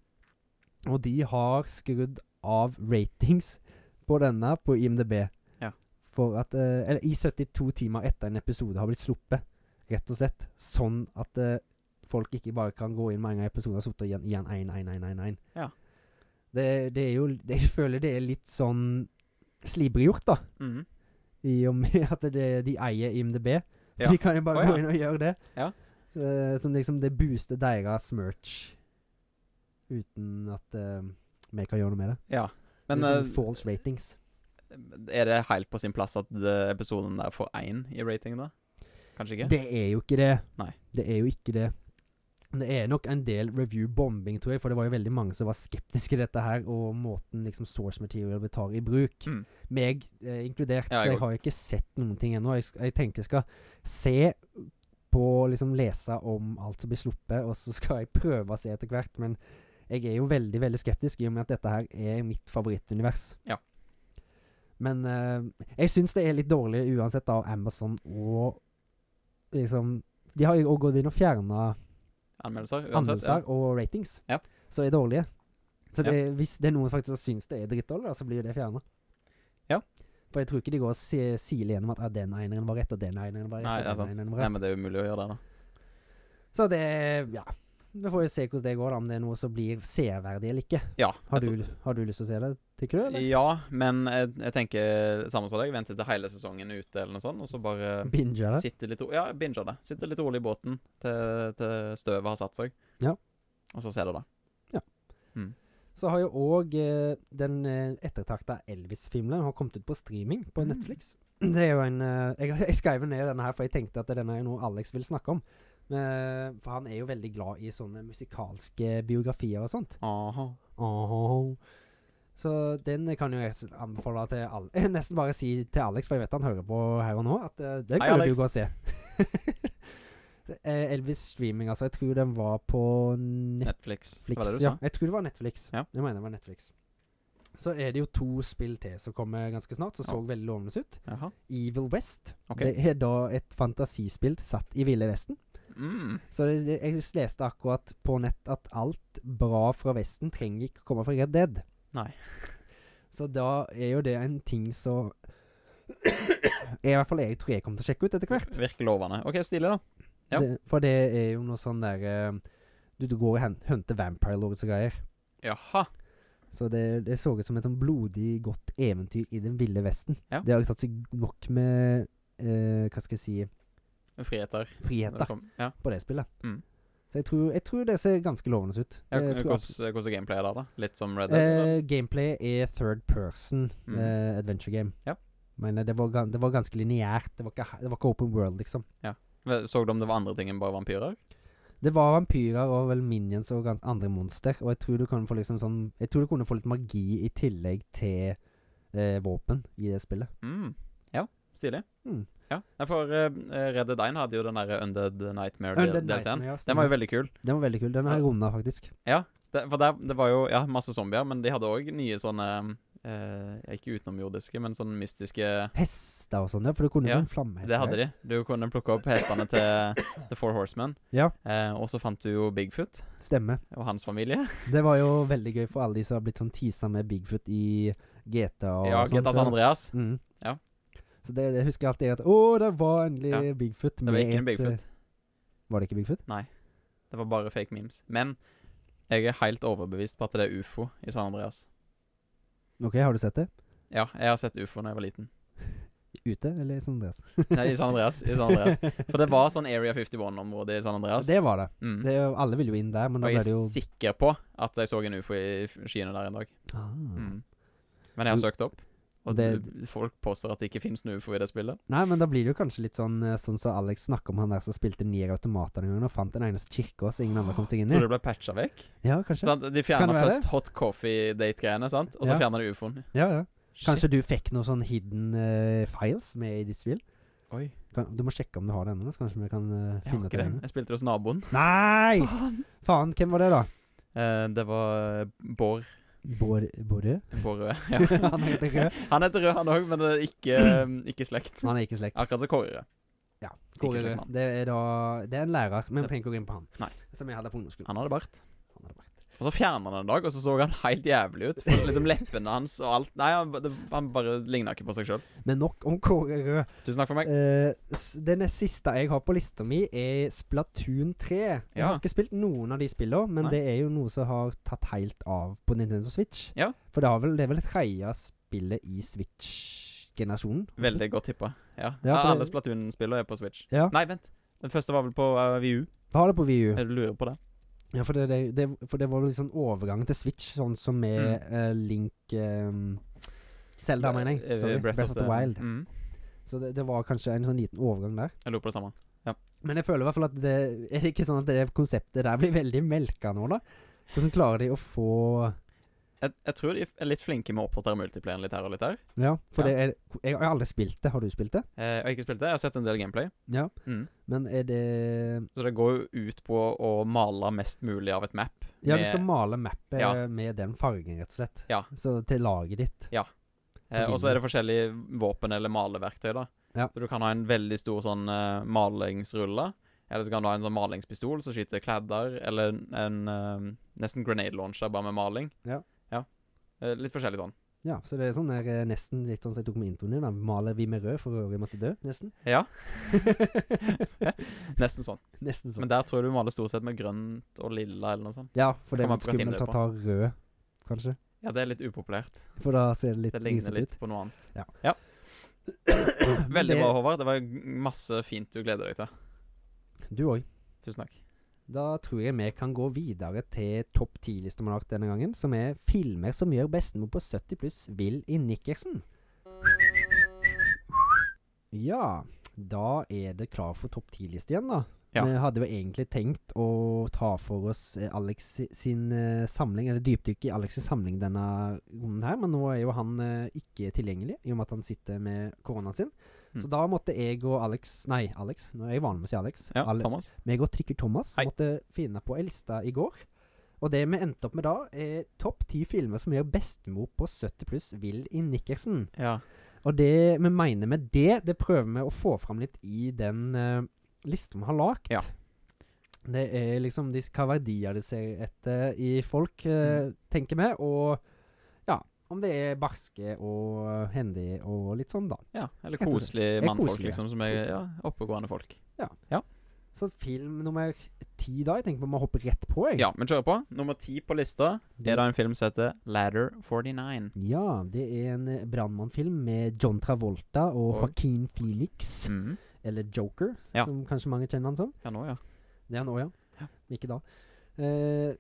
Og de har skrudd av ratings på denne på IMDb.
Ja.
For at eh, Eller i 72 timer etter en episode har blitt sluppet. Rett og slett. Sånn at eh, folk ikke bare kan gå inn med en gang episoden har sittet igjen igjen 1, 1, 1, 1, 1.
Ja.
Det, det er jo Jeg føler det er litt sånn slibriggjort, da.
Mm.
I og med at det, de eier IMDb. Så
Ja.
de kan jo bare
Å, ja.
gå inn og gjøre det.
Ja.
Eh, som liksom det booster deres merch. Uten at eh, vi kan gjøre noe med det.
Ja. Men
det er sånn
eh,
false ratings.
Er det helt på sin plass at eh, episoden der får én i rating, da? Kanskje ikke?
Det er jo ikke det.
Nei.
Det er jo ikke det. Men Det er nok en del review-bombing, tror jeg, for det var jo veldig mange som var skeptiske til dette her, og måten liksom source material vi tar i bruk.
Mm.
Meg eh, inkludert.
Ja, jeg
så
går.
jeg har jo ikke sett noen ting ennå. Jeg, sk- jeg tenker jeg skal se på Liksom lese om alt som blir sluppet, og så skal jeg prøve å se etter hvert. Men jeg er jo veldig, veldig skeptisk, i og med at dette her er mitt favorittunivers.
Ja.
Men eh, jeg syns det er litt dårlig uansett av Amazon og liksom De har jo også gått inn og fjerna
Anmeldelser? Uansett.
anmeldelser
Ja.
og ratings,
Ja.
så er dårlige. Så
Ja.
det, hvis det er noen som faktisk syns det er drittdårlig, da, så blir jo det fjerna.
Ja.
For jeg tror ikke de går og si- siler gjennom at ah, den eineren var rett, og den eineren var rett.
Nei,
og
det er
den
sant.
eineren var
Nei,
rett.
men det er umulig å gjøre det, da.
Så det Ja. Vi får jo se hvordan det går, da. Om det er noe som blir severdig eller ikke.
Ja,
Har
jeg
du, har du lyst til å se det, tenker du? Eller?
Altså- Ja, men jeg, jeg tenker samme som deg. Vente til hele sesongen er ute, eller noe sånt, og så bare
Binge det?
sitte litt ro- Ja, binger det. Sitte litt rolig i båten til, til støvet har satt seg.
Ja.
Og så ser du det.
Så har jo òg eh, den eh, ettertakta Elvis-filmen har kommet ut på streaming på
Mm.
Netflix. Det er jo en eh, Jeg, jeg skrev jo ned denne her, for jeg tenkte at denne er noe Alex vil snakke om. Eh, for han er jo veldig glad i sånne musikalske biografier og sånt.
Aha.
Åhå. Så den kan jo jeg s- anbefale til alle Nesten bare si til Alex, for jeg vet han hører på her og nå, at eh, den
Hei,
kan jo
Alex.
du gå og se. Eh, Elvis streaming, altså. Jeg tror den var på Netflix.
Netflix,
Netflix,
var det du
ja.
sa?
Jeg tror det var Netflix.
Ja.
Jeg mener det var Netflix. Så er det jo to spill til som kommer ganske snart, som
Ja.
så veldig lovende ut.
Jaha.
Evil West.
Ok.
Det er da et fantasispill satt i Ville Vesten.
Mm.
Så det, det, jeg leste akkurat på nett at alt bra fra Vesten trenger ikke å komme fra Red Dead.
Nei.
Så da er jo det en ting som I hvert fall jeg tror jeg kommer til å sjekke ut etter hvert.
Virker lovende. OK, stilig, da. Ja.
Det, for det er jo noe sånn der eh, Du, du går og hen- hunter Vampire Lords og greier.
Jaha.
Så det, det så ut som et sånn blodig godt eventyr i den ville vesten.
Ja.
Det har ikke tatt seg nok med eh, Hva skal jeg si
Friheter. Når det
friheter
kom- Ja.
på det spillet.
Mm.
Så jeg tror, jeg tror det ser ganske lovende ut.
Ja,
Jeg tror absolutt-
hvordan, eh, hvordan gameplay er det, da? Litt som Red Dead? eller?
Eh, gameplay er third person
Mm.
eh, adventure game.
Ja.
Men eh, det var, gan- det var ganske lineært. Det, var ikke ha- det var ikke open world, liksom.
Ve- Så du om det var andre ting enn bare vampyrer?
Det var vampyrer og vel minions og gans andre monster. Og jeg tror du kunne få liksom sånn Jeg tror du kunne få litt magi i tillegg til eh, våpen i det spillet.
Mm. Ja, stilig.
Mm.
Ja, Nei, for eh, Red Dead 1 hadde jo den derre Undead
Undead
Nightmare-delen.
Nightmare,
Den var jo veldig kul.
Den var veldig kul. Den har jeg runda, faktisk.
Det, for der, det var jo ja, masse zombier, men de hadde òg nye sånne eh, Ikke utenomjordiske, men sånne mystiske
Hester og sånn, ja. For du kunne
Ja,
jo en flammehest.
Det hadde de. Du kunne plukke opp hestene til The Four Horsemen.
Ja.
Eh, og så fant du jo Bigfoot
Stemmer.
og hans familie.
Det var jo veldig gøy for alle de som har blitt sånn teasa med Bigfoot i GTA og
ja,
sånt.
GTA San Andreas.
Mm.
Ja.
Så det, det husker jeg alltid at Å, det var endelig
Ja.
Bigfoot.
Det var
med
ikke en
et, eh,
Bigfoot.
Var det ikke Bigfoot?
Det var bare fake memes. Men jeg er helt overbevist på at det er ufo i San Andreas.
Ok, har du sett det?
Ja, jeg har sett ufo da jeg var liten.
Ute, eller San Andreas?
Nei, i San Andreas. I San Andreas. For det var sånn Area 51-område i San Andreas.
Det var det.
Mm.
det. Alle ville jo inn der, men da
og
ble
jeg
det jo
er sikker på at jeg så en ufo i f- skyene der en dag.
ah.
Mm. Men jeg har
Du-
søkt opp, og
Mm. Det-
du- folk påstår at det ikke fins noe ufo i det spillet.
Nei, men da blir det jo kanskje litt sånn eh, Sånn som Alex snakker om han der som spilte Nier Automata den gangen og fant den eneste kirka som ingen andre kom seg inn i.
Så det ble patcha vekk.
Ja, kanskje.
Sant?
Kan
De fjerna
det være
først hot coffee-date-greiene, sant? og så
Ja.
fjerna de ufoen.
Ja, ja. Kanskje
Shit.
du fikk noen sånn hidden eh, files med i ditt spill?
Oi,
Kan, du må sjekke om du har det ennå, så kanskje vi kan eh,
jeg har
finne ut
ikke
det.
den. Jeg spilte det hos naboen.
Nei! Faen, hvem var det, da?
Eh, det var Bård.
Bård Borø?
Bård Rød.
Han heter Rød.
eh, Han heter Rød, han òg, men det er ikke, um, ikke slekt.
Han er ikke i slekt.
Akkurat som Kåre.
Ja.
Ikke
Kåre
slekt
Rød.
mann.
Det er da Det er en lærer, men vi trenger ikke gå inn på han.
Nei.
Som jeg hadde på ungdomsskolen.
Han hadde bart.
Han hadde vært.
Og så fjerna han en dag, og så så han helt jævlig ut. For liksom Leppene hans og alt. Nei, han, ba- det, han bare ligna ikke på seg sjøl.
Men nok om Kåre Rød.
Tusen takk for meg.
Eh, s- den nest siste jeg har på lista mi, er Splatoon 3. Jeg
Ja.
har ikke spilt noen av de spillene, men
Nei.
det er jo noe som har tatt helt av på Nintendo Switch.
Ja.
For det, har vel, det er vel det tredje spillet i Switch-generasjonen?
Veldig godt tippa. Ja.
Ja, for
Alle
det-
Splatoon-spillene er på Switch.
Ja.
Nei, vent. Den første var vel på uh, VU.
Vi har det på VU.
Jeg lurer på det.
Ja, for det, det, det, for det var vel liksom overgangen til Switch, sånn som med eh, Link um, Zelda, mener jeg.
Mm. Eh,
Sorry. Breath, of the Wild.
Mm.
Så det, det var kanskje en sånn liten overgang der.
Jeg lurer på det samme.
Men jeg føler i hvert fall at det Er det ikke sånn at det konseptet der blir veldig melka nå, da? Hvordan klarer de å få
Jeg, jeg tror de er litt flinke med å oppdatere multiplayeren litt her og litt der.
Ja, for
Ja.
det er Jeg har aldri spilt det. Har du spilt det?
Eh, jeg har ikke spilt det. Jeg har sett en del gameplay.
Ja.
Mm.
Men er det
Så det går jo ut på å male mest mulig av et map.
Ja, du
Med-
skal male mappet
Ja.
med den fargen, rett og slett.
Ja.
Så til laget ditt.
Eh, og så er det forskjellige våpen eller maleverktøy, da.
Ja.
Så du kan ha en veldig stor sånn eh, malingsrulle. Eller så kan du ha en sånn malingspistol som skyter kladder, eller en, en eh, nesten grenade launcher bare med maling.
Ja.
Eh, litt forskjellig sånn.
Ja, så det er sånn der, eh, nesten litt sånn som jeg tok med introen din. da. Maler vi med rød for å måtte dø, nesten.
Ja, nesten sånn.
nesten sånn.
Men der tror jeg du maler stort sett med grønt og lilla eller noe sånt.
Ja, for det er
Kan man
litt skummelt
prate
å ta rød, kanskje.
Ja, det er litt upopulært.
For da ser det litt
Det ligner
grisete
litt på noe annet.
Ja.
ja.
ut. Men
Veldig
det-
bra, Håvard. Det var masse fint du gleder deg til.
Du òg.
Tusen takk.
Da tror jeg vi kan gå videre til topp ti-lista man har lagt denne gangen, som er filmer som gjør bestemor på 70 pluss vill i Nikkersen. Ja, da er det klar for topp ti-liste igjen, da.
Ja.
Vi hadde jo egentlig tenkt å ta for oss eh, Alex si- sin eh, samling, eller dypdykk i Alex' sin samling denne runden her, men nå er jo han eh, ikke tilgjengelig, i og med at han sitter med koronaen sin. Så
Mm.
da måtte jeg og Alex Nei, Alex. Nå er jeg vanlig med å si Alex.
Ja,
Ale-
Thomas.
meg og Trikker Thomas
Hei.
måtte finne på ei liste i går. Og det vi endte opp med da, er topp ti filmer som gjør bestemor på 70 pluss vill i Nikkersen.
Ja.
Og det vi mener med det, det prøver vi å få fram litt i den uh, lista vi har lagd.
Ja.
Det er liksom de, hva verdier det ser etter i folk, eh,
Mm.
tenker vi. Og ja, om det er barske og hendige og litt sånn, da.
ja. Eller
Helt og slett.
koselige
Eh,
mannfolk,
koselige.
liksom, som er
Koselige.
ja, oppegående folk.
Så film nummer ti da. Jeg tenker vi må hoppe rett på, jeg.
Ja, men kjør på. Mm. Nummer ti på lista er da en film som heter Ladder 49.
Ja, det er en eh, brannmannfilm med John Travolta og
Og-
Joaquin Phoenix.
Mm.
Eller Joker,
Ja.
som kanskje mange kjenner han som.
Ja, nå, ja.
Det er han òg, ja.
Ja.
Ikke da. Eh,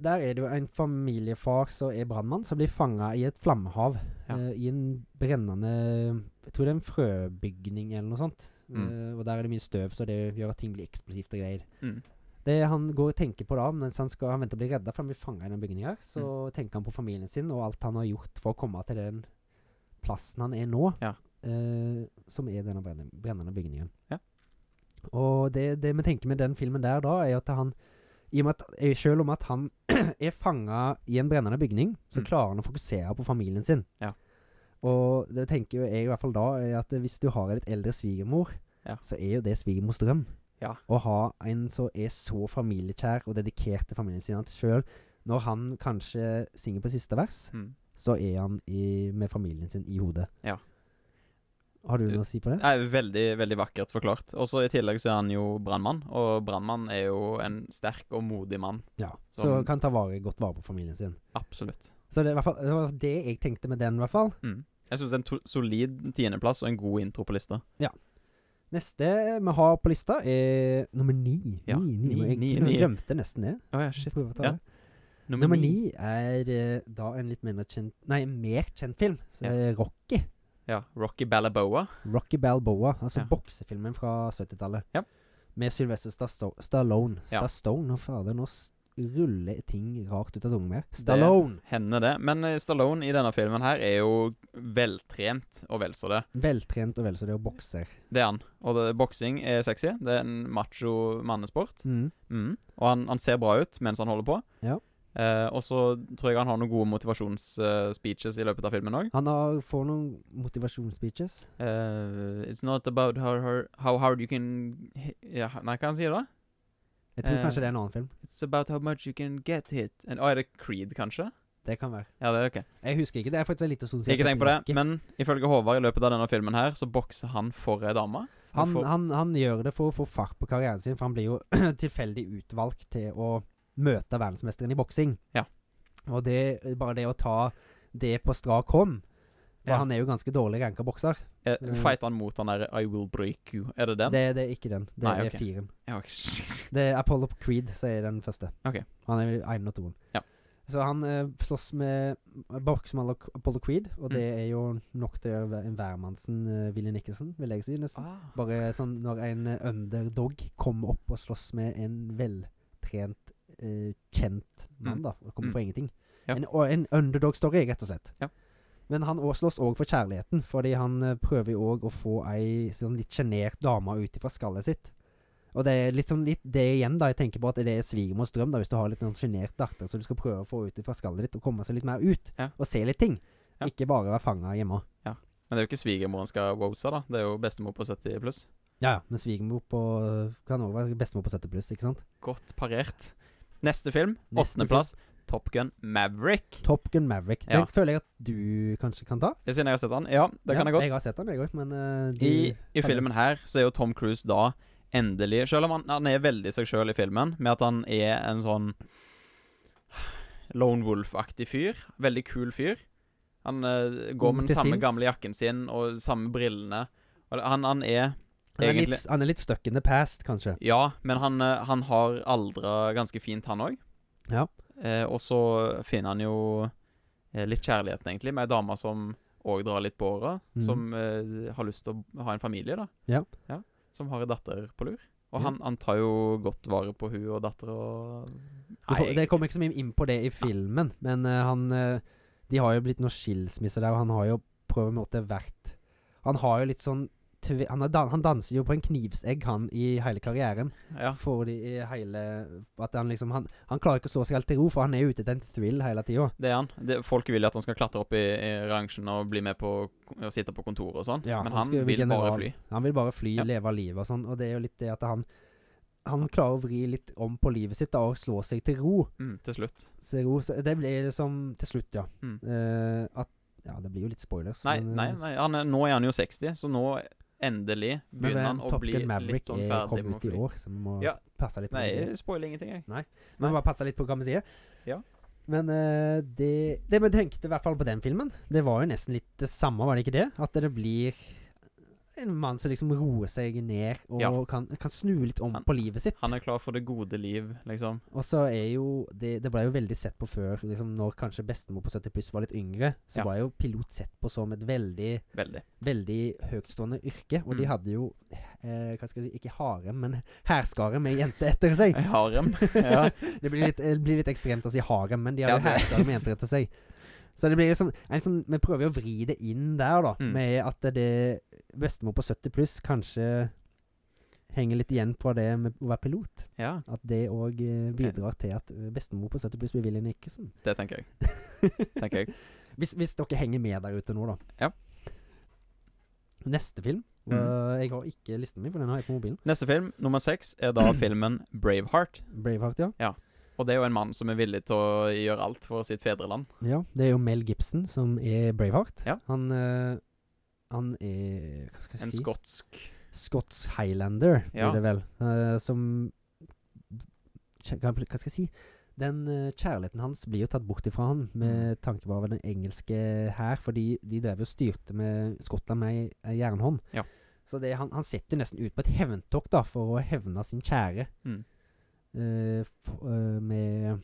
der er det jo en familiefar som er brannmann, som blir fanga i et flammehav.
Ja.
eh, I en brennende Jeg tror det er en frøbygning eller noe sånt.
Mm.
Eh, og der er det mye støv, så det gjør at ting blir eksplosivt og greier.
Mm.
Det han går og tenker på da, mens han, skal, han venter å bli redda, for han blir fanga i den bygningen her, så
Mm.
tenker han på familien sin og alt han har gjort for å komme til den plassen han er nå,
Ja.
eh, som er denne brennende, brennende bygningen.
Ja.
Og det, det vi tenker med den filmen der da, er at han i og med at, eh, Selv om at han er fanga i en brennende bygning, så
Mm.
klarer han å fokusere på familien sin.
Ja.
Og det tenker jo jeg i hvert fall da, er at eh, hvis du har en litt eldre svigermor,
Ja.
så er jo det svigermors drøm.
Ja.
Å ha en som er så familiekjær og dedikert til familien sin at sjøl når han kanskje synger på siste vers,
Mm.
så er han i, med familien sin i hodet.
Ja. Eh,
Har du noe å si på det?
Nei, veldig, veldig vakkert forklart. Og så i tillegg så er han jo brannmann, og brannmann er jo en sterk og modig mann.
Ja. Så
Som-
kan ta vare, godt vare på familien sin.
Absolutt.
Så det, er i hvert fall, det var det jeg tenkte med den, i hvert fall.
Mm. Jeg syns det er en to solid tiendeplass og en god intro på lista.
Neste vi har på lista, er nummer ni.
Ja,
ni, ni,
ni,
jeg
ni,
glemte
ni.
glemte nesten det.
Å ja, shit.
Prøver å ta
Ja.
det. Nummer ni er eh, da en litt mindre kjent Nei, mer kjent film. Så
Ja.
det er Rocky.
Ja. Rocky Balaboa.
Rocky Balboa, altså
Ja.
boksefilmen fra 70-tallet.
Ja.
Med Sylvester Stasso- Stallone.
Ja.
Stallone, og fader, nå s- ruller ting rart ut av tungen min. Stallone!
Hender det. Men eh, Stallone i denne filmen her er jo veltrent og vel så det.
Veltrent og vel så det, og bokser.
Det er han. Og det, boksing er sexy. Det er en macho mannesport.
Mm.
Mm. Og han, han ser bra ut mens han holder på.
Ja.
Eh, og så tror jeg han har noen gode motivasjonsspeeches i løpet av filmen òg.
Han har, får noen motivasjonsspeeches.
Uh, it's not about how, how, how hard you can hi- ja, Nei, hva han sier da?
Jeg tror
Eh.
kanskje det er en annen film.
It's about how much you can get hit and, Å, er det Creed, kanskje?
Det kan være.
Ja, det er ok.
Jeg husker ikke. Det er faktisk en liten sånn stund siden. jeg
Ikke
har
tenk på
sett
det. Men ifølge Håvard, i løpet av denne filmen her, så bokser han for ei dame.
Han,
får-
han, han gjør det for å få fart på karrieren sin, for han blir jo tilfeldig utvalgt til å møte verdensmesteren i boksing.
Ja.
Og det, bare det å ta det på strak hånd For
Ja.
han er jo ganske dårlig ranka bokser.
eh,
Mm.
Fighter han mot han derre I will break you. Er det den?
Det, det er ikke den. Det
Nei,
er
ok.
firen.
Ja, ok, shit.
Det er Apollo Creed som er den første.
Ok.
Han er én og toen.
Ja.
Så han eh, slåss med boksemann Apollo Creed, og
Mm.
det er jo nok til å gjøre en hvermannsen eh, Willy Nicholson, vil jeg si. nesten.
Ah.
Bare sånn når en eh, underdog kommer opp og slåss med en veltrent, eh, kjent mann,
Mm.
da. Og kommer
Mm.
for ingenting.
Ja.
En, og en underdog-story, rett og slett.
Ja.
Men han også slåss òg for kjærligheten, fordi han eh, prøver jo òg å få ei sånn litt sjenert dame ut ifra skallet sitt. Og det er litt sånn litt det igjen, da. Jeg tenker på at det er svigermors drøm, da, hvis du har litt sånn sjenert datter som du skal prøve å få ut ifra skallet ditt, og komme seg litt mer ut,
Ja.
og se litt ting.
Ja.
Ikke bare være fanga hjemme.
Men det er jo ikke svigermor han skal wose, da. Det er jo bestemor på 70 pluss.
Ja, ja. Men svigermor på
Mm.
kan òg være bestemor på 70 pluss, ikke sant?
Godt parert. Neste film,
Neste film.
åttendeplass. Top Gun Maverick.
Top Gun Maverick. Den
Ja.
føler jeg at du kanskje kan ta.
Siden jeg har sett den? Ja, det kan jeg godt.
Jeg har sett den, jeg òg, men eh, du,
I, I
kan du-
filmen her så er jo Tom Cruise da endelig Selv om han, han er veldig seg sjøl i filmen, med at han er en sånn Lone Wolf-aktig fyr. Veldig kul fyr. Han eh, går med
Til
den samme
sinns.
gamle jakken sin og samme brillene. Og det- Han, han er
han, er litt,
egentlig-
han er litt stuck in the past, kanskje.
Ja, men han, eh, han har aldra ganske fint, han òg.
Ja.
Eh, og så finner han jo eh, litt kjærligheten, egentlig, med ei dame som òg drar litt på åra.
Mhm.
Som eh, har lyst til å ha en familie, da.
Ja.
Som har ei datter på lur. Og
Ja.
han, han tar jo godt vare på hun og dattera og
Du får,
jeg-
det kommer ikke så mye inn på det i filmen, men eh, han eh, De har jo blitt noen skilsmisser der, og han har jo på en måte vært Han har jo litt sånn tve- han, har dan han danser jo på en knivsegg, han, i hele karrieren.
ja.
For de i hele At han liksom Han, han klarer ikke å slå seg helt til ro, for han er jo ute etter en thrill hele tida.
Det er han. Det, folk vil at han skal klatre opp i, i rangen og bli med på og sitte på kontoret og sånn,
Ja,
men
han
han,
skal jo bli
vil bare
general.
fly.
Han vil bare fly,
Ja.
leve av livet og sånn, og det er jo litt det at han han klarer å vri litt om på livet sitt da, og slå seg til ro.
Mm, til slutt.
Så ro så det blir liksom til slutt, ja.
Mm.
Eh, at Ja, det blir jo litt spoilers.
Nei,
men, eh,
nei, nei han er, nå er han jo 60, så nå endelig
Men
begynner han
eh,
å
Top
bli
Gun Maverick
litt sånn
er-
ferdig
kom
med å
ut i
fly.
år, så vi må
Ja.
passe litt på
Nei,
hva vi sier.
jeg spoiler ingenting, jeg.
Vi må bare passe litt på hva vi sier.
Ja.
Men eh, det, det vi tenkte i hvert fall på den filmen, det var jo nesten litt det samme, var det ikke det? At det blir en mann som liksom roer seg ned og
Ja.
kan, kan snu litt om
Han-
på livet sitt.
Han er klar for det gode liv, liksom.
Og så er jo det, det ble jo veldig sett på før, liksom når kanskje bestemor på 70 pluss var litt yngre, så
Ja.
var jo pilot sett på som et veldig
Veldig.
veldig høytstående yrke. Og de
Mm.
hadde jo eh, hva skal jeg si, ikke harem, men hærskare med jenter etter seg.
Jeg har dem. Ja.
Det blir litt, eh, blir litt ekstremt å si harem, men de har
Ja,
jo
det-
hærskare med jenter etter seg. Så det blir liksom, en sånn, Vi prøver jo å vri det inn der, da.
Mm.
Med at det bestemor på 70 pluss kanskje henger litt igjen på det med å være pilot.
ja,
At det òg eh, bidrar til at eh, bestemor på 70 pluss blir Willy Nicholson.
det tenker jeg. Tenker jeg.
Hvis, hvis dere henger med der ute nå, da.
Ja.
Neste film.
Mm.
Eh, jeg har ikke lista mi, for den har jeg på mobilen.
Neste film, nummer seks, er da filmen Braveheart.
Braveheart, ja.
Og det er jo en mann som er villig til å gjøre alt for sitt fedreland.
ja. Det er jo Mel Gibson som er Braveheart.
Ja.
Han, eh, han er Hva skal jeg
En
si?
skotsk
Scots Highlander,
Ja.
blir det vel. eh, som kjæ- Hva hva skal jeg si? Den eh, kjærligheten hans blir jo tatt bort ifra han,
Mm.
med tanke på den engelske hær, fordi de drev jo og styrte med Skottland med ei- ei jernhånd.
Ja.
Så det, han, han setter nesten ut på et hevntokt da, for å hevne sin kjære.
Mm.
Eh, f eh, med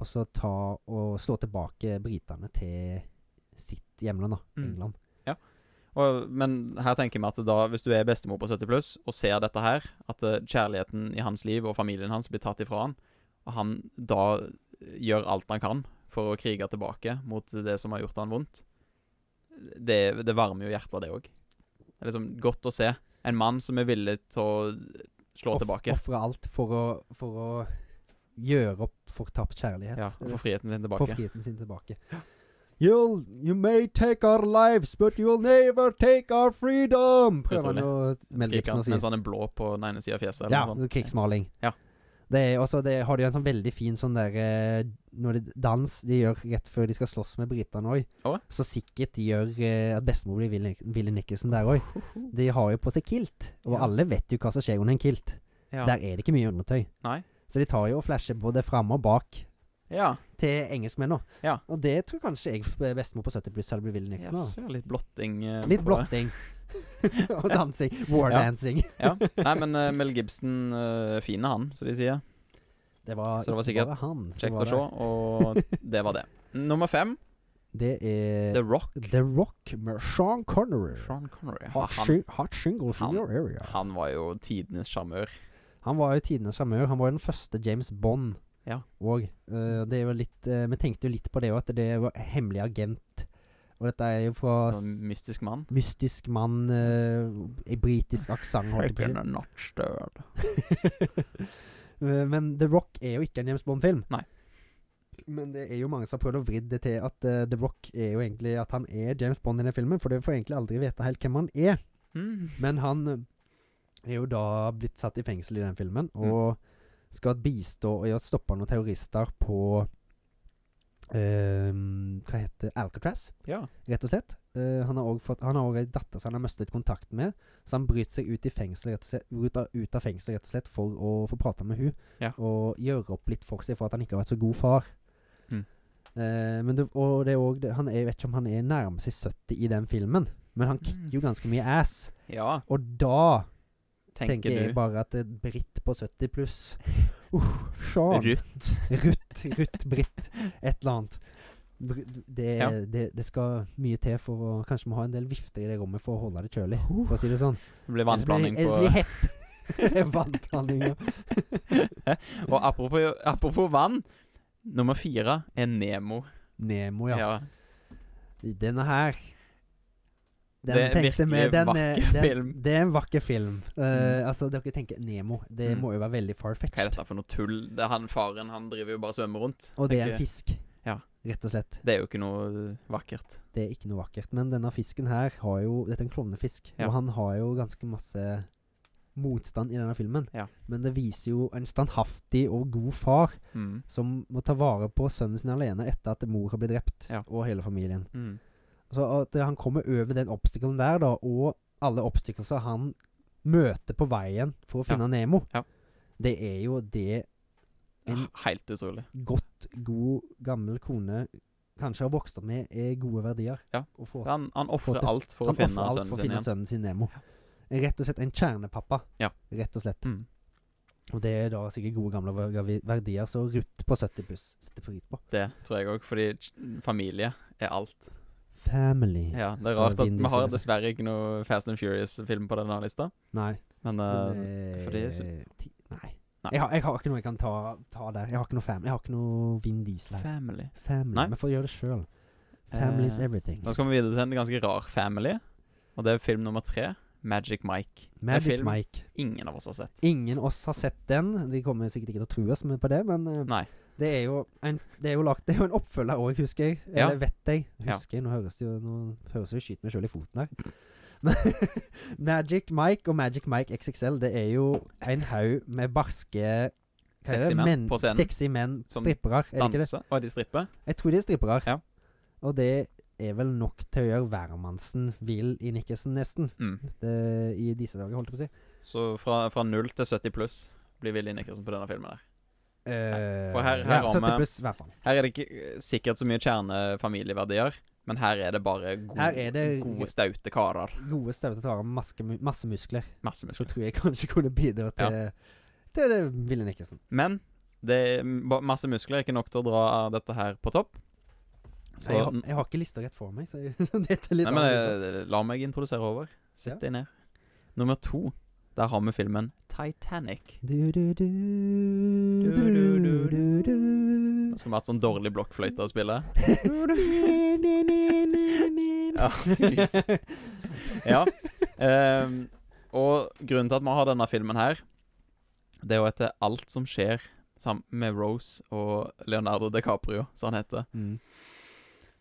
å så ta og slå tilbake britene til sitt hjemland, da,
Mm.
England.
Og, men her tenker vi at da, hvis du er bestemor på 70 pluss og ser dette her, at eh, kjærligheten i hans liv og familien hans blir tatt ifra han, og han da gjør alt han kan for å krige tilbake mot det som har gjort han vondt, det, det varmer jo hjertet, det òg. Det er liksom godt å se en mann som er villig til å slå
Off-
tilbake.
Ofre alt for å, for å gjøre opp for tapt kjærlighet.
Ja, og få friheten sin
for
tilbake.
friheten sin tilbake. You'll, you may take our lives, but you'll never take our freedom! Prøver han å Mel
Skriker
Gibson
han
å si.
mens han er blå på den ene sida av fjeset. eller
Ja,
noe sånt.
krigsmaling.
Ja.
Det er også, det har de en sånn veldig fin sånn der eh, Når de dans de gjør rett før de skal slåss med britene òg,
Å?
så sikkert de gjør eh, at bestemor blir Willy, Willy Nicholson der òg. De har jo på seg kilt, og
Ja.
alle vet jo hva som skjer under en kilt.
Ja.
Der er det ikke mye undertøy.
Nei.
Så de tar jo og flasher både fram og bak
ja.
til engelskmennene.
Ja.
Og det tror kanskje jeg eh, bestemor på 70 pluss hadde blitt Willy Nixon
Yes,
av.
ja, litt blotting. eh,
Litt
på-
blotting. og dansing.
Ja.
Wardancing.
Ja. Nei, men eh, Mel Gibson uh, fine han, som de sier.
Det var,
Så det var
ikke
sikkert
bare han. som
Kjekt
var
å se, og det var det. Nummer fem,
der. Det er
The Rock.
The Rock med Sean Connery.
Sean Connery. Ja,
Hot,
Han,
shi- hot shingles
han-
in your area.
han var jo tidenes sjarmør.
Han var jo tidenes sjarmør. Han var jo den første James Bond.
Ja.
Og eh, det er jo litt eh, Vi tenkte jo litt på det òg, at det var hemmelig agent. Og dette er jo fra s-
Sånn mystisk mann.
mystisk mann eh, i britisk aksent, holdt jeg på å si.
Taken a notch down.
Eh, Men The Rock er jo ikke en James Bond-film.
Nei.
Men det er jo mange som har prøvd å vri det til at eh, The Rock er jo egentlig at han er James Bond i den filmen, for du får egentlig aldri vite helt hvem han er.
Mm.
Men han eh, er jo da blitt satt i fengsel i den filmen, og skal bistå i å stoppe noen terrorister på ehm, Hva heter Alcatraz,
Ja.
rett og slett. Eh, han har òg fått- han har også ei datter som han har mistet kontakt med, så han bryter seg ut, i fengsel, rett og slett, ut, av, ut av fengsel rett og slett for å få prate med hun
Ja.
og gjøre opp litt for seg for at han ikke har vært så god far.
Mm.
Eh, men det, og det er også, det, han er, jeg vet ikke om han er nærmer seg 70 i den filmen, men han
Mm.
kicker jo ganske mye ass.
Ja,
Og da
tenker,
tenker jeg
du.
bare at det er Britt på 70 pluss uh, Sean.
Ruth.
Rutt, Rutt, Britt. Et eller annet. Br- Det,
Ja.
det, det skal mye til for å Kanskje vi har en del vifter i det rommet for å holde det kjølig, for å si det sånn.
Det blir
Ellers blir
Oh. vannblanding
det-
på
det blir hett. Vannblanding, ja.
Og apropos, apropos vann, nummer fire er Nemo.
Nemo,
Ja.
ja. Denne her den
Det er en
tenkte vi-
virkelig
den er-
vakker
den,
film.
Det er en vakker film. Eh,
Mm.
Altså, dere tenker Nemo. Det
Mm.
må jo være veldig far-fetched.
Hva er dette for noe tull? Det er han Faren han driver jo bare og svømmer rundt.
Og det er en
Tenker-
fisk.
Ja.
Rett og slett.
Det er jo ikke noe vakkert.
Det er ikke noe vakkert. Men denne fisken her har jo Dette er en klovnefisk,
Ja.
og han har jo ganske masse motstand i denne filmen.
Ja.
Men det viser jo en standhaftig og god far
Mm.
som må ta vare på sønnen sin alene etter at mor har blitt drept,
Ja.
og hele familien.
Mm.
Så at eh, han kommer over den obstaclen der, da, og alle obstacleser han møter på veien for å
Ja.
finne Nemo,
Ja.
det er jo det en
Helt utrolig.
godt, god, gammel kone kanskje har vokst opp med, er gode verdier.
Ja.
Å få
Han, han ofrer
Fått-
alt for å
Han
finne
ofrer alt
sønnen
for å
sin
finne
igjen.
sønnen sin Nemo. Rett og slett en kjernepappa.
Ja.
Rett og slett.
Mm.
Og det er da sikkert gode gamle ver- ver- verdier, så Ruth på 70 pluss setter pris på.
Det tror jeg òg, fordi ch- familie er alt.
Family.
Ja, Det er
Så
rart at
Vin
vi har
Diesel-
dessverre ikke noe Fast and Furious-film på denne lista,
Nei.
men eh,
men, eh,
for det er så-
ti- Nei.
Nei.
Jeg, har, jeg har ikke noe jeg kan ta, ta der. Jeg har ikke noe family. Jeg har ikke noe Vin Diesel her.
Family.
Family.
Nei.
Vi får gjøre det sjøl. Family is
Eh,
everything.
Nå skal vi videre til en ganske rar family, og det er film nummer tre, Magic Mike. det er
Magic
film
Mike.
ingen av oss har sett.
Ingen oss har sett den. De kommer sikkert ikke til å true oss med på det, men eh,
Nei.
Det er jo en, det er jo lagt, det er jo en oppfølger òg, husker jeg.
Ja.
Eller vet jeg.
Ja.
Husker jeg, Nå høres det jo Nå høres det jo skyter meg sjøl i foten her. Men Magic Mike og Magic Mike XXL, det er jo en haug med barske hva er det?
Sexy menn på scenen.
Sexy menn,
Som
strippere. Er det ikke det?
Danse, og de stripper.
Jeg tror de er strippere.
Ja.
Og det er vel nok til å gjøre hvermannsen vill i Nikkersen, nesten.
Mm.
Det, I disse dager, holdt jeg på å si.
Så fra, fra 0 til 70 pluss blir Willy Nicholson på denne filmen. her
Eh,
for her- her
ja,
har
70
vi-
pluss, i hvert fall.
Her er det ikke eh, sikkert så mye kjernefamilieverdier, men her er det bare gode,
Her er det-
gode staute karer.
Gode, staute karer med maske, mu- masse muskler.
Masse
så
muskler.
tror jeg kanskje kunne bidra til Til det Ville Nikkelsen.
Men det er ba- masse muskler er ikke nok til å dra dette her på topp. Så
jeg, har, jeg har ikke lista rett for meg, så, så dette er litt
Nei, men
annerledes.
eh, la meg introdusere over. Sett
Ja.
deg ned. Nummer to, der har vi filmen Titanic.
Du, du, du, du,
Du,
du,
du,
du,
du.
du.
Nå skal vi ha et sånn dårlig blokkfløyte å spille. Ja, fy. ja. ehm, og grunnen til at vi har denne filmen her, det er jo etter alt som skjer sammen med Rose og Leonardo DiCaprio, som han heter,
Mm.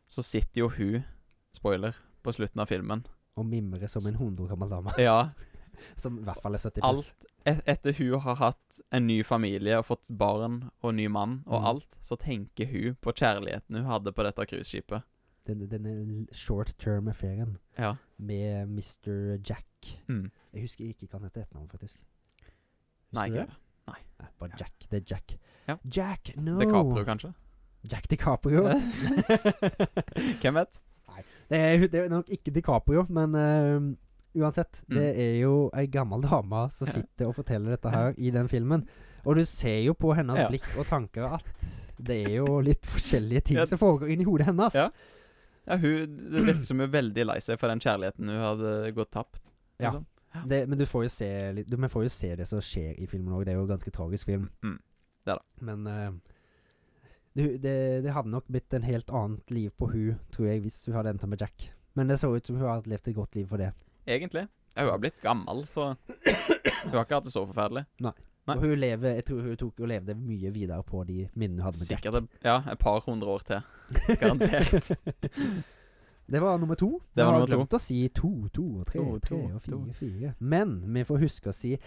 så sitter jo hun, spoiler, på slutten av filmen.
Og mimre som en 100 år gammel dame.
Ja,
Som i hvert fall er 70 pluss.
alt et, Etter hun har hatt en ny familie og fått barn og ny mann og
Mm.
alt, så tenker hun på kjærligheten hun hadde på dette cruiseskipet.
Denne, denne short term-affæren
Ja.
med Mr. Jack.
Mm.
Jeg husker ikke hva han heter etternavn, faktisk. Husker
Nei,
du det?
ikke det.
Nei, bare Jack. Det er Jack.
Ja.
Jack, no!
DiCaprio, kanskje?
Jack DiCaprio.
Hvem vet?
Det er, det er nok ikke DiCaprio, men eh, uansett.
Mm.
Det er jo ei gammel dame som sitter og forteller dette her i den filmen. Og du ser jo på hennes
Ja.
blikk og tanker at det er jo litt forskjellige ting
Ja.
som foregår inni hodet hennes.
Ja. Ja, hun, Det virker som hun er veldig lei seg for den kjærligheten hun hadde gått tapt.
Ja.
liksom.
Det, men du får jo se litt du, Vi får jo se det som skjer i filmen òg. Det er jo en ganske tragisk film.
Mm. Det er
Men eh, det, det, det hadde nok blitt en helt annet liv på hun, tror jeg, hvis hun hadde endt opp med Jack. Men det så ut som hun hadde levd et godt liv for det.
Egentlig. Ja, hun har blitt gammel, så hun har ikke hatt det så forferdelig. Nei.
Og hun lever, jeg tror hun tok og levde mye videre på de minnene hun hadde med
Sikkert et, ja, et par hundre år til. Garantert.
det var nummer to.
Det
Vi har
var nummer to.
glemt å si to, to og tre,
To,
tre
to,
og fire,
to.
fire. Men vi får huske å si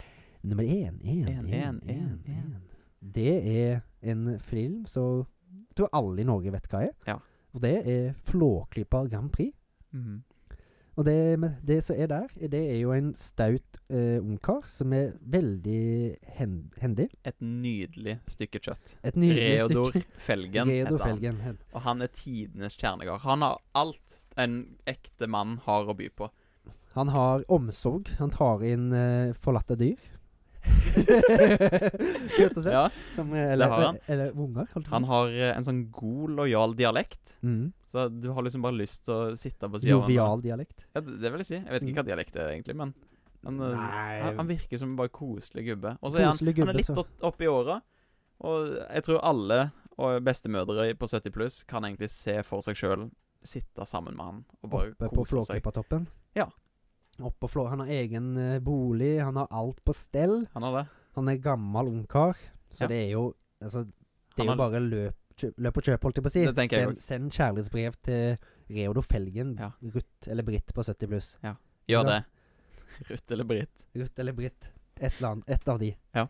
nummer én, én,
En,
én,
en, en,
én. Det er en film som Jeg tror alle i Norge vet hva er.
Ja.
Og det er Flåklypa Grand Prix.
Mm.
Og det, men det som er der, det er jo en staut eh, ungkar som er veldig hen, hendig.
Et nydelig stykke kjøtt.
Et nydelig
Reodor
stykke.
Felgen
Reodor
heter han.
Felgen. hen-
Og han er tidenes kjernegard. Han har alt en ekte mann har å by på.
Han har omsorg. Han tar inn eh, forlatte dyr. Rett og slett.
Ja,
Som, eh, eller,
har han.
Eller unger. holdt jeg på å
han
si.
har eh, en sånn god, lojal dialekt.
Mm.
Så du har liksom bare lyst til å sitte på sida
Jovial dialekt.
Ja, det det vil jeg si. Jeg vet ikke hva dialekt er, egentlig, men han, eh,
Nei.
han, han virker som en bare koselig gubbe. Og så er han,
Koselig
han
gubbe,
er litt
så.
opp- oppe i åra, og jeg tror alle og bestemødre på 70 pluss kan egentlig se for seg sjøl sitte sammen med han og bare
Oppe på
kose seg.
Flåklypa-toppen.
Ja.
Oppe på Flå... Han har egen eh, bolig, han har alt på stell.
Han har det.
Han er gammel ungkar, så
Ja.
det er jo altså, Det er
Han
jo
har-
bare løp, kjøp, løp og kjøp, holdt jeg på å si.
Det tenker jeg
Send, send kjærlighetsbrev til Reodor Felgen,
Ja.
Ruth eller Britt på 70 pluss.
Gjør det.
Ja.
Ruth eller Britt.
Ruth eller Britt. Et eller annet. Et av de.
Ja.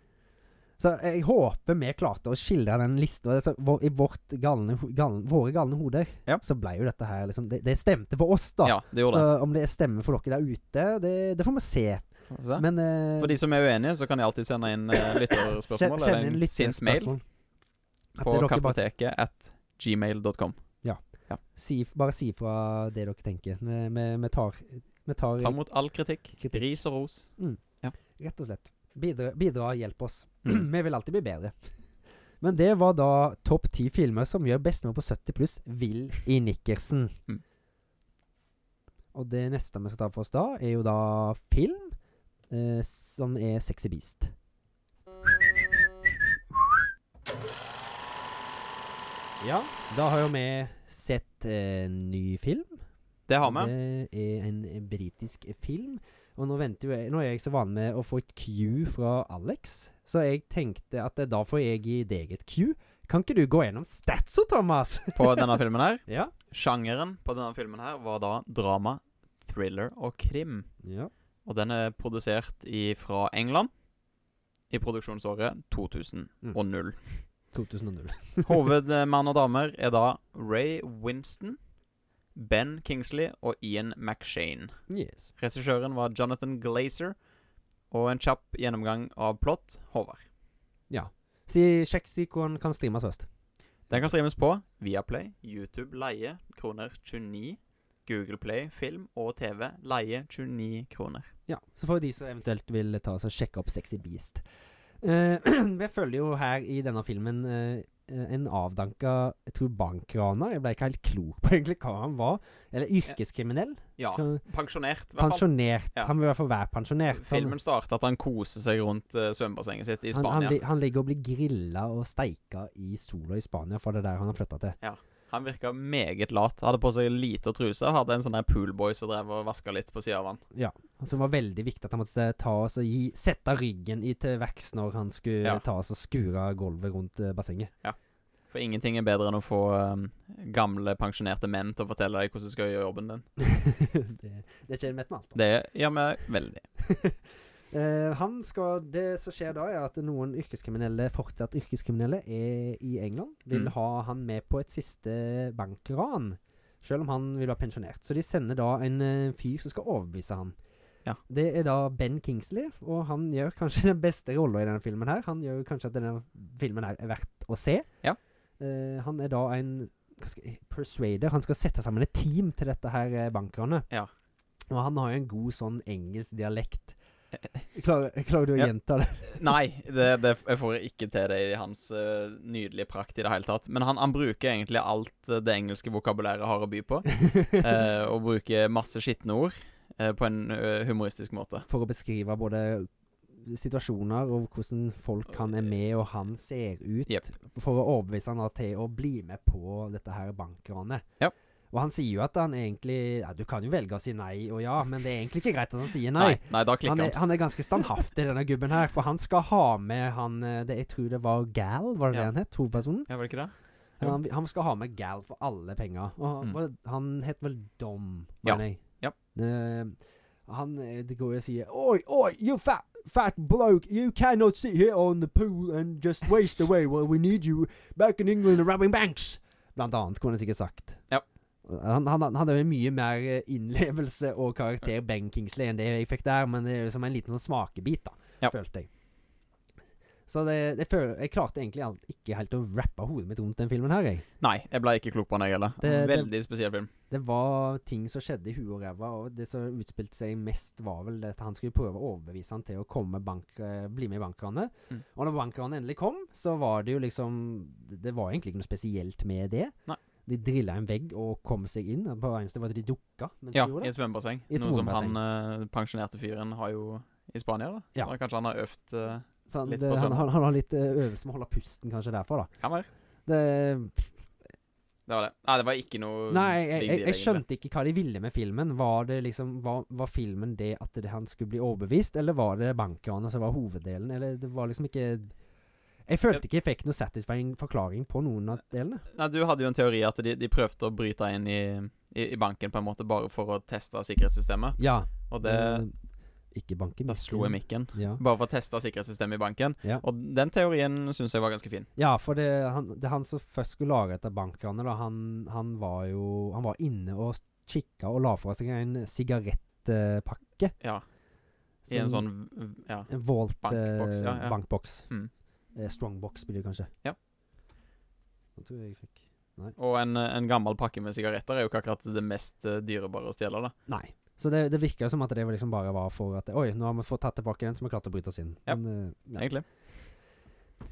Så jeg håper vi klarte å skildre den lista. Altså, vår, I vårt galne, ho- galne, våre galne hoder
Ja.
så ble jo dette her liksom Det, det stemte for oss, da.
Ja, det
så
gjorde det.
om det stemmer for dere der ute, det, det får vi se.
Får vi se.
Men eh,
For de som er uenige, så kan de alltid sende inn eh, lytterspørsmål
se-
eller en sint mail
lytterspørsmål. At
på
dere bare-
kartoteket at gmail.com.
si, bare si fra det dere tenker. Vi, vi, vi tar, vi tar
Ta imot all kritikk.
Kritikk.
Ris og ros.
rett og slett. Bidra, bidra og hjelp oss.
Mm.
vi vil alltid bli bedre. Men det var da topp ti filmer som gjør bestemor på 70 pluss vill i nikkersen.
Mm.
Og det neste vi skal ta for oss da, er jo da film eh, som er sexy beast. Ja, da har jo vi sett eh, ny film.
Det har vi.
Det er en eh, britisk film. Og nå, venter jo jeg, nå er jeg så vant med å få et Q fra Alex, så jeg tenkte at eh, da får jeg gi deg et Q. Kan ikke du gå gjennom statsa, Thomas?
På denne filmen her.
ja.
Sjangeren på denne filmen her var da drama, thriller og krim.
ja.
Og den er produsert i, fra England i produksjonsåret 2000
Mm.
og 0.
2000.
Hovedmann og damer er da Ray Winston, Ben Kingsley og Ian McShane.
Yes.
Regissøren var Jonathan Glazer. Og en kjapp gjennomgang av plott, Håvard.
Si, sjekk si hvor han kan streames først.
Den kan streames på Viaplay, YouTube leie kroner 29, Google Play film og TV leie 29 kroner.
Ja, Så for de som eventuelt vil ta oss og sjekke opp Sexy Beast. Eh, vi følger jo her i denne filmen eh, eh, en avdanka jeg tror bankraner. Jeg ble ikke helt klok på egentlig hva han var. Eller yrkeskriminell.
Ja.
Kan-
Pensjonert, i hvert fall.
Pensjonert.
Ja.
Han vil i hvert fall være pensjonert. så
Filmen starter at han koser seg rundt eh, svømmebassenget sitt i
han, han,
Spania.
li- han ligger og blir grilla og steika i sola i Spania, for det er der han har flytta til.
Han virka meget lat. Hadde på seg lite truse. Hadde en sånn der poolboy som drev og vaska litt på sida av han.
Som var veldig viktig at han måtte ta oss og gi, sette ryggen i til verks når han skulle
Ja.
ta oss og skure gulvet rundt eh, bassenget.
For ingenting er bedre enn å få eh, gamle, pensjonerte menn til å fortelle deg hvordan du skal gjøre jobben din.
det, det kjenner vi med alt. om.
Det gjør vi veldig.
Eh, han skal, det som skjer da, er at noen yrkeskriminelle, fortsatt yrkeskriminelle, er i England. Vil
Mm.
ha han med på et siste bankran, selv om han vil være pensjonert. Så de sender da en eh, fyr som skal overbevise han.
Ja.
Det er da Ben Kingsley, og han gjør kanskje den beste rolla i denne filmen her. Han gjør kanskje at denne filmen her er verdt å se.
Ja.
Eh, han er da en hva skal jeg- persuader. Han skal sette sammen et team til dette her eh, bankranet.
Ja.
Og han har jo en god sånn engelsk dialekt. Klarer, klarer du å
Ja.
gjenta det?
Nei, det, det, jeg får ikke til det i hans eh, nydelige prakt i det hele tatt. Men han, han bruker egentlig alt eh, det engelske vokabulæret har å by på. eh, og bruker masse skitne ord eh, på en eh, humoristisk måte.
For å beskrive både situasjoner og hvordan folk han er med og han ser ut.
Jepp.
For å overbevise han da til å bli med på dette her bankranet.
Ja.
Og han sier jo at han egentlig ja, Du kan jo velge å si nei og ja, men det er egentlig ikke greit at han sier nei.
Nei, nei, da klikker
Han
han.
er, han er ganske standhaftig, denne gubben her. For han skal ha med han eh, det, Jeg tror det var Gal, var det
Ja.
det han het? Hovedpersonen?
Ja, var det ikke det? Jo.
Han, han skal ha med Gal for alle penger. Og han,
Mm.
var- han het vel Dom,
Ja.
mener jeg.
Ja.
Eh, han eh, det går jo og sier Oi, oi, you fat fat bloke, you cannot sit here on the pool and just waste away while we need you back in England robbing banks. Blant annet, kunne jeg sikkert sagt.
Ja.
Han, han, han hadde jo mye mer eh, innlevelse og karakter Ben Kingsley enn det jeg fikk der, men det er jo som en liten sånn smakebit, da,
Ja.
følte jeg. Så det, det føl- jeg klarte egentlig alt- ikke helt å rappe hodet mitt rundt den filmen her, jeg.
Nei, jeg ble ikke klok på den, jeg heller.
Det- det-
Veldig spesiell film.
Det var ting som skjedde i huet og ræva, og det som utspilte seg mest, var vel det at han skulle prøve å overbevise han til å komme bank, eh, bli med i bankranet.
Mm.
Og når bankranet endelig kom, så var det jo liksom Det var egentlig ikke noe spesielt med det.
Nei.
De drilla en vegg og kom seg inn. og På det eneste var at de dukka. mens
Ja,
de gjorde
i
det.
et svømmebasseng.
I et
Noe som
svømmebasseng.
han eh, pensjonerte fyren har jo i Spania, da.
Ja.
Så kanskje han har øvd eh,
Så han,
litt
det,
på
han,
svømmen.
han, han har litt eh, øvelse med å holde pusten, kanskje derfor, da.
Hva mer?
Det,
Det var det. Nei, det var ikke noe
nei, jeg,
big
jeg,
deal,
jeg
egentlig.
skjønte ikke hva de ville med filmen. Var det liksom Var, var filmen det at det, han skulle bli overbevist, eller var det bankranet som var hoveddelen? Eller det var liksom ikke Jeg følte ikke jeg fikk noe satisfying forklaring på noen av delene.
Nei, du hadde jo en teori at de, de prøvde å bryte inn i, i, i banken på en måte bare for å teste sikkerhetssystemet,
Ja.
og det
eh, Ikke banken.
Da slo jeg mikken.
Ja.
Bare for å teste sikkerhetssystemet i banken.
Ja.
Og den teorien syns jeg var ganske fin.
Ja, for det han, det han som først skulle lage etter bankranet, da, han, han var jo Han var inne og kikka og la fra seg en sigarettpakke.
Ja, I en
som-
sånn v- Ja.
En Volt
bankboks,
bankboks.
ja, ja.
bankboks.
Mm.
Eh, strongbox blir det kanskje.
Ja.
Nå tror jeg jeg fikk
Og en, en gammel pakke med sigaretter er jo ikke akkurat det mest eh, dyrebare å stjele, da.
Nei. Så det, det virka som at det liksom bare var for at Oi, nå har vi fått tatt tilbake den som har klart å bryte oss inn.
Ja.
Men, eh, ja.
Egentlig.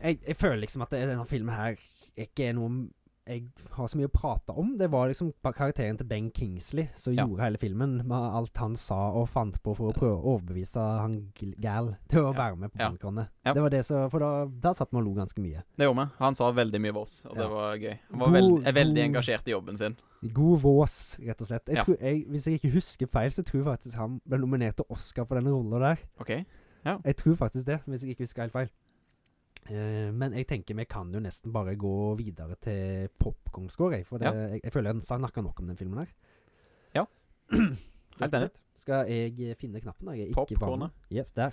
jeg, jeg føler liksom at det, denne filmen her ikke er noe jeg har så mye å prate om. Det var liksom ba- karakteren til Ben Kingsley som
Ja.
gjorde hele filmen, med alt han sa og fant på for å prøve å overbevise han gl- Gal til å
Ja.
være med på
Ja.
Bankerne.
Ja.
Det var det som For da, da satt vi og lo ganske mye.
Det gjorde vi. Han sa veldig mye om oss, og det
Ja.
var gøy. Han var
God-
veld, er veldig
god-
engasjert i jobben sin.
God vås, rett og slett. Jeg
Ja.
tror, jeg, hvis jeg ikke husker feil, så tror jeg faktisk han ble nominert til Oscar for den rolla der.
OK?
Jeg tror faktisk det, hvis jeg ikke husker helt feil. Eh, men jeg tenker vi kan jo nesten bare gå videre til popkornscore, jeg. For det,
Ja.
jeg, jeg føler jeg snakka nok om den filmen her.
Ja.
Helt enig.
enig.
Skal jeg eh, finne knappen? da? Jeg er ikke vanlig.
Popcornet.
Jepp, der.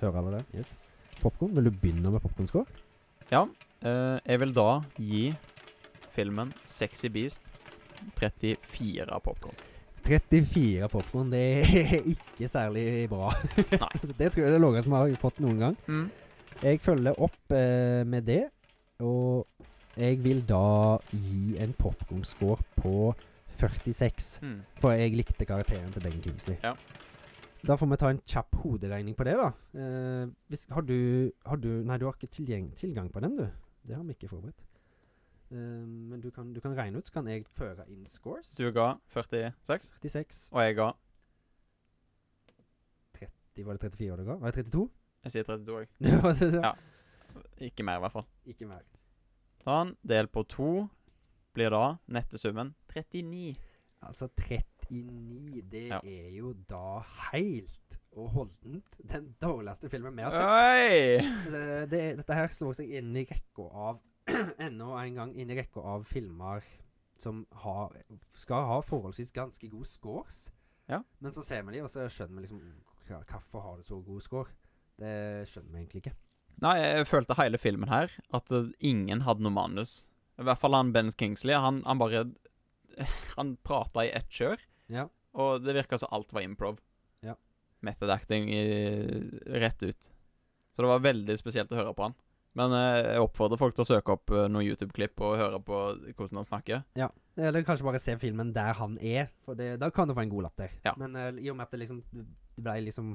Hører alle det? Yes. Popkorn. Vil du begynne med popkornscore?
Eh, jeg vil da gi filmen Sexy Beast 34 popkorn.
34 popkorn, det er ikke særlig bra.
Nei.
det tror jeg er det laveste vi har fått noen gang.
Mm.
Jeg følger opp eh, med det, og jeg vil da gi en popkornscore på 46.
Mm.
For jeg likte karakteren til Ben Kingsley.
Ja.
Da får vi ta en kjapp hoderegning på det, da. Eh, hvis, har, du, har du Nei, du har ikke tilgjeng, tilgang på den, du. Det har vi ikke forberedt. Eh, men du kan, du kan regne ut, så kan jeg føre inn scores.
Du ga 46,
46
og jeg ga
De var det 34 du ga? Var det 32?
Jeg sier 32 òg.
ja.
Ja. Ikke mer, i hvert fall.
Ikke mer.
Ta den, del på to. Blir da nettesummen 39.
Altså 39, det
Ja.
er jo da helt og holdent den dårligste filmen vi har sett.
Oi!
Eh, Det, dette her slår seg inn i rekka av Enda en gang inn i rekka av filmer som har, skal ha forholdsvis ganske god scores.
Ja.
Men så ser vi de, og så skjønner vi liksom hva- Hvorfor har du så god score? Det skjønner vi egentlig ikke.
Nei, jeg følte hele filmen her at eh, ingen hadde noe manus. I hvert fall han Ben Kingsley. Han, han bare Han prata i ett kjør,
Ja.
og det virka som alt var improv.
Ja.
Method acting i, rett ut. Så det var veldig spesielt å høre på han. Men eh, jeg oppfordrer folk til å søke opp eh, noen YouTube-klipp og høre på hvordan han snakker.
Eller kanskje bare se filmen der han er, for det, da kan du få en god latter.
Ja.
Men eh, i og med at det liksom Det ble liksom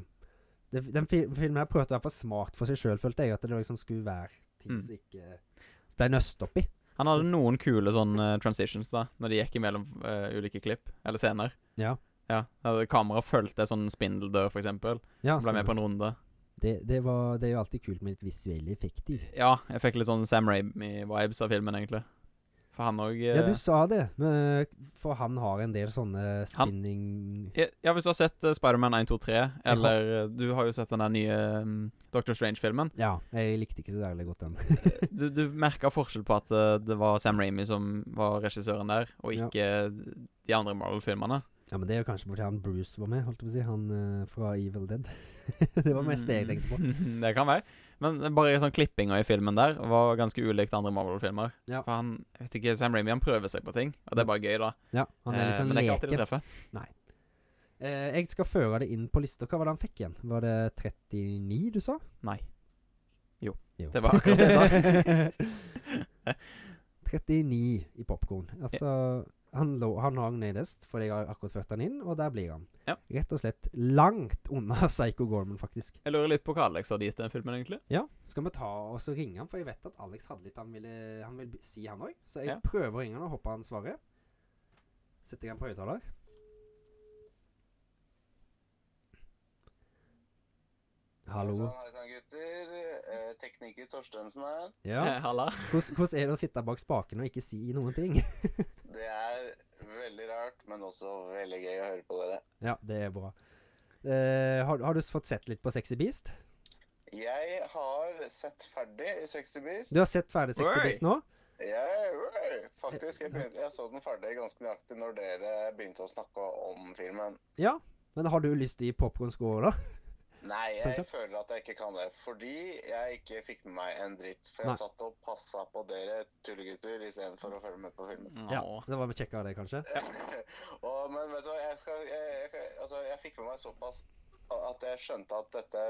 det, Den fi filmen her prøvde å være for smart for seg sjøl, følte jeg. At det liksom skulle være ting
Mm.
som ikke ble nøst opp i.
Han hadde noen kule sånn eh, transitions da Når de gikk imellom eh, ulike klipp Eller scener
Ja.
Ja, hadde kamera følte sånn spindeldør for eksempel
Ja,
Han ble med på
stemmer.
en runde
det, det, var, det er jo alltid kult med litt visuelle effekter.
Ja, jeg fikk litt sånn Sam Raimi-vibes av filmen egentlig For han og eh,
Ja, du sa det, men, for han har en del sånne
Han-
spinning
ja, ja, hvis du har sett eh, Spider-Man 1, 2, 3 Eller eh, du har jo sett den der nye mm, Doctor Strange-filmen
Ja, jeg likte ikke så særlig godt den.
Du, du merket forskjell på at eh, det var Sam Raimi som var regissøren der Og
Ja.
ikke de de andre Marvel-filmene.
Ja, men det er jo kanskje fordi han Bruce var med, holdt jeg på å si. Han eh, fra Evil Dead. det var mest
Mm.
det jeg tenkte på.
det kan være. Men bare sånn klippinga i filmen der var ganske ulikt andre Marvel-filmer.
Ja.
For han, jeg vet ikke, Sam Raimi han prøver seg på ting, og det er bare gøy, da.
Ja, han er
Eh,
litt sånn
men det er ikke alltid det
leken.
treffer.
Eh, jeg skal føre det inn på lista. Hva var det han fikk igjen? Var det 39 du sa?
Nei. Jo.
Jo.
Det var akkurat det jeg sa.
39 i popkorn. Altså, han, lå, han hang nederst, for jeg har akkurat ført han inn, og der blir han.
Ja.
Rett og slett langt unna Psycho Gorman, faktisk.
jeg lurer litt på hva Alex hadde gitt den filmen, egentlig.
Ja, skal vi ta og så ringe han, for jeg vet at Alex hadde litt han ville, han ville b- si, han òg. Så jeg
Ja.
prøver å ringe han og håper han svarer. Setter jeg han på høyttaler. Hallo.
Hei sann, gutter. Eh, Tekniker Torstensen her.
Ja.
Eh, Halla.
Hvordan hvordan er det å sitte bak spakene og ikke si noen ting?
Det er veldig rart, men også veldig gøy å høre på dere.
Ja, det er bra. Eh, har, har du s- fått sett litt på Sexy Beast?
Jeg har sett ferdig i 60 Beast.
Du har sett ferdig Sexy
Oi!
Beast nå?
Jeg, øh, faktisk, jeg, begynte, jeg så den ferdig ganske nøyaktig når dere begynte å snakke om filmen.
Ja. Men har du lyst i popkornskål, da?
Nei,
Sant, ja.
jeg føler at jeg ikke kan det, fordi jeg ikke fikk med meg en dritt. For jeg
Nei.
satt og passa på dere tullegutter istedenfor å følge med på filmen.
Åh.
Det var vi kjekka av det, kanskje?
og, men vet du hva, jeg, skal, jeg, jeg, altså, jeg fikk med meg såpass at jeg skjønte at dette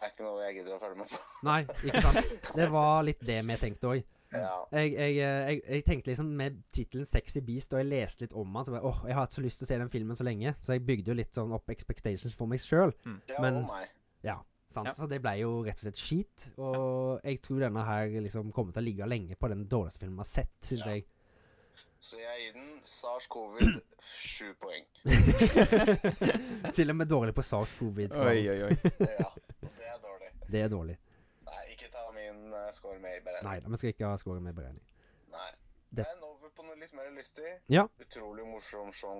er ikke noe jeg gidder å følge med på.
Nei, ikke sant? Det var litt det vi tenkte òg.
Ja.
Jeg, jeg, eh, jeg, jeg tenkte liksom med tittelen 'Sexy Beast' og jeg leste litt om han, så bare, åh, jeg har hatt så lyst til å se den filmen så lenge. Så jeg bygde jo litt sånn opp expectations for meg sjøl.
Ja,
Men-
og meg.
Sant?
Ja.
Så det ble jo rett og slett skit. Og jeg tror denne her liksom kommer til å ligge lenge på den dårligste filmen jeg har sett, syns
Ja.
jeg.
Så jeg gir den SARS-covid sju poeng.
Til og med dårlig på SARS-covid.
Oi, oi, oi.
Ja, og det er dårlig.
Det er dårlig.
Nei, ikke ta min eh, score med i beregning.
Nei da, vi skal ikke ha scoren med i beregning.
Nei.
Det-
Men over på noe litt mer lystig.
Ja.
Utrolig morsom Sean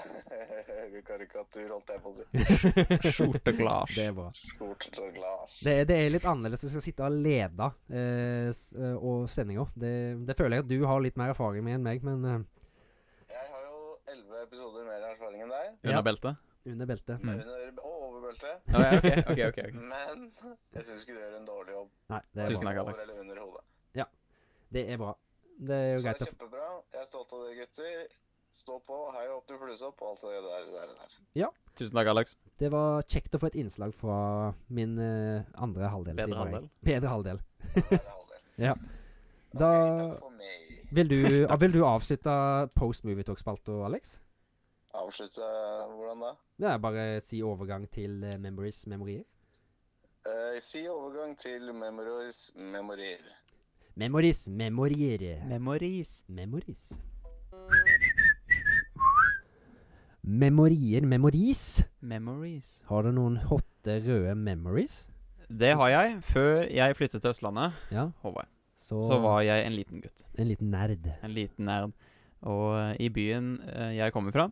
Connery-karikatur, holdt jeg på å si.
Skjorteglasj.
Det er bra.
Stort og glad.
Det er, det er litt annerledes å skal sitte og lede eh, s- eh, og sendinga. Det, det føler jeg at du har litt mer erfaring med enn meg, men eh,
Jeg har jo elleve episoder mer erfaring enn deg.
Ja.
Under beltet?
under beltet.
Mm.
Under og over beltet.
Å, ja, ok, ok, ok, ok.
Men jeg syns ikke du gjør en dårlig jobb.
Nei, det er
Tusen
bra.
takk.
Over
Alex.
eller under hodet.
Det er bra. Det er jo
Så det
greit
er
å
kjempebra. Jeg er stolt av dere gutter. Stå på, hei opp, du flusopp, og alt det der. der, der.
Tusen takk, Alex.
Det var kjekt å få et innslag fra min eh, andre halvdel.
Bedre
sier jeg.
halvdel.
Bedre halvdel.
Det er halvdel.
Ja.
Ok,
Da-
Takk for meg.
Vil du, ah, vil du avslutte Post Movie Talk-spalta, Alex?
Avslutte eh, hvordan da?
Det er bare si overgang til eh, memories, memorier.
Eh, si overgang til memories memorier.
Memories, memorier.
Memories.
Memories. Memorier, memories.
Memories.
Har du noen hotte røde memories?
Det har jeg. Før jeg flyttet til Østlandet,
Ja.
Håvard,
Så,
så var jeg en liten gutt.
en liten nerd.
En liten nerd. Og eh, i byen eh, jeg kommer fra,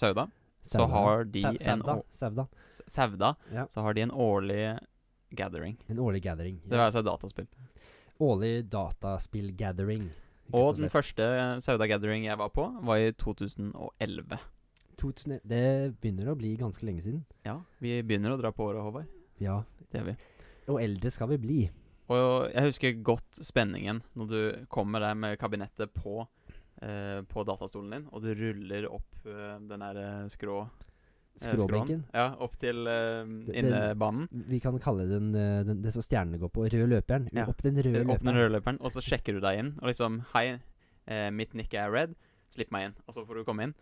Sauda, så
Sauda.
har de
Sau-
en
Sauda.
å-
Sauda.
S- Sauda,
Ja.
så har de en årlig gathering.
En årlig gathering.
Det
Ja.
være seg dataspill.
Årlig dataspill-gathering. rett
Og den
slett.
første eh, Sauda gathering jeg var på, var i 2011.
2000 Det begynner å bli ganske lenge siden.
Ja, vi begynner å dra på året, Håvard.
Ja.
Det gjør vi.
Og eldre skal vi bli.
Og jeg husker godt spenningen når du kommer der med kabinettet på, eh, på datastolen din, og du ruller opp eh, den der eh, skrå... eh,
Skråbenken.
skråen. Ja, opp til eh,
det-
innebanen.
Vi kan kalle den, eh, den det som stjernene går på, rød løperen.
Ja.
Opp den røde
Opp den
løperen.
røde løperen, og så sjekker du deg inn. Og liksom Hei, eh, mitt nikk er red. Slipp meg inn. Og så får du komme inn.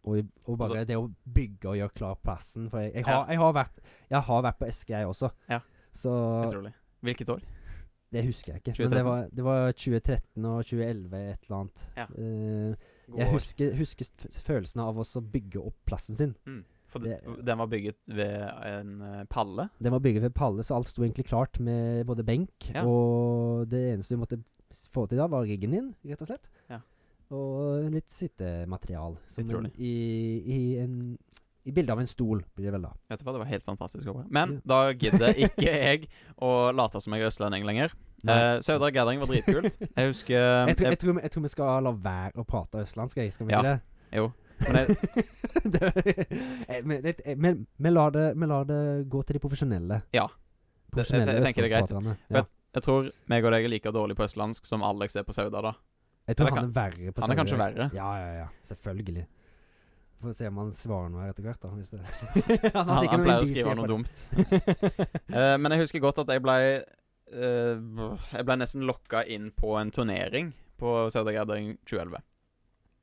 Og, og bare
Altså-
det å bygge og gjøre klar plassen. For jeg, jeg,
Ja.
har, jeg, har, vært, jeg har vært på Eske, jeg også.
Ja.
Så
Utrolig. Hvilket år?
det husker jeg ikke. Men det
2013.
var, det var 2013 og 2011, et eller annet.
Ja.
Eh,
God
jeg
år.
husker, husker st- følelsen av også å bygge opp plassen sin.
Mm. For
det-
d- den var bygget ved en eh, palle.
Den var bygget ved palle, så alt sto egentlig klart med både benk
Ja.
og Det eneste du måtte s- få til da, var riggen din, rett og slett.
Ja.
Og litt sittematerial. Som en,
Utrolig.
i, i en I bilde av en stol, blir det vel da.
Vet du hva, det var helt fantastisk. Håvard. Men da gidder ikke jeg å late som jeg er østlending lenger.
Nei.
Uh, Saudar Gathering var dritkult. Jeg husker um,
jeg, tror,
jeg,
jeg, tror, vi- jeg tror vi skal la være å prate østlandsk, jeg. Skal vi
Ja.
ikke det?
Jo. Men jeg,
det eh, men det- eh, men vi lar det, vi lar det gå til de profesjonelle.
Ja. Det- jeg- jeg
Profesjonelle
tenker det er greit.
østlandspraterne.
For
Ja.
at- jeg tror meg og deg er like dårlig på østlandsk som Alex er på Sauda, da.
Jeg tror
eller
han er verre på
Han er kanskje
Saudi-Arabia.
verre.
Ja, ja, ja. Selvfølgelig. Får se om han svarer noe her etter hvert, da. Hvis det. han,
Han, han pleier å
indisier
skrive
på
noe
det.
dumt. Eh, men jeg husker godt at jeg blei eh, Jeg blei nesten lokka inn på en turnering på Sauda Gathering 2011.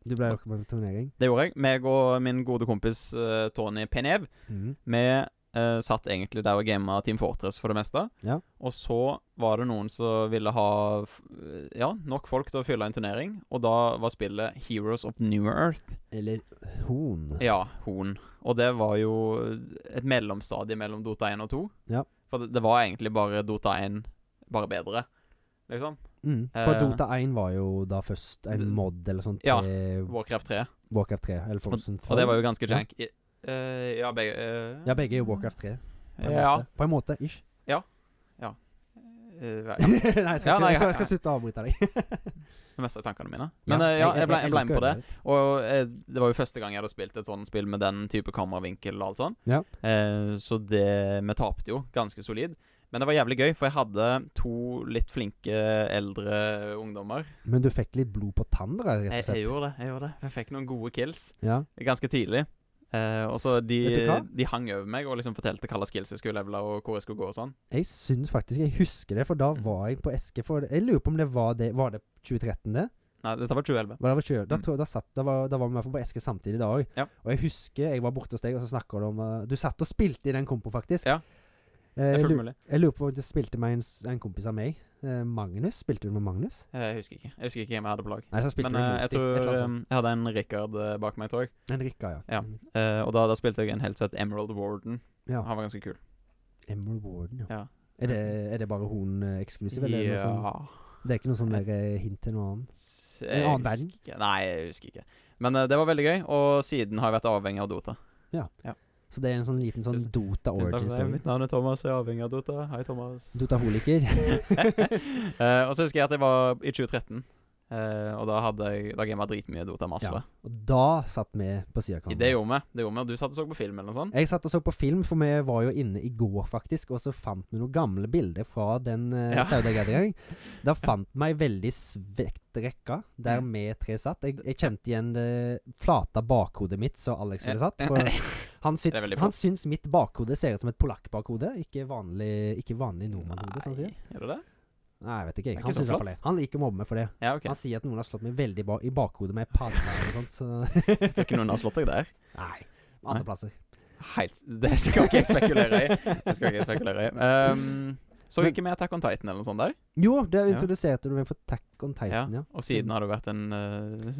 Du ble jo med på turnering.
Det gjorde jeg. Meg og min gode kompis eh, Tony Penev
Mm.
Vi eh, satt egentlig der og gama Team Fortress for det meste.
Ja.
Og så var det noen som ville ha f- ja, nok folk til å fylle en turnering, og da var spillet Heroes of New Earth.
Eller Horn.
Ja, Horn. Og det var jo et mellomstadie mellom Dota 1 og 2.
Ja.
For det, det var egentlig bare Dota 1, bare bedre, liksom.
Mm. For
Eh,
Dota 1 var jo da først en
det-
mod eller sånt
Ja.
til
Warcraft 3.
Warcraft 3. Eller Fortson
Og det var jo ganske
Ja.
jank. I- eh, ja, begge eh,
Ja, begge er jo Warcraft 3. På en,
Ja.
måte. På en måte, ish.
Eh, ja.
nei, jeg skal,
Ja,
ikke,
nei,
jeg skal, jeg
ja.
skal slutte å avbryte deg.
Det meste av tankene mine. Men eh, ja, jeg ble, jeg ble med på det. Og eh, det var jo første gang jeg hadde spilt et sånt spill med den type kameravinkel og alt sånn.
Ja.
Eh, så det Vi tapte jo ganske solid. Men det var jævlig gøy, for jeg hadde to litt flinke eldre ungdommer.
Men du fikk litt blod på tann, da, rett
Jeg,
og
jeg
slett?
gjorde det. Jeg gjorde det Jeg fikk noen gode kills
Ja.
ganske tidlig. Eh, og så de,
Vet du hva?
de hang over meg og liksom fortalte hvilke skills jeg skulle levele, og hvor jeg skulle gå og sånn.
Jeg syns faktisk jeg husker det, for
Mm.
da var jeg på Eske for Jeg lurer på om det var det Var det 2013, det?
Nei, dette var 2011.
Var det var 20, da,
Mm.
tror jeg- da, satt, da, var, da var vi i hvert fall på Eske samtidig da òg.
Ja.
Og jeg husker jeg var borte hos deg, og så snakka du om eh, Du satt og spilte i den kompo, faktisk.
Ja.
Eh,
Det er
jeg,
fullt
lurer,
mulig.
jeg lurer på om du spilte med en, s- en kompis av meg. Eh, Magnus. Spilte du med Magnus?
Eh, Jeg husker ikke. Jeg husker ikke hvem jeg hadde på lag.
Nei, så spilte
Men
du
eh,
med
jeg
Multi, et
tror
eller annet
eh, jeg hadde en Rikard eh, bak meg, tror jeg.
sånt. En Rikka, ja.
ja.
En-
Eh, og da, da spilte jeg en helt sett Emerald Warden.
Ja.
Han var ganske kul.
Emerald Warden, ja.
Ja.
Er, det, er det bare hun eh, eksklusiv, eller er det noe sånn?
Ja
Det er ikke noe sånn der eh, hint til noe annet?
S-
En annen
jeg
verden?
husker ikke. Nei, jeg husker ikke. Men eh, det var veldig gøy, og siden har jeg vært avhengig av Dota.
Så det er en sånn liten sånn
Tusen-
Dota origin-story.
Mitt navn er Thomas, jeg er avhengig av Dota. Hei, Thomas.
Dota-holiker.
Eh, og så husker jeg at jeg var i 2013, eh, og da hadde jeg Da gama dritmye Dota med Aspe.
Ja. Og da satt vi på sida av
I Det gjorde vi. Det gjorde vi. Du satt og så på film eller noe sånt.
Jeg satt og så på film, for vi var jo inne i går faktisk, og så fant vi noen gamle bilder fra den uh,
Ja.
Sauda-gathering. Da fant vi ei veldig svett rekke der
Mm.
vi tre satt. Jeg, jeg kjente igjen det flata bakhodet mitt som Alex ville satt. For han,
Det er
syns,
veldig
han
flott.
syns mitt bakhode ser ut som et polakkbakhode, ikke vanlig, ikke vanlig nordmannhode, som han
Nei,
sier.
er det det?
Nei, jeg vet ikke.
Det er
Jeg.
ikke
Han,
så
syns i hvert fall
flott.
det. han liker å mobbe meg for det.
Ja, OK.
Han sier at noen har slått meg veldig ba i bakhodet med panna og sånt, så
Jeg tror ikke noen har slått deg der.
Nei. Andre plasser.
Helt Det skal ikke jeg spekulere i. Det skal ikke jeg spekulere i. Ehm, så
Men-
ikke med Attack on Titan eller noe sånt der?
Jo, der
Ja.
introduserte du meg for Tack on Titan, ja.
Og siden har det vært en eh,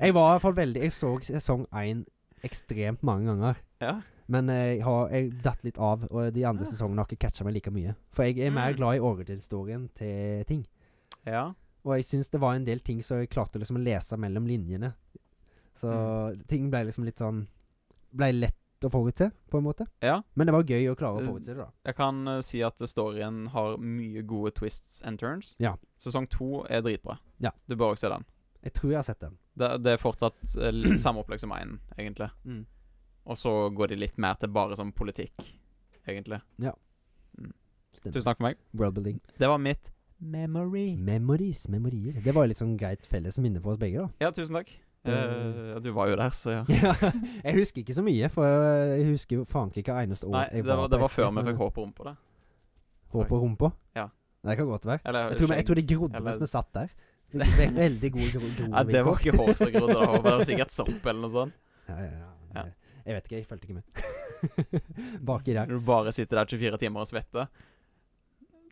Jeg var i hvert fall veldig Jeg så sesong 1 ekstremt mange ganger.
Ja. Ah.
Men eh, jeg har jeg datt litt av, og de andre
Ja.
sesongene har ikke catcha meg like mye. For jeg er mer
Mm.
glad i origin-storyen til ting.
Ja.
Og jeg syns det var en del ting som jeg klarte liksom å lese mellom linjene. Så
Mm.
ting ble liksom litt sånn Ble lett å forutse, på en måte.
Ja.
Men det var gøy å klare å
Eh,
forutse det, da.
Jeg kan eh, si at storyen har mye gode twists and turns.
Ja.
Sesong to er dritbra.
Ja.
Du bør også se den.
Jeg tror jeg har sett den.
Det, det er fortsatt eh, litt samme opplegg som én, egentlig.
Mm.
Og så går de litt mer til bare sånn politikk, egentlig.
Stemmer.
Tusen takk for meg.
Worldbuilding.
Det var mitt memory.
Memories, memorier. Det var jo litt sånn greit felles minne for oss begge, da.
Ja, tusen takk. Eh, du var jo der, så ja.
Ja, jeg husker ikke så mye, for jeg husker jo faen ikke hva eneste år
Nei,
jeg
det var, det var før vi
hår.
fikk hår på rumpa. det.
Hår på rumpa?
Ja.
Det kan godt være.
Eller
Jeg tror, jeg tror det grodde
eller-
mens vi satt der. Så det ble Veldig gode gro
Ja, det var ikke hår som grodde, det var bare sikkert sopp eller noe sånt.
Ja, ja, ja.
Ja.
Jeg vet ikke, jeg fulgte ikke med. Baki der.
Når du bare sitter der 24 timer og svetter,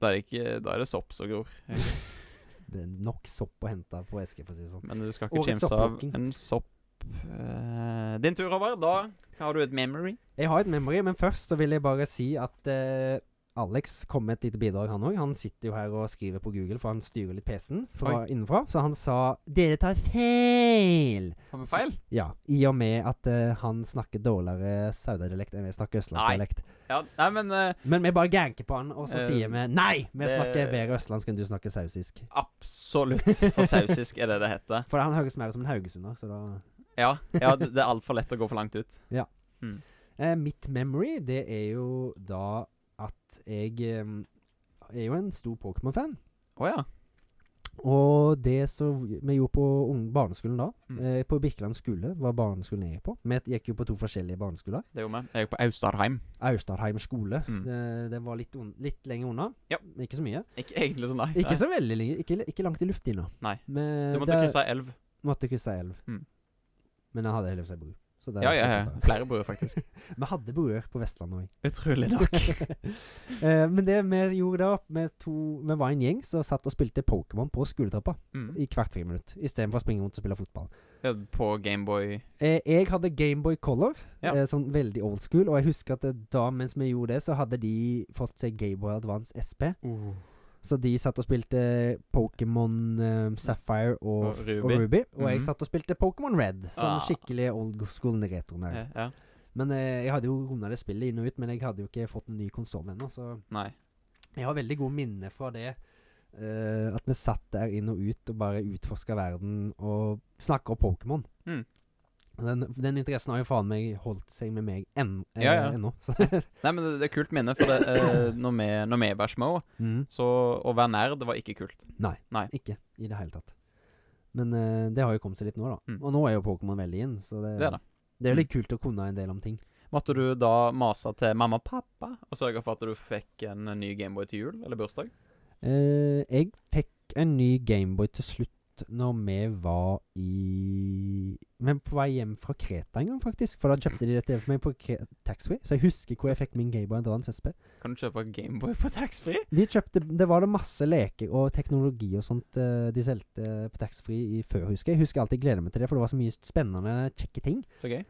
da er det, ikke, da er det sopp som gror.
Det er nok sopp å hente på eske, for å si det sånn.
Men du skal ikke
Årets
kimse av
opplukking.
en sopp. Eh, din tur, Håvard. Da har du et memory.
Jeg har et memory, men først så vil jeg bare si at eh, Alex kom med et lite bidrag, han òg. Han sitter jo her og skriver på Google, for han styrer litt PC-en fra innenfra. Så han sa 'Dere tar feil'.
Har vi feil?
Ja, i og med at eh, han snakker dårligere saudialekt enn vi snakker østlandsdialekt.
Ja, nei, men eh,
Men vi bare ganker på han, og så
Eh,
sier vi 'Nei! Vi
det-
snakker bedre østlandsk enn du snakker sausisk'.
absolutt. For sausisk er det det heter.
For han høres mer ut som en haugesunder, så da
Ja, ja det det er altfor lett å gå for langt ut.
Eh, mitt memory, det er jo da at jeg eh, er jo en stor Pokémon-fan.
Å ja.
Og det som vi gjorde på ung barneskolen da,
Mm.
eh, på Birkeland skole, var barneskolen jeg gikk på. Vi gikk jo på to forskjellige barneskoler.
Det gjorde vi. Jeg er på Austarheim.
Austadheim skole,
Mm.
eh, den var litt, un litt lenger unna.
Ja.
Ikke så mye.
Ikke egentlig sånn, nei.
Ikke
nei.
så veldig lenge, ikke, ikke langt i luftlinja.
Nei.
Men
Du måtte
der
krysse ei elv.
måtte krysse ei elv.
Mm.
Men jeg hadde heldigvis ei bru. Så der-
Ja, ja, ja. Flere bruer, faktisk.
Vi hadde bruer på Vestlandet òg.
Utrolig nok.
Eh, men det vi gjorde da vi to, Vi var en gjeng som satt og spilte Pokémon på skoletrappa
Mm.
i hvert friminutt. Istedenfor å springe rundt og spille fotball.
Ja, På Gameboy
Eh, jeg hadde Gameboy Color,
Ja.
eh, sånn veldig old school. Og jeg husker at det, da mens vi gjorde det, så hadde de fått seg Gameboy Advance SP.
Uh,
Så de satt og spilte Pokémon eh, Sapphire og,
Og
f-
Ruby.
og Ruby. Og
Mhm.
jeg satt og spilte Pokémon Red. Sånn
Ah.
skikkelig old school retro nerd.
Ja, ja.
Men eh, jeg hadde jo runda det spillet inn og ut, men jeg hadde jo ikke fått en ny konsoll ennå, så
Nei.
Jeg har veldig gode minner fra det. eh, at vi satt der inn og ut og bare utforska verden og snakka om Pokémon.
Mm.
Den, den interessen har jo faen meg holdt seg med meg enn- eh,
Ja, ja.
ennå. Så,
Nei, men det, det er kult minne, for det, eh, når, vi, når vi var små,
mm,
så å være nær, det var ikke kult.
nei,
Nei.
Ikke i det hele tatt. Men eh, det har jo kommet seg litt nå, da.
Mm.
Og nå er jo Pokémon veldig inn, så det,
Det Mm. er det.
det er jo litt kult å kunne en del om ting.
Måtte du da mase til mamma og pappa og sørge for at du fikk en ny Gameboy til jul eller bursdag?
Eh, jeg fikk en ny Gameboy til slutt når vi var i Men på vei hjem fra Kreta en gang, faktisk. For da kjøpte de dette for meg på Kre- taxfree. Så jeg husker hvor jeg fikk min Gameboy Advance SP.
Kan du kjøpe Gameboy på taxfree?
De kjøpte, det var det masse leker og teknologi og sånt eh, de solgte på taxfree i før, husker jeg. Jeg husker alltid gleder meg til det, for det var så mye spennende, kjekke ting.
Så gøy.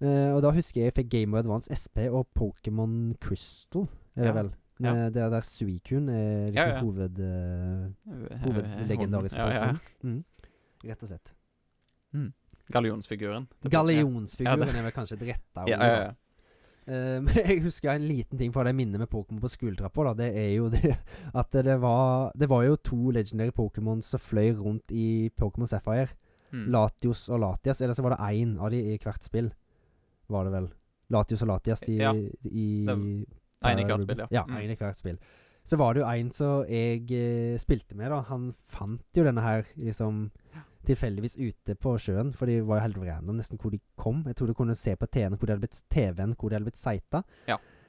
Eh, og da husker jeg jeg fikk Gameboy Advance SP og Pokémon Crystal, er det
Ja,
vel?
ja.
Eh, Det der Suicune er liksom
Ja, ja.
hoved... eh, Hovedlegendarisk
Ja, eh, ja.
Mm. Rett og slett.
Mm. Gallionsfiguren. til Pokémon.
Gallionsfiguren
Ja, det-
er vel kanskje det rette ordet.
Ja, ja, ja.
Eh, men jeg husker en liten ting fra det minnet med Pokémon på skoletrappa. da, Det er jo det at det var Det var jo to legendary Pokémon som fløy rundt i Pokémon Sapphire.
Mm.
Latios og Latias. Eller så var det én av de i hvert spill, var det vel. Latios og Latias i,
Ja.
i
Det- en i hvert spill, ja.
Ja,
Mm.
en i hvert spill. Så var det jo en som jeg eh, spilte med, da. Han fant jo denne her liksom tilfeldigvis ute på sjøen, for de var jo helt random nesten hvor de kom. Jeg tror du kunne se på TV-en hvor de hadde blitt, TV-en, hvor de hadde blitt sighta.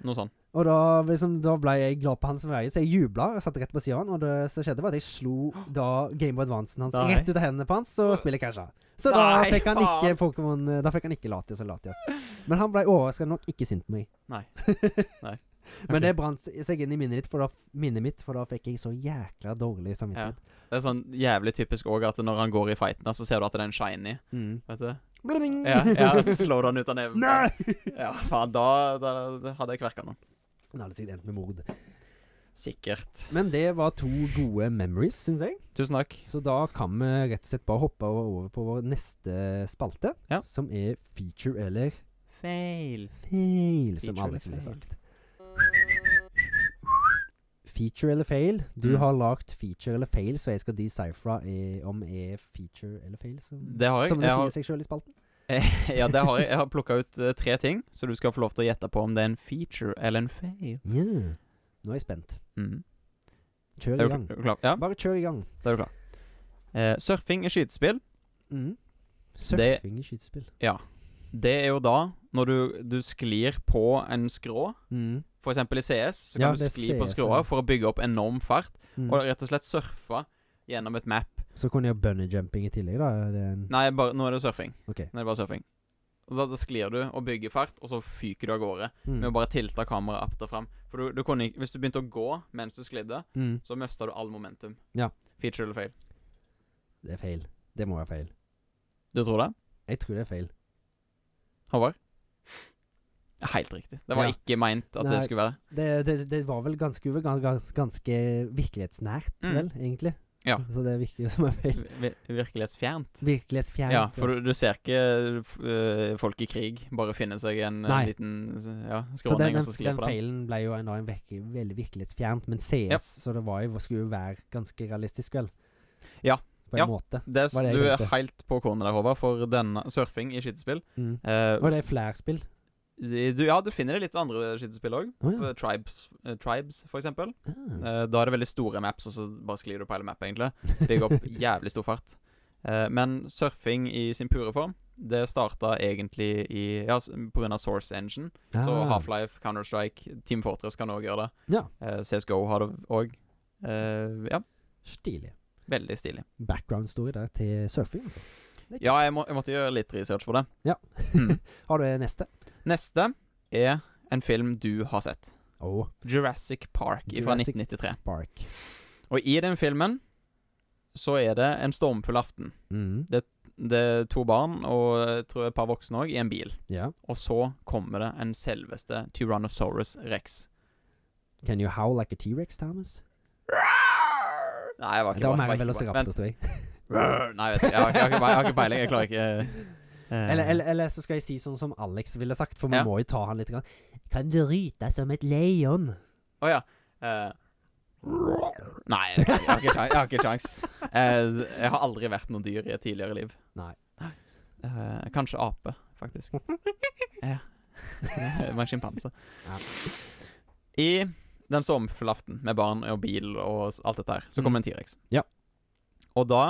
Noe sånt.
Og da, liksom, da ble jeg glad på hans vegne, så jeg jubla og satt rett på sida av han. Og det som skjedde, var at jeg slo da Gameboy Advancen hans
Nei.
rett ut av hendene på hans, og spillet casha. Så da
Nei,
fikk han
faen.
ikke Pokémon eh, Da fikk han ikke Latias og Latias. Men han ble overraskende nok ikke sint på meg.
Nei. Nei.
Men
Ok.
det brant seg inn i minnet, ditt, for da, minnet mitt, for da fikk jeg så jækla dårlig
Ja.
samvittighet.
Det er sånn jævlig typisk òg at når han går i fighten, så ser du at det er en shiny.
Mm.
Vet du?
Bling!
Ja, ja så slår du han ut av neven.
Nei!
Ja, faen, da, da, da hadde jeg kverka noen.
Han hadde sikkert endt med mord.
Sikkert.
Men det var to gode memories, syns jeg.
Tusen takk.
Så da kan vi rett og slett bare hoppe o- over på vår neste spalte,
Ja.
som er feature eller
Feil.
fail, som
Feature
Alex
eller
ville
fail.
sagt. Feature eller fail? Du
Mm.
har lagt feature eller fail, så jeg skal decifre eh, om er feature eller fail, som,
Det har jeg.
som det
Jeg har-
sier seg sjøl i spalten.
ja, det har jeg. Jeg har plukka ut eh, tre ting, så du skal få lov til å gjette på om det er en feature eller en fail.
Yeah. Nå er jeg spent.
Mm.
Kjør i
Er, du,
gang.
kl- er du klar? Ja,
Bare kjør i gang.
da er du klar. Eh, surfing i skytespill,
Mm.
Det-
Surfing i skytespill.
det er jo da når du, du sklir på en skrå.
Mm.
For eksempel i CS, så
Ja,
kan du
det er
skli på
CS,
skråa
ja.
for å bygge opp enorm fart,
Mm.
og rett og slett surfe gjennom et map.
Så kunne jeg ha bunny jumping i tillegg, da. Er det en...
Nei, bare, nå er det surfing.
Ok.
Nå er det bare surfing. Og Da, da sklir du og bygger fart, og så fyker du av gårde.
Mm.
Med å bare tilte kameraet opp og fram. For du, du kunne ikke, Hvis du begynte å gå mens du sklidde,
Mm.
så mista du all momentum.
Ja.
Feature eller fail?
Det er feil. Det må være feil.
Du tror det?
Jeg tror det er feil.
Håvard? Helt riktig. Det var
Ja.
ikke meint at
Nei.
det skulle være.
Det, det, det var vel ganske, uve- gans- gans- ganske virkelighetsnært,
Mm.
vel, egentlig.
Ja.
Så det virker jo som en feil.
Vi- vi- Virkelighetsfjernt.
Virkelighetsfjernt.
Ja, for du, du ser ikke f- øh, folk i krig bare finne seg en øh,
Nei.
liten s- ja,
så den,
skråning og så skli
den
på den.
feilen ble jo en, da en virke, veldig virkelighetsfjernt, men CS,
Yep.
så det var jo, skulle jo være ganske realistisk, vel?
Ja.
På en
Ja.
måte.
Det, s-
var det jeg
du er
tenkte.
helt på kornet der, Håvard, for denne surfing i skytespill.
Mm.
Eh,
Og det er flerspill.
du, ja, du finner det litt andre skytespill òg.
Å ja.
Tribes, eh, Tribes, for eksempel.
Ah.
Eh, da er det veldig store maps, og så bare sklir du på hele mappa, egentlig. Bygger eh, opp jævlig stor fart. Eh, men surfing i sin pure form, det starta egentlig i Ja, s- på grunn av Source Engine. Så
Ah.
Half-Life, Counter-Strike, Team Fortress kan òg gjøre det.
Ja.
Eh, CSGO har det òg. Eh, ja,
Stilig.
veldig stilig.
Background story der til surfing, altså.
Ja, jeg, må, jeg måtte gjøre litt research på det. Hmm.
Har du neste?
Neste er en film du har sett.
Oh,
Jurassic Park fra 1993.
Spark.
Og i den filmen så er det en stormfull aften.
Mm.
Det er to barn og jeg tror et par voksne òg i en bil.
Ja.
Og så kommer det en selveste Tyrannosaurus rex.
Can you howl like a T-rex, Thomas?
Nei, jeg var ikke
Det var
jeg
mer enn
ikke-
velociraptor,
Vent.
tror jeg.
Nei, jeg vet ikke. Jeg har ikke, jeg har ikke, jeg har ikke peiling. Jeg klarer ikke eh,
Eller, eller, eller så skal jeg si sånn som Alex ville sagt, for vi
Ja.
må jo ta han litt. Grann. Kan du ryte som et leon?
Å ja. eh, Nei, jeg jeg har ikke kjangs. Jeg, har ikke sjans. Eh, jeg har aldri vært noe dyr i et tidligere liv.
Nei.
Eh, kanskje ape, faktisk. Ja. Det var en sjimpanse.
Ja.
I den sommerfulle aften med barn og bil og s- alt dette her, så kommer
Mm.
en T-rex.
Ja.
Og da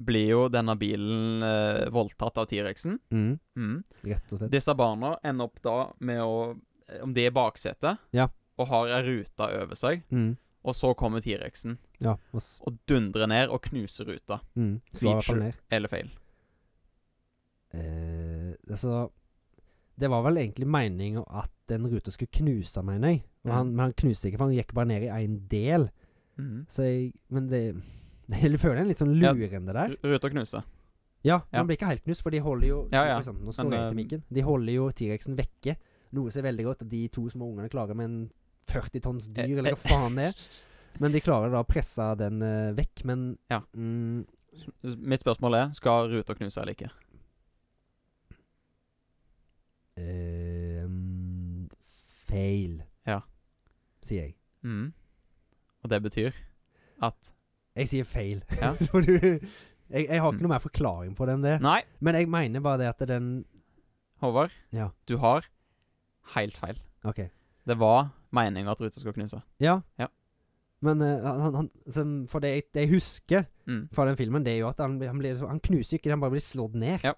blir jo denne bilen eh, voldtatt av T-rexen.
Mm,
Mm.
rett og slett.
Disse barna ender opp da med å eh, Om de er i baksetet
Ja.
og har ei rute over seg,
Mm,
og så kommer T-rexen
ja, og s-
og dundrer ned og knuser ruta.
mm, slå i hvert fall
Feature.
ned.
Eller feil.
Eh, altså Det var vel egentlig meninga at en rute skulle knuse, mener jeg. Og han,
Mm.
men han knuste ikke, for han gikk bare ned i én del.
Mhm.
Så jeg Men det Jeg føler en litt sånn
Ja.
lurende der.
R- Rute og knuse.
Ja,
Ja.
han blir ikke helt knust, for de holder jo
Ja, ja.
Oi, sant, Nå slår
Men,
jeg til
eh,
mikken. De holder jo T-rexen vekke, noe som er veldig godt. De to små ungene klarer med en 40 tonns
Eh,
dyr, eller
eh.
hva faen det er. Men de klarer da å presse den eh, vekk, men
Ja.
mm,
S- Mitt spørsmål er skal rute og knuse eller ikke.
eh, mm, Feil,
Ja.
sier jeg.
Mhm. Og det betyr at
Jeg sier feil.
Ja.
For du jeg, jeg har
Mm.
ikke noe mer forklaring på det enn det.
Nei,
Men jeg mener bare det at den
Håvard.
Ja.
Du har helt feil.
OK.
Det var meninga at ruta skulle knuse.
Ja.
Ja.
Men eh, han, han, som- for det jeg, det jeg husker
Mhm.
fra den filmen, det er jo at han, blir- han, blir, han knuser ikke, han bare blir slått ned.
Ja.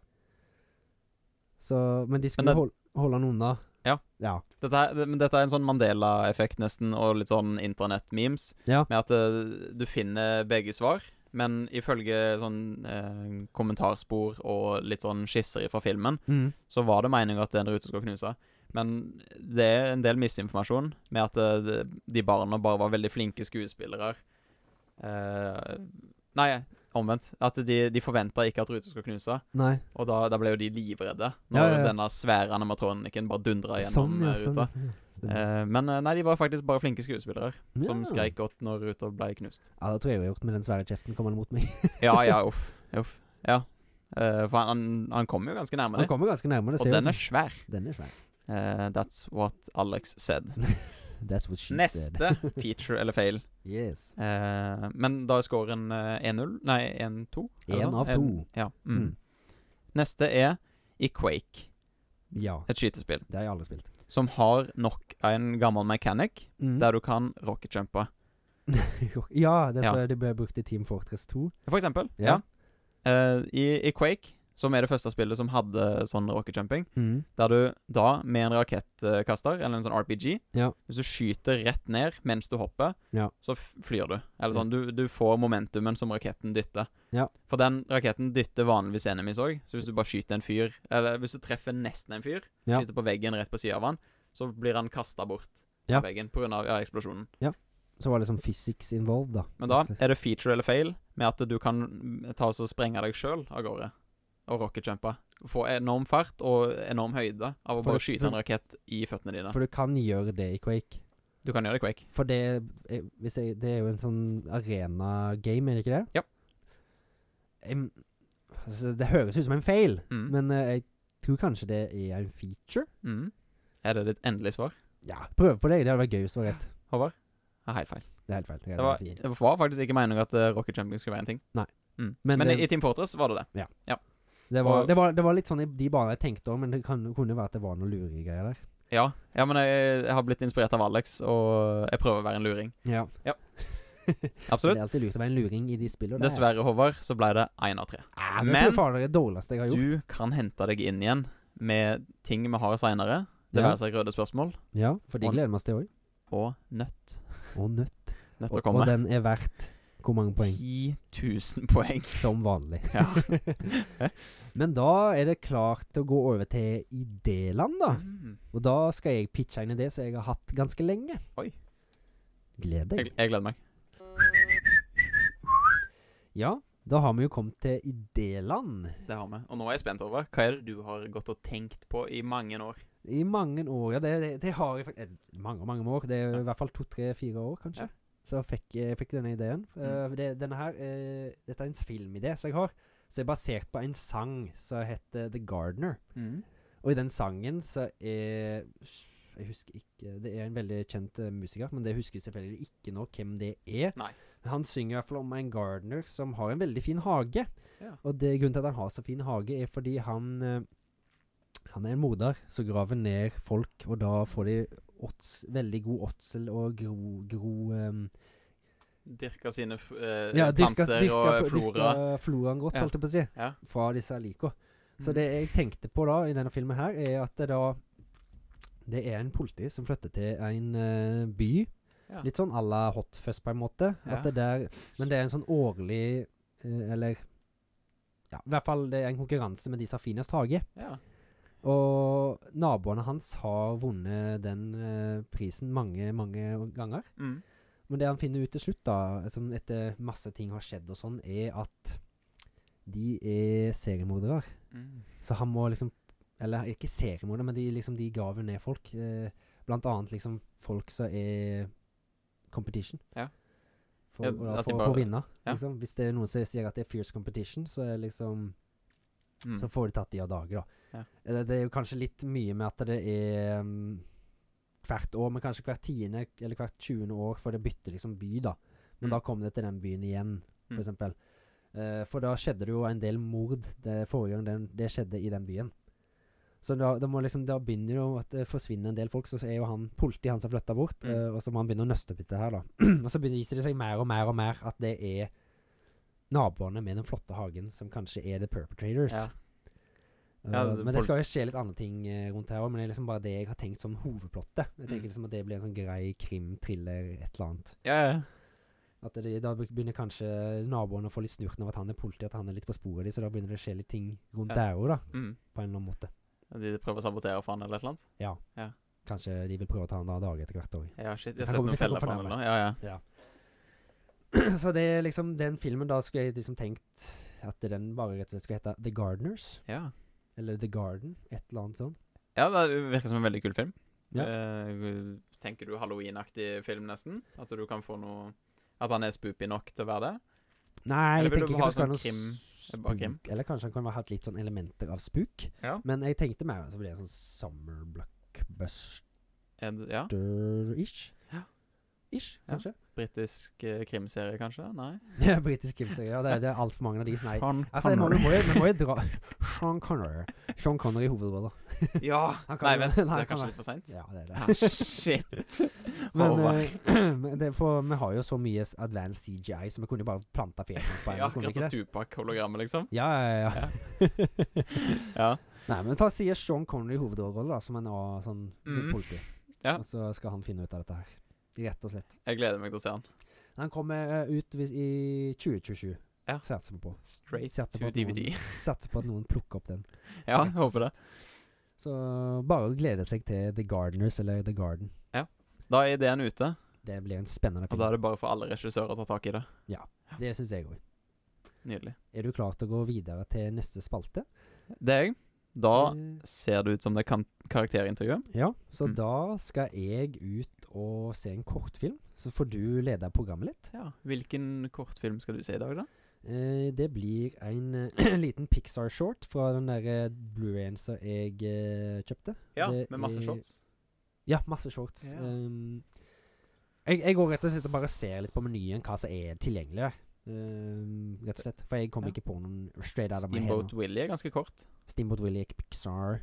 Så, men de skulle
det-
hol- holde han unna.
Ja.
Ja.
Dette, er, det- men dette er en sånn Mandela-effekt, nesten, og litt sånn internett-memes.
Ja.
Med at eh, du finner begge svar, men ifølge sånn eh, kommentarspor og litt sånn skisser fra filmen,
Mm.
så var det meninga at den rute skulle knuse. Men det er en del misinformasjon med at eh, de- de barna bare var veldig flinke skuespillere. Eh, nei, omvendt. At de, de forventa ikke at ruta skulle knuse,
Nei.
og da, da ble jo de livredde når
Ja, ja, ja.
denne svære animatronikken bare dundra gjennom
Sånn, ja.
eh,
Sånn,
ruta.
ja, sånn, ja. Stemmer.
Eh, men eh, nei, de var faktisk bare flinke skuespillere som
Ja.
skreik godt når ruta ble knust.
Ja, det tror jeg jeg har gjort med den svære kjeften kommende mot meg.
Ja, ja, uff. uff. Ja. Eh, for han, han kom jo ganske nærme
Han
det.
kommer ganske nærme. Det
Og
ser jo
den er
ut
svær.
som- den er svær.
Eh, that's what Alex said.
That's what she said.
Neste feature eller fail.
Yes.
Eh, men da er scoren eh, 1-0 Nei, 1-2. er det
En
sånn?
av
En-
to.
Ja. Mm.
Mm.
Neste er i Quake.
Ja.
Et skytespill
Det har jeg aldri spilt.
som har nok en gammel mechanic
Mm.
der du kan rocketjumpe.
ja, det,
Ja.
Så det ble brukt i Team Fortress 2.
For eksempel. Ja.
Ja.
Eh, i, I Quake, som er det første spillet som hadde sånn rocketjumping,
Mm.
der du da med en rakettkaster, eller en sånn RPG
Ja.
Hvis du skyter rett ned mens du hopper,
Ja.
så f- flyr du. Eller sånn, du, du får momentumen som raketten dytter.
Ja.
For den raketten dytter vanligvis enemies òg, så hvis du bare skyter en fyr Eller hvis du treffer nesten en fyr,
Ja.
skyter på veggen rett på sida av han, så blir han kasta bort
Ja.
på veggen pga. Ja, eksplosjonen.
Så var det sånn physics involved, da.
Men da er det feature eller fail med at du kan mm, ta og så sprenge deg sjøl av gårde. og rocketjumpe. Få enorm fart og enorm høyde av
For
å bare
du-
skyte en rakett i føttene dine.
For du kan gjøre det i Quake.
Du kan gjøre det i Quake.
For det, eh, hvis jeg, det er jo en sånn arena-game, er det ikke det?
Ja.
Em, altså, det høres ut som en feil,
Mm.
men eh, jeg tror kanskje det er en feature.
Mm. Er det ditt endelige svar?
Ja, prøv på det. Det hadde vært gøy hvis det var rett.
Håvard? Ja, helt feil.
Det er helt feil. Jeg
Det
er
var,
helt enig.
det var faktisk ikke meninga at eh, rocket jumping skulle være en ting.
Nei.
Mm.
Men
Men,
det-
i Team Fortress var det det.
Det var,
Og-
det, var, det var litt sånn i de banene jeg tenkte om, men det kan, kunne være at det var noen luregreier der.
Ja, ja men jeg, jeg har blitt inspirert av Alex, og jeg prøver å være en luring.
Ja, Det
Absolutt.
er alltid lurt å være en luring i de spillene. der.
Dessverre, Håvard, så ble det én av tre.
Ja, men,
Men-
jeg tror faen det er det dårligste jeg har gjort.
Du kan hente deg inn igjen med ting vi har seinere. Det
Ja.
være seg røde spørsmål
Ja, for de
Og-
gleder vi oss til òg.
og nøtt.
Og nøtt. Og,
Nøtt å
og
komme.
den er verdt hvor mange poeng?
10 000 poeng.
Som vanlig.
Ja.
Men da er det klart til å gå over til idéland, da.
Mm.
Og da skal jeg pitche inn i det som jeg har hatt ganske lenge.
Oi.
Gled
Jeg,
deg.
jeg gleder meg.
Ja, da har vi jo kommet til idéland.
Det har vi. Og nå er jeg spent over. Hva er det du har gått og tenkt på i mange år?
I mange år, ja. Det, det, det har jeg faktisk Mange, mange år. Det er i hvert fall to-tre-fire år, kanskje.
Ja. Mm.
Så fikk jeg fikk denne ideen. Eh, det, denne her, eh, dette er en filmidé som jeg har. Som er basert på en sang som heter The Gardener. Og i den sangen så er Jeg husker ikke Det er en veldig kjent eh, musiker, men det husker jeg selvfølgelig ikke nå hvem det er.
Nei.
Men Han synger i hvert fall om en gardener som har en veldig fin hage.
Ja.
Og det grunnen til at han har så fin hage, er fordi han eh, Han er en morder som graver ned folk, og da får de odds, veldig god åtsel og gro, gro eh,
Dyrka sine f eh,
ja, dyrka,
planter
dyrka,
og
dyrka
flora.
floraen godt,
Ja.
holdt jeg på å si.
Ja.
Fra disse lika. Så
Mm.
det jeg tenkte på da, i denne filmen her, er at det da Det er en politi som flytter til en eh, by.
Ja.
Litt sånn à la Hot Fuzz på en måte. At
Ja.
det der, men det er en sånn årlig eh, Eller ja, i hvert fall det er en konkurranse med de som har finest hage.
Ja.
Og naboene hans har vunnet den eh, prisen mange, mange ganger.
Mm.
Men det han finner ut til slutt, da, som etter masse ting har skjedd og sånn, er at de er seriemordere.
Mm.
Så han må liksom Eller ikke seriemordere, men de, liksom, de graver ned folk. Eh, blant annet liksom folk som er competition.
Ja.
For,
Ja,
og da
at de
for,
bare-
for å vinne.
ja.
Liksom. Hvis det er noen som sier at det er fierce competition, så er liksom
Mm.
så får de tatt de av dage, da.
Ja.
Eh, Det, det er jo kanskje litt mye med at det er mm, hvert år, men kanskje hvert tiende eller hvert tjuende år, for det bytter liksom by, da. Men
Mm.
da kom det til den byen igjen,
Mm.
for eksempel. Eh, for da skjedde det jo en del mord det forrige gang den, det skjedde i den byen. Så da, da, må liksom, da begynner jo at det forsvinner en del folk, så er jo han politi, han som flytta bort,
Mm.
eh, og så må han begynne å nøste opp i det her, da. og så begynner, viser det seg mer og mer og mer at det er naboene med den flotte hagen som kanskje er the perpetrators.
Ja.
Eh,
Ja, det-
men det
pol-
skal jo skje litt andre ting eh, rundt her òg, men det er liksom bare det jeg har tenkt som hovedplottet. Jeg tenker
Mm.
liksom at det blir en sånn grei krim-thriller, et eller annet.
ja, ja.
At det, da be- begynner kanskje naboene å få litt snurten av at han er politi, at han er litt på sporet de, så da begynner det å skje litt ting rundt
Ja.
der òg, da.
Mm.
På en eller annen måte.
De prøver å sabotere for han eller et eller annet?
Kanskje de vil prøve å ta han av dage etter hvert òg.
Ja, shit. Jeg
Hvis han
har sett
kommer-
noen
hvis han
feller for
kommer
han
for
eller noe. Ja, ja.
så det er liksom den filmen da skulle jeg liksom tenkt at den bare rett og slett skal hete The Gardeners.
ja.
Eller The Garden, et eller annet sånt.
Ja, det virker som en veldig kul film.
Ja.
Eh, tenker du halloweenaktig film, nesten? At du kan få noe At han er spoopy nok til å være det?
Nei,
Eller
jeg
vil du
tenker ikke
ha
at det skal
sånn
være noe
krim-
spook,
bare krim?
Eller kanskje han kan ha hatt litt sånn elementer av spook.
Ja.
Men jeg tenkte mer så blir det en sånn summer blockbuster-ish.
Er det- ja. Ja.
Ish,
Ja.
kanskje.
Britisk eh, krimserie, kanskje? Nei?
Ja. Britisk krimserie. Ja, det, er- det er altfor mange av de. Nei.
Sean
Altså, jeg må, vi, må jo, vi må jo dra Sean Connery. Sean Connery i hovedrollen.
Ja!
Han kan
Nei,
jo-
vent. Det
Nei, han
er
kan
kanskje
være-
litt for seint?
Ja, det er det.
Ah, shit.
Men
Håvard.
eh, men det er for, vi har jo så mye s- advanced CGI, så vi kunne jo bare planta fjeset hans på en.
Ja,
kunne vi
akkurat
ikke
som
det?
Tupac-hologrammet, liksom.
Ja, ja, ja.
Ja.
Nei, men ta sier Sean Connery i hovedrollen, da, som en A, sånn
Mm.
politi.
Ja.
Og så skal han finne ut av dette her. Rett og slett.
Jeg gleder meg til å se han.
Han kommer eh, ut hvis, i 2027.
Ja.
Satser vi på.
Straight
Setter på
to
at
DVD.
Satser på at noen plukker opp den.
Ja,
rett og
håper det.
Så bare å glede seg til The Gardeners eller The Garden.
Da er ideen ute,
Det blir en spennende
og
film.
da er det bare for alle regissører å ta tak i det.
Det syns jeg òg.
Nydelig.
Er du klar til å gå videre til neste spalte?
Det er jeg. Da
Eh,
ser det ut som det kan karakterintervju.
Ja, så
Mm.
da skal jeg ut og se en kortfilm. Så får du lede programmet litt.
Ja. Hvilken kortfilm skal du se i dag, da?
Eh, det blir en eh, liten Pixar-short fra den derre Blu-rayen som jeg eh, kjøpte. Det
med masse
er-
shots.
Ja, masse shorts.
Ja.
Ehm, jeg, jeg går rett og slett og bare ser litt på menyen hva som er tilgjengelig. der. Ehm, rett og slett. For jeg kom
Ja.
ikke på noen straight out of my head.
Steamboat
nå.
Willie er ganske kort.
Steamboat Willie, Pixar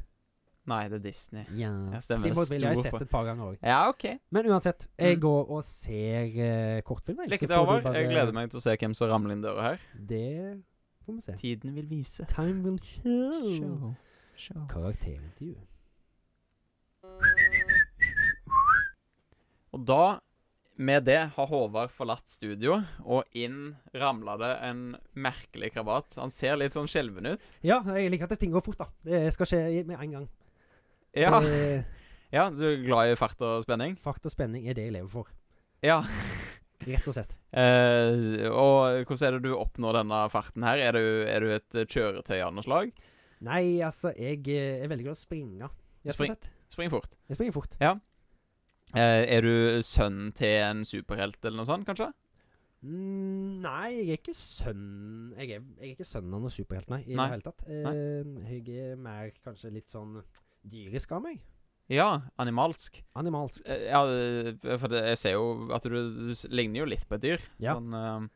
Nei, det er Disney.
Ja.
Ja, stemmer.
Steamboat Willie har jeg
Stor
sett et par ganger òg.
Ja, OK.
Men uansett, jeg
Mm.
går og ser uh, kortfilm. jeg, så får
Lykke til,
du
Håvard.
bare-
Jeg gleder meg til å se hvem som ramler inn døra her.
Det får vi se.
Tiden vil vise.
Time will show.
Show. Show.
Karakterintervju.
Og da, med det, har Håvard forlatt studio, og inn ramla det en merkelig krabat. Han ser litt sånn skjelven ut.
Ja, jeg liker at ting går fort, da. Det skal skje med en gang.
Ja,
Det er
ja du er glad i fart og spenning?
Fart og spenning er det jeg lever for.
Ja.
Rett og slett.
Eh, og hvordan er det du oppnår denne farten her? Er du, er du et eh, kjøretøy av noe slag?
Nei, altså, jeg eh, er veldig glad i å springe. Rett og
Spring.
slett.
Spring fort.
Jeg springer fort.
Eh, er du sønnen til en superhelt eller noe sånt, kanskje?
Mm, nei, jeg er ikke sønn Jeg er, jeg er ikke sønnen av noen superhelt, nei. I
Nei.
det hele tatt. Eh, jeg er mer kanskje litt sånn dyrisk av meg.
Ja, animalsk.
Animalsk.
Eh, Ja, eh, for det, jeg ser jo at du, du s- ligner jo litt på et dyr.
Ja.
Sånn, eh,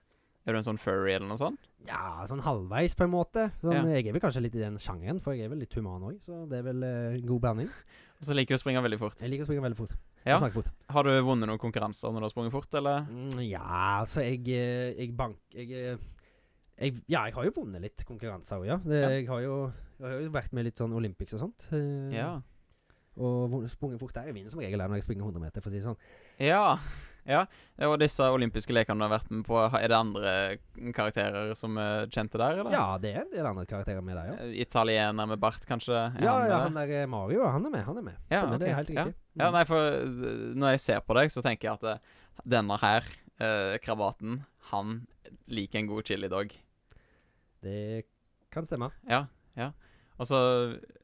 er du en sånn furry eller noe sånt?
Ja, sånn halvveis, på en måte. Sånn,
Ja.
Jeg er vel kanskje litt i den sjangeren, for jeg er vel litt human òg, så det er vel eh, en god blanding.
Og så liker du å springe veldig fort.
Jeg liker å springe veldig fort.
Ja.
Og snakke fort.
Har du vunnet noen konkurranser når du har sprunget fort, eller?
Mm, Ja, altså jeg, eh, jeg bank... Jeg, eh, jeg, ja, jeg har jo vunnet litt konkurranser òg, ja. Det,
Ja.
Jeg, har jo, jeg har jo vært med litt sånn Olympics og sånt. eh,
Ja.
Og vunnet- sprunget fort der. Jeg vinner som regel der når jeg springer 100 meter, for å si det sånn.
Ja. ja. Og disse olympiske lekene du har vært med på, ha- er det andre karakterer som er kjente der, eller?
Ja, det er en del andre karakterer med der, ja.
Eh, Italiener med bart, kanskje? Er
Ja,
han med
ja,
der?
han der eh, Mario, han er med. Han er med.
Ja,
Stemmer, det
ok,
er helt
ja.
riktig.
Ja,
Mm.
nei, for eh, når jeg ser på deg, så tenker jeg at eh, denne her, eh, krabaten, han liker en god chili dog.
Mm. Det kan stemme.
Ja, ja. Og så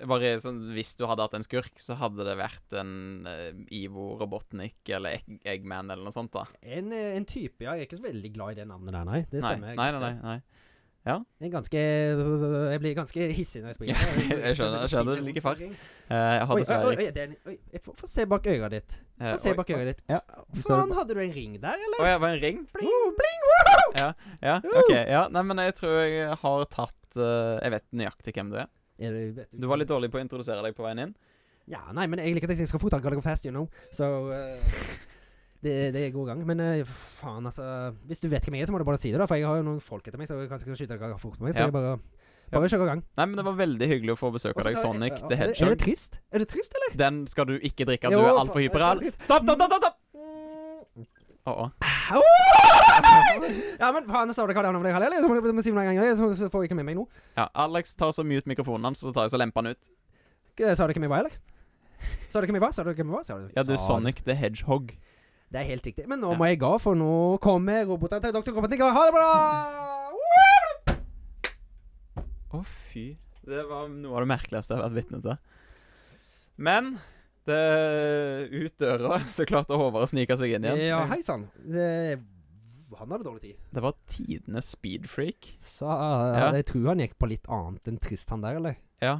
bare sånn, hvis du hadde hatt en skurk, så hadde det vært en eh, Ivo Robotnik eller Egg Eggman eller noe sånt, da.
En, eh, en type, ja. Jeg er ikke så veldig glad i det navnet der, nei. Det
Nei,
stemmer.
nei, nei, nei, nei.
En ganske Jeg blir ganske hissig når jeg springer.
jeg skjønner- jeg skjønner, det ligger fart. Eh, jeg
Oi,
har
oi,
dessverre
oi, oi, det er en, oi, jeg får, får se bak øya ditt.
eh,
Få se
oi,
bak øya ditt.
Ja.
Faen, hadde du en ring der, eller?
Å ja, var det en ring? Bling!
Oh, bling, woho!
Ja, OK. Ja, nei, men jeg tror jeg har tatt eh, Jeg vet nøyaktig hvem du er.
Er det- vet
Du var litt dårlig på å introdusere deg på veien inn.
Ja, nei, men jeg liker at jeg skal fort, I gotta go fast, you know. Så eh, det, det er god gang. Men eh, faen, altså Hvis du vet hvem jeg er, så må du bare si det, da. For jeg har jo noen folk etter meg, så jeg kanskje skal skyte dere fort på meg. Så
Ja.
jeg bare Bare kjør i gang.
Nei, men det var veldig hyggelig å få besøk
Og så
av
tar
deg,
jeg-
Sonic
er
the
det- Er det
Hedgehog.
trist? Er det trist, eller?
Den skal du ikke drikke, Mm. du
Jo,
er
faen,
altfor
jeg skal
hyperal.
drikke.
Stopp, stopp, stopp! stopp! Å, å.
Au! Ja, men faen, står det hva det er om deg, Halle? Eller så må du- må du si noe en gang, eller så så får jeg ikke med meg noe.
Ja, Alex tar så mute mikrofonen hans, så tar jeg så lemper han ut.
K- Eh, Sa du hvem jeg var, eller? Sa du hvem jeg var? Sa du hvem jeg var? Sa du,
Ja, du,
Sa
Sonic the Hedgehog.
Det er helt riktig. Men nå
Ja.
må jeg gå, for nå kommer robotene til Dr. Robotnik. Ha det bra!
Å, fy. Det var noe av det merkeligste jeg har vært vitne til. Men det ut døra så klarte Håvard å snike seg inn igjen.
Ja, hei sann. Det- Han hadde dårlig tid.
Det var tidenes speedfreak.
Så
Ja.
jeg tror han gikk på litt annet enn trist, han der, eller?
Ja.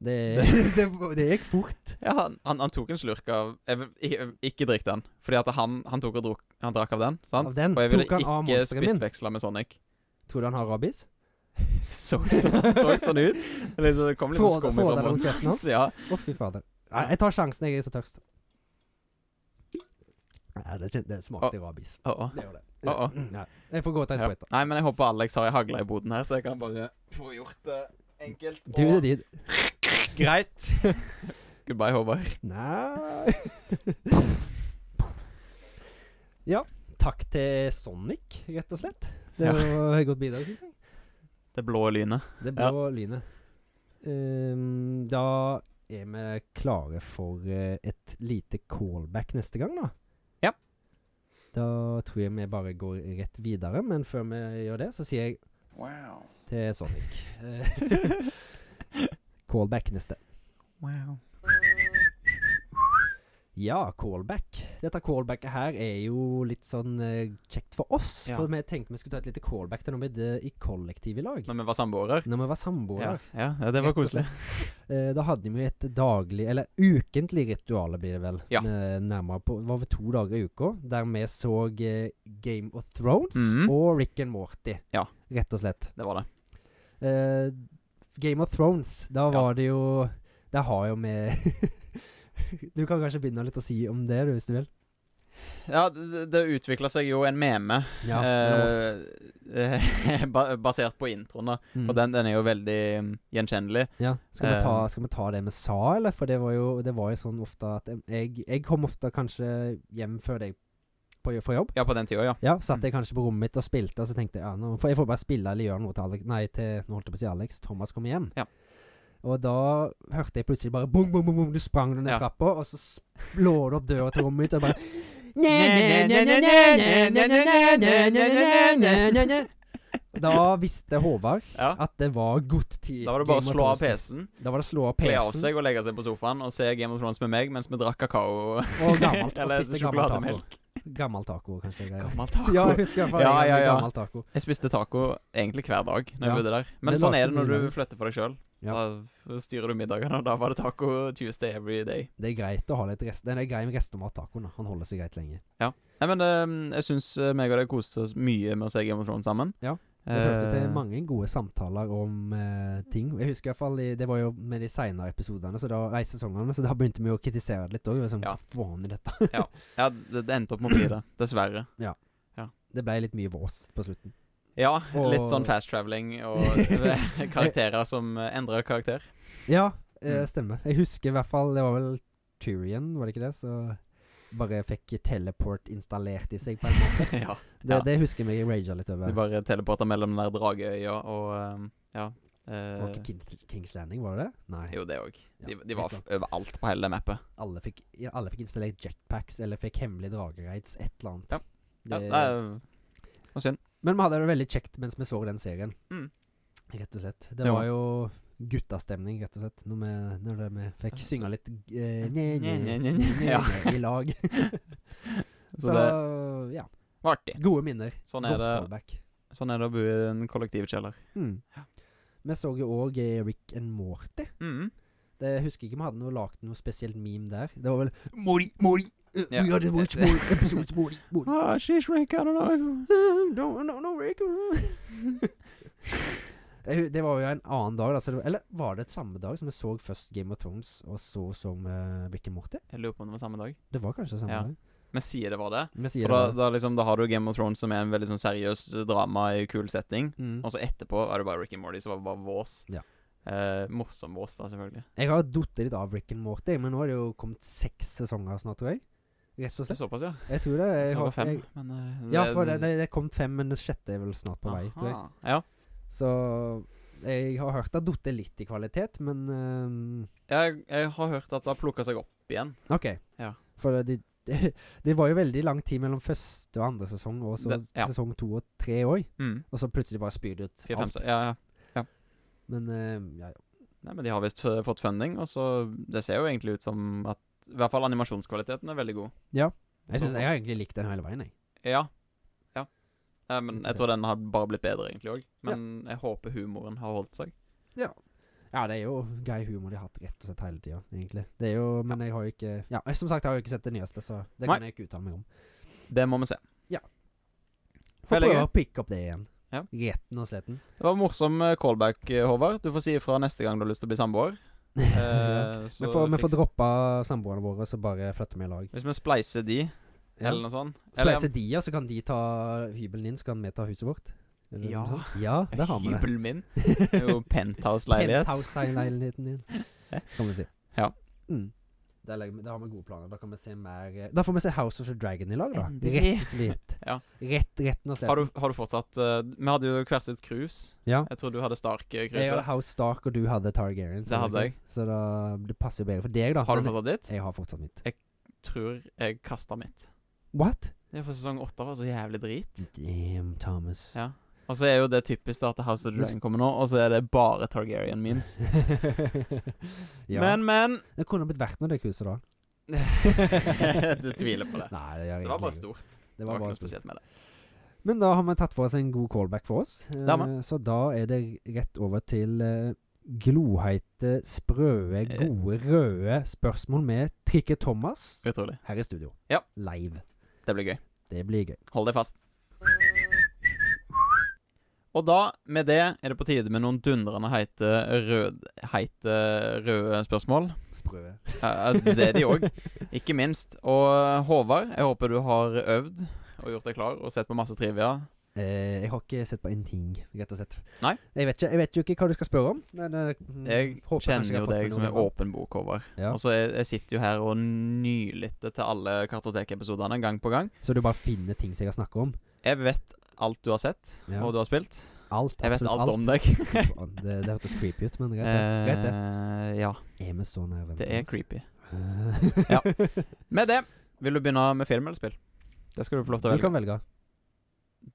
Det, det, det gikk fort.
Ja, han, han, han tok en slurk av jeg, vil- jeg, Ikke drikk den, fordi at han, han tok og drok, han drakk av den. sant?
Av den
og jeg ville
tok han av
ikke
monsteren min.
spyttveksle med Sonic.
Tror du han har rabies?
så, så, så sånn ut. Det Liksom, det kom litt sånn
Få det-
skum
få
fra
det rundt
munnen
kjeften
hans. Ja.
Å, fy fader. Nei, jeg tar sjansen, jeg er så tørst. Nei, det, kjente- det smakte rabies.
Å, å.
Det gjør det.
Å, å.
Nei, jeg får gå og ta en
Ja.
sprøyte.
Nei, men jeg håper Alex har ei hagle i boden her, så jeg kan bare få gjort det enkelt.
Du, det er din.
Greit. Goodbye, Håvard.
Nei Ja. Takk til Sonic, rett og slett. Det
Ja.
var et godt bidrag, syns jeg.
Det blå lynet.
Det blå lynet. Ehm, da er vi klare for eh, et lite callback neste gang, da.
Ja.
Da tror jeg vi bare går rett videre, men før vi gjør det, så sier jeg
Wow.
til Sonic. Eh, callback neste.
Wow.
Ja, callback. Dette callbacket her er jo litt sånn eh, kjekt for oss.
Ja.
For vi tenkte vi skulle ta et lite callback til når vi døde i kollektiv i lag.
Når vi var samboere.
Når vi var
Ja,
samboere.
ja, ja, det var
Rett og
koselig.
Eh, da hadde vi et daglig, eller ukentlig ritual, blir det vel.
Ja.
Med nærmere på, det var vel to dager i uka, der vi så eh, Game of Thrones
Mhm.
og Rick and Morty.
Ja.
Rett og slett.
Det var det.
Eh, Game of Thrones, da
Ja.
var det jo Det har jo med Du kan kanskje begynne litt å si om det, du, hvis du vil.
Ja, det, det utvikla seg jo en meme
Ja, mellom oss.
eh, ba- basert på introen, da.
Mm.
Og den, den er jo veldig mm, gjenkjennelig.
Ja, skal vi,
Eh,
ta, skal vi ta det vi sa, eller? For det var jo, det var jo sånn ofte at em- jeg, jeg kom ofte kanskje hjem før deg på, jo- fra jobb.
Ja, på den tida, ja.
Ja, satt
Mm.
jeg kanskje på rommet mitt og spilte, og så tenkte jeg ja, nå, for jeg får bare spille eller gjøre noe til Alex Nei, til, nå holdt jeg på å si Alex. Thomas kommer hjem.
Ja.
Og da hørte jeg plutselig bare bong, bong, bong, bong, du sprang du ned
Ja.
trappa, og så slår du opp døra til rommet mitt, og bare Da visste Håvard
ja.
at det var godt tid.
Da var det bare å
Game of
slå av
Thrones.
PC-en,
Da var det å slå av
kle av
PC-en
seg og legge seg på sofaen og se Game of Thrones med meg mens vi drakk kakao og
og gammelt. Og
Eller
spiste gammel taco.
sjokolademelk.
Gammel taco, kanskje. jeg greier.
Gammel taco.
Ja, jeg husker i hvert fall
Ja,
en
ja, ja.
gammel taco.
Jeg spiste taco egentlig hver dag når
Ja.
jeg bodde der. Men
Det
sånn
lagde
er det når
du
du
lenge.
flytter for deg sjøl.
Ja.
Da styrer du middagene, og da var det taco Tuesday every day.
Det er greit å ha litt rest. Den er grei med restemat-tacoen. da. Han holder seg greit lenge.
Nei, men eh, jeg syns meg og deg koste oss mye med å se Game of Thrones sammen.
Ja. Det førte
Eh,
til mange gode samtaler om eh, ting. Jeg husker i hvert fall i- Det var jo med de seinere episodene, så da, nei, sesongene, så da begynte vi å kritisere det litt òg. Sånn,
Ja.
Hva faen er dette?
ja, det, det endte opp med å bli det. Dessverre.
Det ble litt mye vås på slutten.
Ja, litt
Og-
sånn fast traveling og karakterer som eh, endrer karakter.
Ja, eh,
Mm.
stemmer. Jeg husker i hvert fall Det var vel Tyrion, var det ikke det? Så bare fikk teleport installert i seg på en måte.
ja.
Det, det husker jeg meg raga litt
Du
over.
bare teleporter mellom den der drageøya og eh, ja. eh,
Var ikke King, Kings Landing, var det det? Nei.
jo, det òg. De,
Ja, sånn.
de var
helt
f- overalt på hele det mappet.
Alle fikk, ja, alle fikk installert jetpacks eller fikk hemmelige dragereids, et eller annet.
Ja. Ja,
Det-
det er og synd.
Men vi hadde det veldig kjekt mens vi så den serien,
Mm.
rett og slett. Det
Jo.
var jo guttastemning, rett og slett, når vi, når det- vi fikk synge litt eh, nye, nye, nye, nye,
Ja.
i lag.
Så
Så ja.
Det var artig.
Gode minner.
Sånn er,
Godt
det,
callback.
sånn er det å bo i en kollektivkjeller.
Mm. Vi så jo òg Rick and Morty.
Mm.
Det jeg husker ikke om vi hadde noe lagt noe spesielt meme der. Det var vel Mori, Mori, uh,
Ja.
we gotta watch Mori, episodes Mori, Mori.
Ah, she's Rick, I don't know.
Uh, no, no, no, Rick. Eh, det var jo en annen dag, da. Så det var, eller var det et samme dag som vi så først Game of Thrones, og så som uh, Rick and Morty?
Jeg lurer på om det var samme dag.
Det var kanskje samme
Ja.
dag.
Vi sier det var det.
Vi sier
For da,
det.
da, liksom, da har du Game of Thrones, som er en veldig sånn seriøs drama i kul setting.
da. Mm.
Og så etterpå var det bare Rick and Morty, som var det bare vås.
Ja.
Eh, morsom vås, da, selvfølgelig.
Jeg har datt litt av Rick and Morty, men nå er det jo kommet seks sesonger snart, tror jeg. Rett og
Det er
slett.
såpass, ja.
Jeg tror det. Jeg,
Jeg
har-
var fem,
jeg,
men eh,
ja, for det, det, det er kommet fem, men det sjette er vel snart på vei, tror jeg.
Aha. Ja.
Så jeg har hørt det har datt litt i kvalitet, men ehm,
Jeg, jeg har hørt at det har plukka seg opp igjen.
OK.
Ja.
For det, det, det var jo veldig lang tid mellom første og andre sesong, og så
Det- ja.
sesong to og tre òg.
Mm.
Og så plutselig bare spyr det ut
Fire, fem,
alt.
se- ja, ja.
Men ehm, ja, ja.
Nei, men de har visst eh, fått funding, og så Det ser jo egentlig ut som at I hvert fall animasjonskvaliteten er veldig god.
jeg
Så-
synes jeg har egentlig likt den hele veien, jeg.
Ja. Ja. Eh, men jeg tror den har bare blitt bedre, egentlig òg. Men jeg håper humoren har holdt seg.
Ja, det er jo grei humor de har hatt rett og slett hele tida, egentlig. Det er jo, men jeg har jo ikke Ja, jeg- som sagt, jeg har jo ikke sett det nyeste, så det
Nei.
kan jeg ikke uttale meg om.
Det må vi se.
Får
Veldig
prøve
gøy.
å picke opp det igjen.
Ja.
Retten og sletten.
Det var morsom eh, callback, eh, Håvard. Du får si ifra neste gang du har lyst til å bli samboer.
Ja.
Eh, så
Vi får, vi får
fiks-
droppe samboerne våre, og så bare flytte vi i lag.
Hvis vi spleiser de,
Ja.
eller noe sånt eller-
Spleiser de, ja, så kan de ta hybelen din, så kan vi ta huset vårt? Eller noe
Ja.
sånt. ja det har vi det.
Hybelen min. Det er jo penthouse-leilighet.
Penthouse-leiligheten din, kan vi si.
Ja.
Mm. Der, legger vi, der har vi gode planer. Da kan vi se mer eh, Da får vi se House of the Dragon i lag, da.
Endelig.
Rett svitt.
Ja.
Rett, retten og slett.
Har du, har du fortsatt eh, Vi hadde jo hvert sitt cruise.
Ja.
Jeg tror du hadde
Jeg hadde
Stark-cruiset.
House Stark, og du hadde Targaryen.
Det hadde jeg.
Så da, det passer jo bedre for deg, da.
Har du
Men
fortsatt ditt?
Jeg har fortsatt mitt.
Tror jeg kasta mitt.
What? Mm.
Ja, for sesong åtte var så jævlig drit.
Damn, Thomas.
Ja. Og så er jo det typisk da at House of the Dragon kommer nå, og så er det bare Targaryen-memes.
ja.
Men, men
Det kunne blitt verdt noe, det kurset, da.
Du tviler på det.
Nei, det, gjør jeg
Det
egentlig
var bare
ikke.
stort.
Det var
Det var ikke
bare
noe
stort.
spesielt med det.
Men da har vi tatt for oss en god callback for oss. Eh,
Det har vi.
så da er det rett over til eh, gloheite, sprøe,
Eh.
gode, røde spørsmål med Trikke Thomas
Utrolig.
her i studio.
Ja.
Live.
Det blir gøy.
Det blir gøy.
Hold deg fast. Og da, med det, er det på tide med noen dundrende heite, rød, heite røde spørsmål.
Sprø.
Eh, Det er de òg, ikke minst. Og Håvard, jeg håper du har øvd og gjort deg klar og sett på masse trivia.
Eh, jeg har ikke sett på en ting, rett og slett.
Nei.
Jeg vet, ikke, jeg vet jo ikke hva du skal spørre om. Men, eh,
Jeg
håper kanskje har
kjenner jo
fått
deg
med
som
noe
en
relevant.
åpen bok, Håvard.
Ja.
Og så jeg, jeg sitter jo her og nylytter til alle kartotekepisodene gang på gang.
Så du bare finner ting som jeg kan snakke om?
Jeg vet alt du har sett,
Ja.
og du har spilt.
Alt,
Jeg vet
absolutt
alt, om deg.
Faen, det, det hørtes creepy ut, men greit, det. greit det.
Eh, ja,
Er vi så nærværende?
det er creepy.
creepy.
Ja. Med det, vil du begynne med film eller spill? Det skal du få lov til å
Du
velge.
kan velge.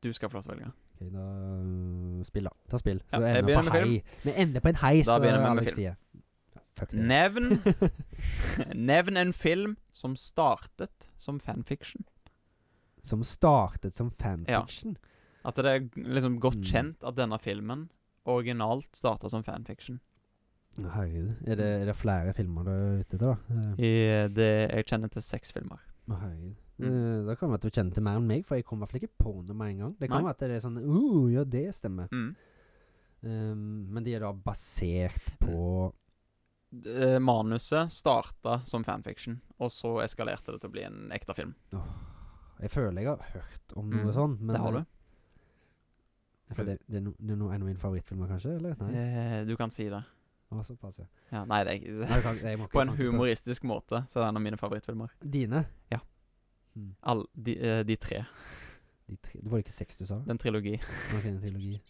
Du skal få lov til å velge.
Ok, da øh, Spill, da. Ta spill. Så
Ja,
vi
jeg
ender
begynner
på
med
hei. Vi ender på en hei,
Da
så
begynner vi med
Alex
film.
sier. Ja, Fuck det.
Nevn Nevn en film som startet som fanfiction.
Som startet som fanfiction.
At det er liksom
Mm.
godt kjent at denne filmen originalt starta som fanfiction.
Å, Herregud. Er det, er det flere filmer du er ute etter, da? Eh,
I det jeg kjenner til seks filmer.
Å, herregud.
Mm.
Eh, Da kan det være at du kjenner til mer enn meg, for jeg kom i hvert fall ikke på noe med en gang. Det kan
Nei.
være at det er sånn Uh, ja, det stemmer.
Mm.
Um, men de er da basert
Mm.
på
D- Eh, Manuset starta som fanfiction, og så eskalerte det til å bli en ekte film.
Jeg føler jeg har hørt om noe
Mm,
sånt. Men
det har du.
Jeg føler det, det, er no, det er no, en av mine favorittfilmer, kanskje? Eller? Nei.
Eh, du kan si det.
Å, såpass, ja.
Ja, nei, det er ikke
Nei, du kan- jeg må ikke-
På
jeg kan
en
ikke spørre.
humoristisk måte så er det en av mine favorittfilmer.
Dine?
Ja.
Mm.
All, de, eh, de tre.
De tre, det var ikke seks du sa?
Den trilogi.
Ok, en trilogi.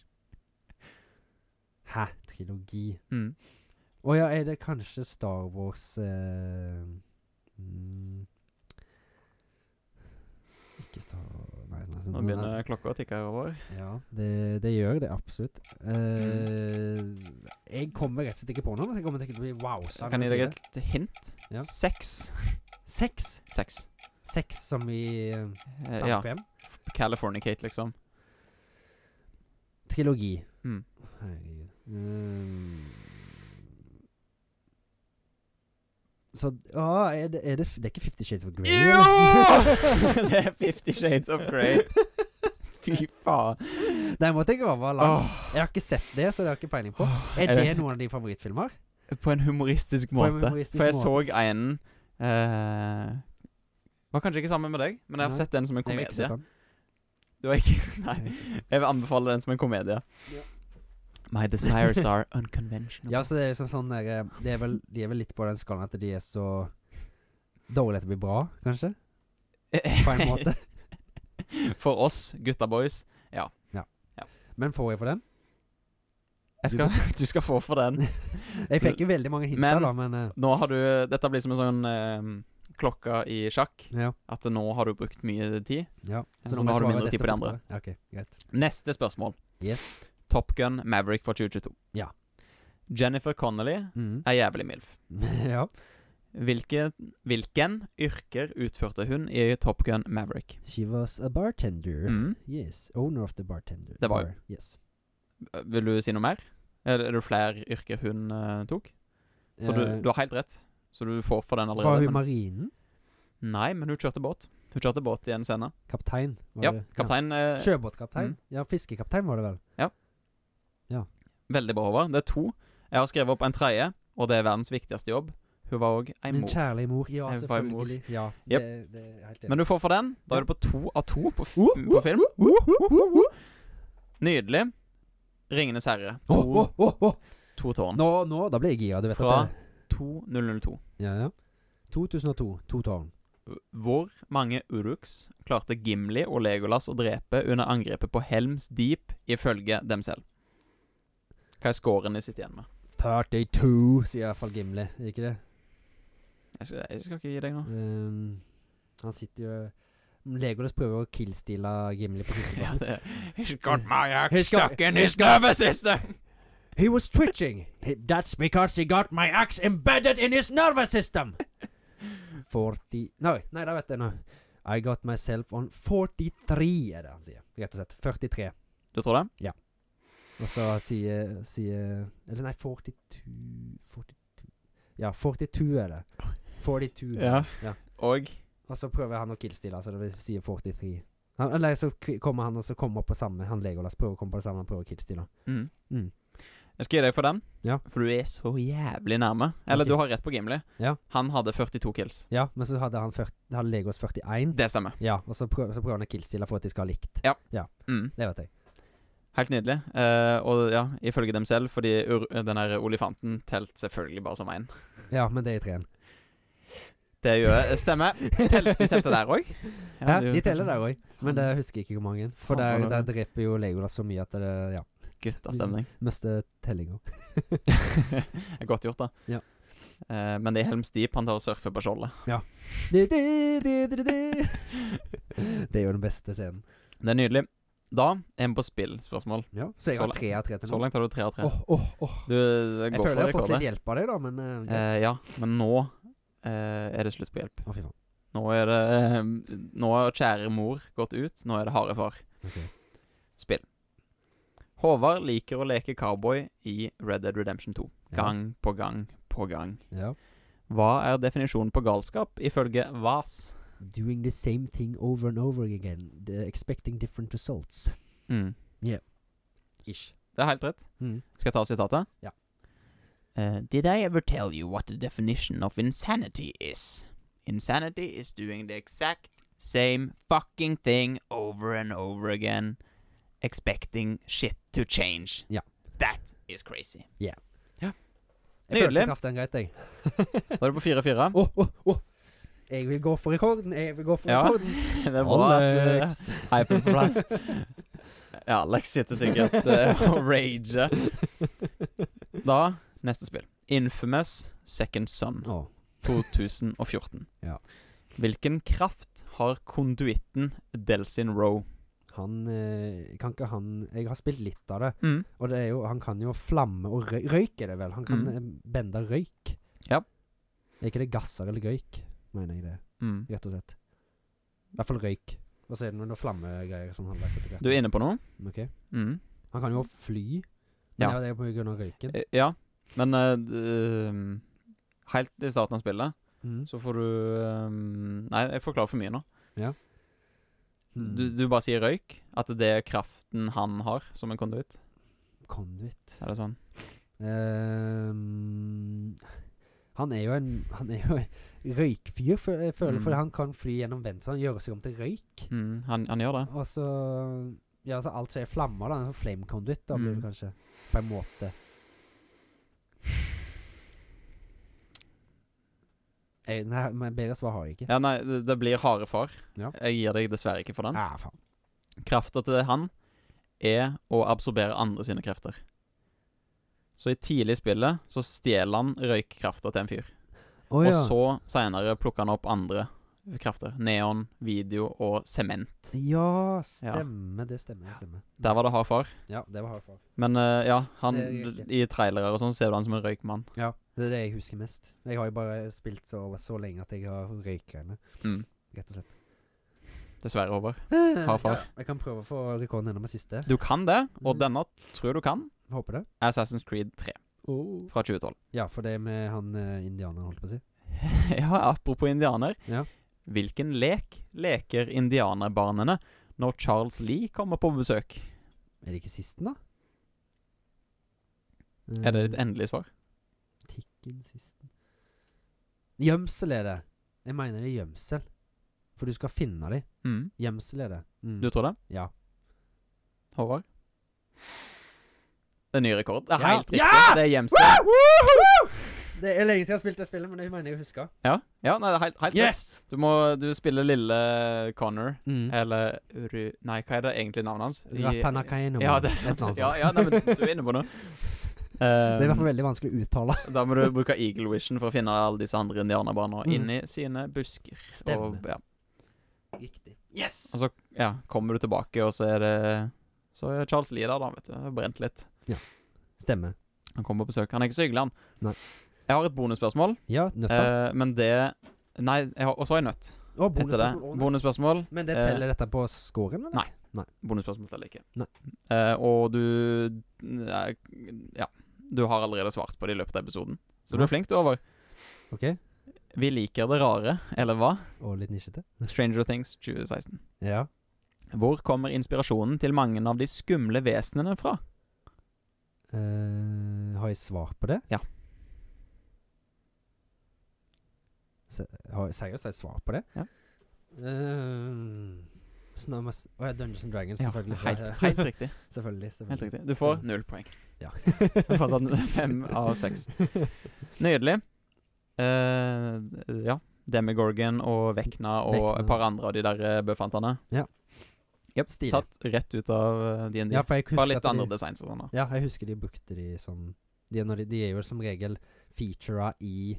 Hæ? Trilogi?
Mm.
Å ja, er det kanskje Star Wars eh, mm, Ikke Star Nei, nei,
Nå begynner klokka å tikke over.
Ja, det, det gjør det absolutt. Eh, jeg kommer rett og slett ikke på noe. men Jeg kommer sikkert til å bli wow.
Så kan jeg gi deg et hint.
Ja.
Seks.
Seks?
Seks.
Seks som i eh,
Eh, ja.
Sarpem?
Californicate, liksom.
Trilogi.
Mm.
Herregud. Mm. Så å, er, det, er det f- Det er ikke Fifty Shades of Grey?
Jo! Det er Fifty Shades of Grey. Fy faen.
Den måtte jeg over langt.
Åh,
Jeg har ikke sett det, så det har jeg ikke peiling på. Er
er
det
det-
noen av dine favorittfilmer?
på en humoristisk
På en
måte.
humoristisk
For jeg
måte.
så en eh, Var kanskje ikke sammen med deg, men jeg har
Nei.
sett den som en
Nei, jeg har ikke sett
komedie.
den.
Du har ikke Nei. Jeg vil anbefale den som en komedie.
Ja.
My desires are unconventional.
Ja, så det er liksom sånn der, eh, det er vel, De er vel litt på den skallen at de er så dårlige at det blir bra, kanskje? På en måte.
For oss, gutta boys.
Men får jeg for den?
Jeg skal, du skal få for den.
Jeg fikk jo veldig mange hint
Men-
der, da, men eh,
Nå har du Dette blir som en sånn eh, klokka i sjakk.
Ja.
At nå har du brukt mye tid.
ja.
Så nå
må jeg
har du
svare
mindre tid
desto
på de andre.
fortere. Ja, ok, greit.
Neste spørsmål. Top Gun Maverick fra 2022.
Ja.
Jennifer Connolly
Mm.
er jævlig mild.
ja.
Hvilke, hvilken yrker utførte hun i Top Gun Maverick?
She was a bartender.
Mm.
Yes, owner of the bartender.
Det var
Or,
jo-
Yes.
Vil du si noe mer? Er det, er det flere yrker hun eh, tok? For
Eh,
du, du har helt rett, så du får for den allerede.
var hun
men-
marinen?
Nei, men hun kjørte båt. Hun kjørte båt i en scene.
Kaptein? Var
Ja,
det?
kaptein.
Ja.
Eh,
Sjøbåtkaptein?
Mm.
Ja, fiskekaptein var det vel.
veldig bra, Håvard. Det er to. Jeg har skrevet opp en tredje, og det er verdens viktigste jobb. Hun var òg ei
En
mor.
kjærlig mor. Ja,
Jeg var en mor.
selvfølgelig. Ja,
Jep.
det, det er helt enig.
Men du får for den. Da er du på to av to på, f
Oh,
på film. Nydelig. 'Ringenes herre'.
Åh,
To,
åh, åh, åh.
to tårn.
Nå, nå, da ble jeg gira. Du vet
Fra
at det
2002.
Ja, ja. 2002. To tårn.
Hvor mange uruks klarte Gimli og Legolas å drepe under angrepet på Helms Deep, ifølge dem selv? Hva er scoren de sitter igjen med?
32, sier iallfall Gimli. Er ikke det?
Jeg skal, jeg skal ikke gi deg noe.
Um, han Ehm, sitter jo Legolas prøver å killstille Gimli på
Ja,
sitteplassen.
det He's got my axe
He's got-
stuck in his
he's got-
nervous system!
He was twitching. He- That's because he got my axe embedded in his nervous system. 40 Nei, nei, da vet jeg nå. I got myself on 43, er det han sier. Rett og slett. 43.
Du tror det?
Og så sier, sier eh, Eller nei, 42 42 Ja, 42 er det. 42. Ja.
Og
Og så prøver han å killstille, så det vil si 43. Han, eller så k- kommer han og så kommer på samme Han Legolas prøver å komme på det samme, han prøver å killstille.
mm.
Mm.
Jeg skal gi deg for den,
Ja.
for du er så jævlig nærme. Eller
Ok.
du har rett på Gimli.
Ja.
Han hadde 42 kills.
Ja, men så hadde han 40, hadde Legolas 41.
Det stemmer.
Ja, og så prøver, så prøver han å killstille for at de skal ha likt.
Mm.
Det vet jeg.
Helt nydelig. Eh, og ja, ifølge dem selv, fordi ur den her olifanten telt selvfølgelig bare som én.
Ja, men det er i treen.
Det gjør Stemmer. Tel, de telte der òg?
Ja, de teller der òg, men det husker jeg ikke hvor mange. For
Faen,
der,
faen,
der
faen.
dreper jo Legolas så mye at det Ja, Mm.
Guttastemning.
mister tellinga.
Godt gjort, da.
Ja.
Eh, men det er Helms Deep han tar og surfer på skjoldet.
Det er jo den beste scenen.
Det er nydelig. Da er vi på spill, spørsmål.
Ja, så jeg
Så
har
la-
tre av tre til
Så
nå.
langt har du tre av tre.
Åh, åh, åh.
Du det
Jeg
går
føler
for
jeg har fått
rekord.
litt hjelp av deg, da, men eh, greit.
Eh, ja, men nå eh, er det slutt på hjelp.
Å, fy faen.
Nå er det eh, Nå har kjære mor gått ut. Nå er det harde far.
Ok.
Spill. Håvard liker å leke cowboy i Red Dead Redemption 2.
Ja.
Gang på gang på gang.
Ja.
Hva er definisjonen på galskap ifølge VAS?
Doing the same thing over and over again. the- expecting different results.
Mm.
Ish.
Det er helt rett.
Mm.
Skal jeg ta sitatet?
Ja.
Eh, did I ever tell you what the definition of insanity is? Insanity is doing the exact same fucking thing over and over again, expecting shit to change.
Ja.
That is crazy.
Jeg følte
Nydelig.
jeg traff den greit, jeg.
Da er du på 4-4.
Åh, åh, åh. Jeg vil gå for rekorden, jeg vil gå for
Ja.
rekorden.
Det er bra at
Alex.
uh, Hyperplan Ja, Alex sitter sikkert eh, og rager. Da, neste spill. Infamous Second Son.
Åh.
2014.
Ja.
Hvilken kraft har konduitten Delsin Roe?
Han eh, Kan ikke han Jeg har spilt litt av det. Og det er jo Han kan jo flamme og røy, røyk, er det vel? Han kan
Mm.
eh, bende røyk.
Ja.
Er ikke det gasser eller røyk, mener jeg det,
Mm.
rett og slett. I hvert fall røyk. Og så er det noen flammegreier sånn halvveis etter hvert.
Du er inne på noe?
Ok.
Mm.
Han kan jo fly. Men
Ja.
ja. det er jo på grunn av røyken.
Eh, Ja, men eh, d- um, Helt i starten av spillet
Mm.
så får du um, Nei, jeg forklarer for mye nå.
Mm.
Du, du bare sier røyk. At det er kraften han har som en konduitt.
Conduit
Er det sånn?
Ehm, Han er jo en Han er jo en røykfyr, fø- jeg føler,
Mm.
fordi han kan fly gjennom vent, så han gjør seg om til røyk.
Mm, han, han gjør det.
Og så Ja, så alt som er flammer, da. En sånn flame conduit, da blir det
Mm.
kanskje. På en måte. Jeg, nei, men bedre svar har jeg ikke.
Ja, nei, det, det blir harde far.
Ja.
Jeg gir deg dessverre ikke for den.
Ah, faen.
Krafta til han er å absorbere andre sine krefter. Så i tidlig i spillet så stjeler han røykkrafta til en fyr.
Å ja.
Og så seinere plukker han opp andre krefter. Neon, video og sement.
Ja,
Ja.
stemmer. Det stemmer. det stemmer.
Der var det hard far.
Ja, det var hardfar.
Men eh, ja, han,
Det er riktig.
i trailere og sånn ser du han som en røykmann.
Ja, det er det jeg husker mest. Jeg har jo bare spilt så, så lenge at jeg har røykgreiene,
Mm.
rett og slett.
Dessverre, Håvard.
Hardfar.
far.
jeg kan prøve å få rekorden gjennom med siste.
Du kan det, og
Mm.
denne tror jeg du kan.
Håper det.
Assassin's Creed 3 fra 2012.
Ja, for det med han eh, indianeren, holdt på å si.
ja, apropos indianer.
Ja.
Hvilken lek leker indianerbarnene når Charles Lee kommer på besøk?
Er det ikke sisten, da?
Er det ditt
Eh,
endelige svar?
Tikken sisten Gjemsel er det. Jeg mener det er gjemsel. For du skal finne dem.
Mm.
Gjemsel er det. Mm.
Du tror det?
Ja.
Håvard? Det er ny rekord. Det er
Ja.
helt riktig.
Ja!
Det er gjemsel.
Det er lenge siden jeg har spilt det spillet, men det mener jeg å huske.
Ja, ja nei, det er helt, helt rett.
Yes!
Du må du spiller lille Connor.
Mm.
Eller Ru... Nei, hva er det egentlig navnet hans? I-
Ratanakaino.
Ja, det er
Et
sant.
eller annet
Ja, ja, nei, men du er inne på noe.
Det er i hvert fall
Um,
veldig vanskelig å uttale.
da må du bruke Eagle Vision for å finne alle disse andre indianerbarna inni sine busker.
Mm. Stemmer.
Og, ja.
Riktig.
Yes! Og så ja, kommer du tilbake, og så er det Så er Charles Lee der, da, vet du. Har Brent litt.
Stemmer.
Han kommer på besøk. Han er ikke så hyggelig, han.
Nei.
Jeg har et bonusspørsmål,
Ja, nøtta.
eh, men det Nei, jeg har, og så har jeg nødt.
Å,
Etter det.
bonusspørsmål. Å, nei.
Bonusspørsmål.
Men det
eh,
teller dette på scoren, eller?
nei. Bonusspørsmål teller ikke.
Nei.
Eh, og du eh, Ja. Du har allerede svart på det i løpet av episoden, så du
Ja.
er flink, du, Håvard.
OK.
Vi liker det rare, eller hva?
Og litt nisjete.
Stranger Things 2016.
Ja.
Hvor kommer inspirasjonen til mange av de skumle vesenene fra?
Eh, har jeg svar på det?
Ja.
Se, har, seriøst, har jeg svar på det?
Ja.
Uh, Snamas Å ja, Dungeons and Dragons, selvfølgelig.
helt, helt riktig.
selvfølgelig, selvfølgelig.
Helt riktig. Du får null poeng.
Ja.
Fortsatt fem av seks. Nydelig. Eh, ja. Demigorgon og Vekna og
Vecna.
et par andre av de der eh, bøffantene.
Yep, Stilig.
Tatt rett ut av eh, DND.
Ja, for jeg husker
Bare litt
at
andre
de,
designs og sånn. da.
Ja, jeg husker de brukte de sånn de, er når de, de er jo som regel featura i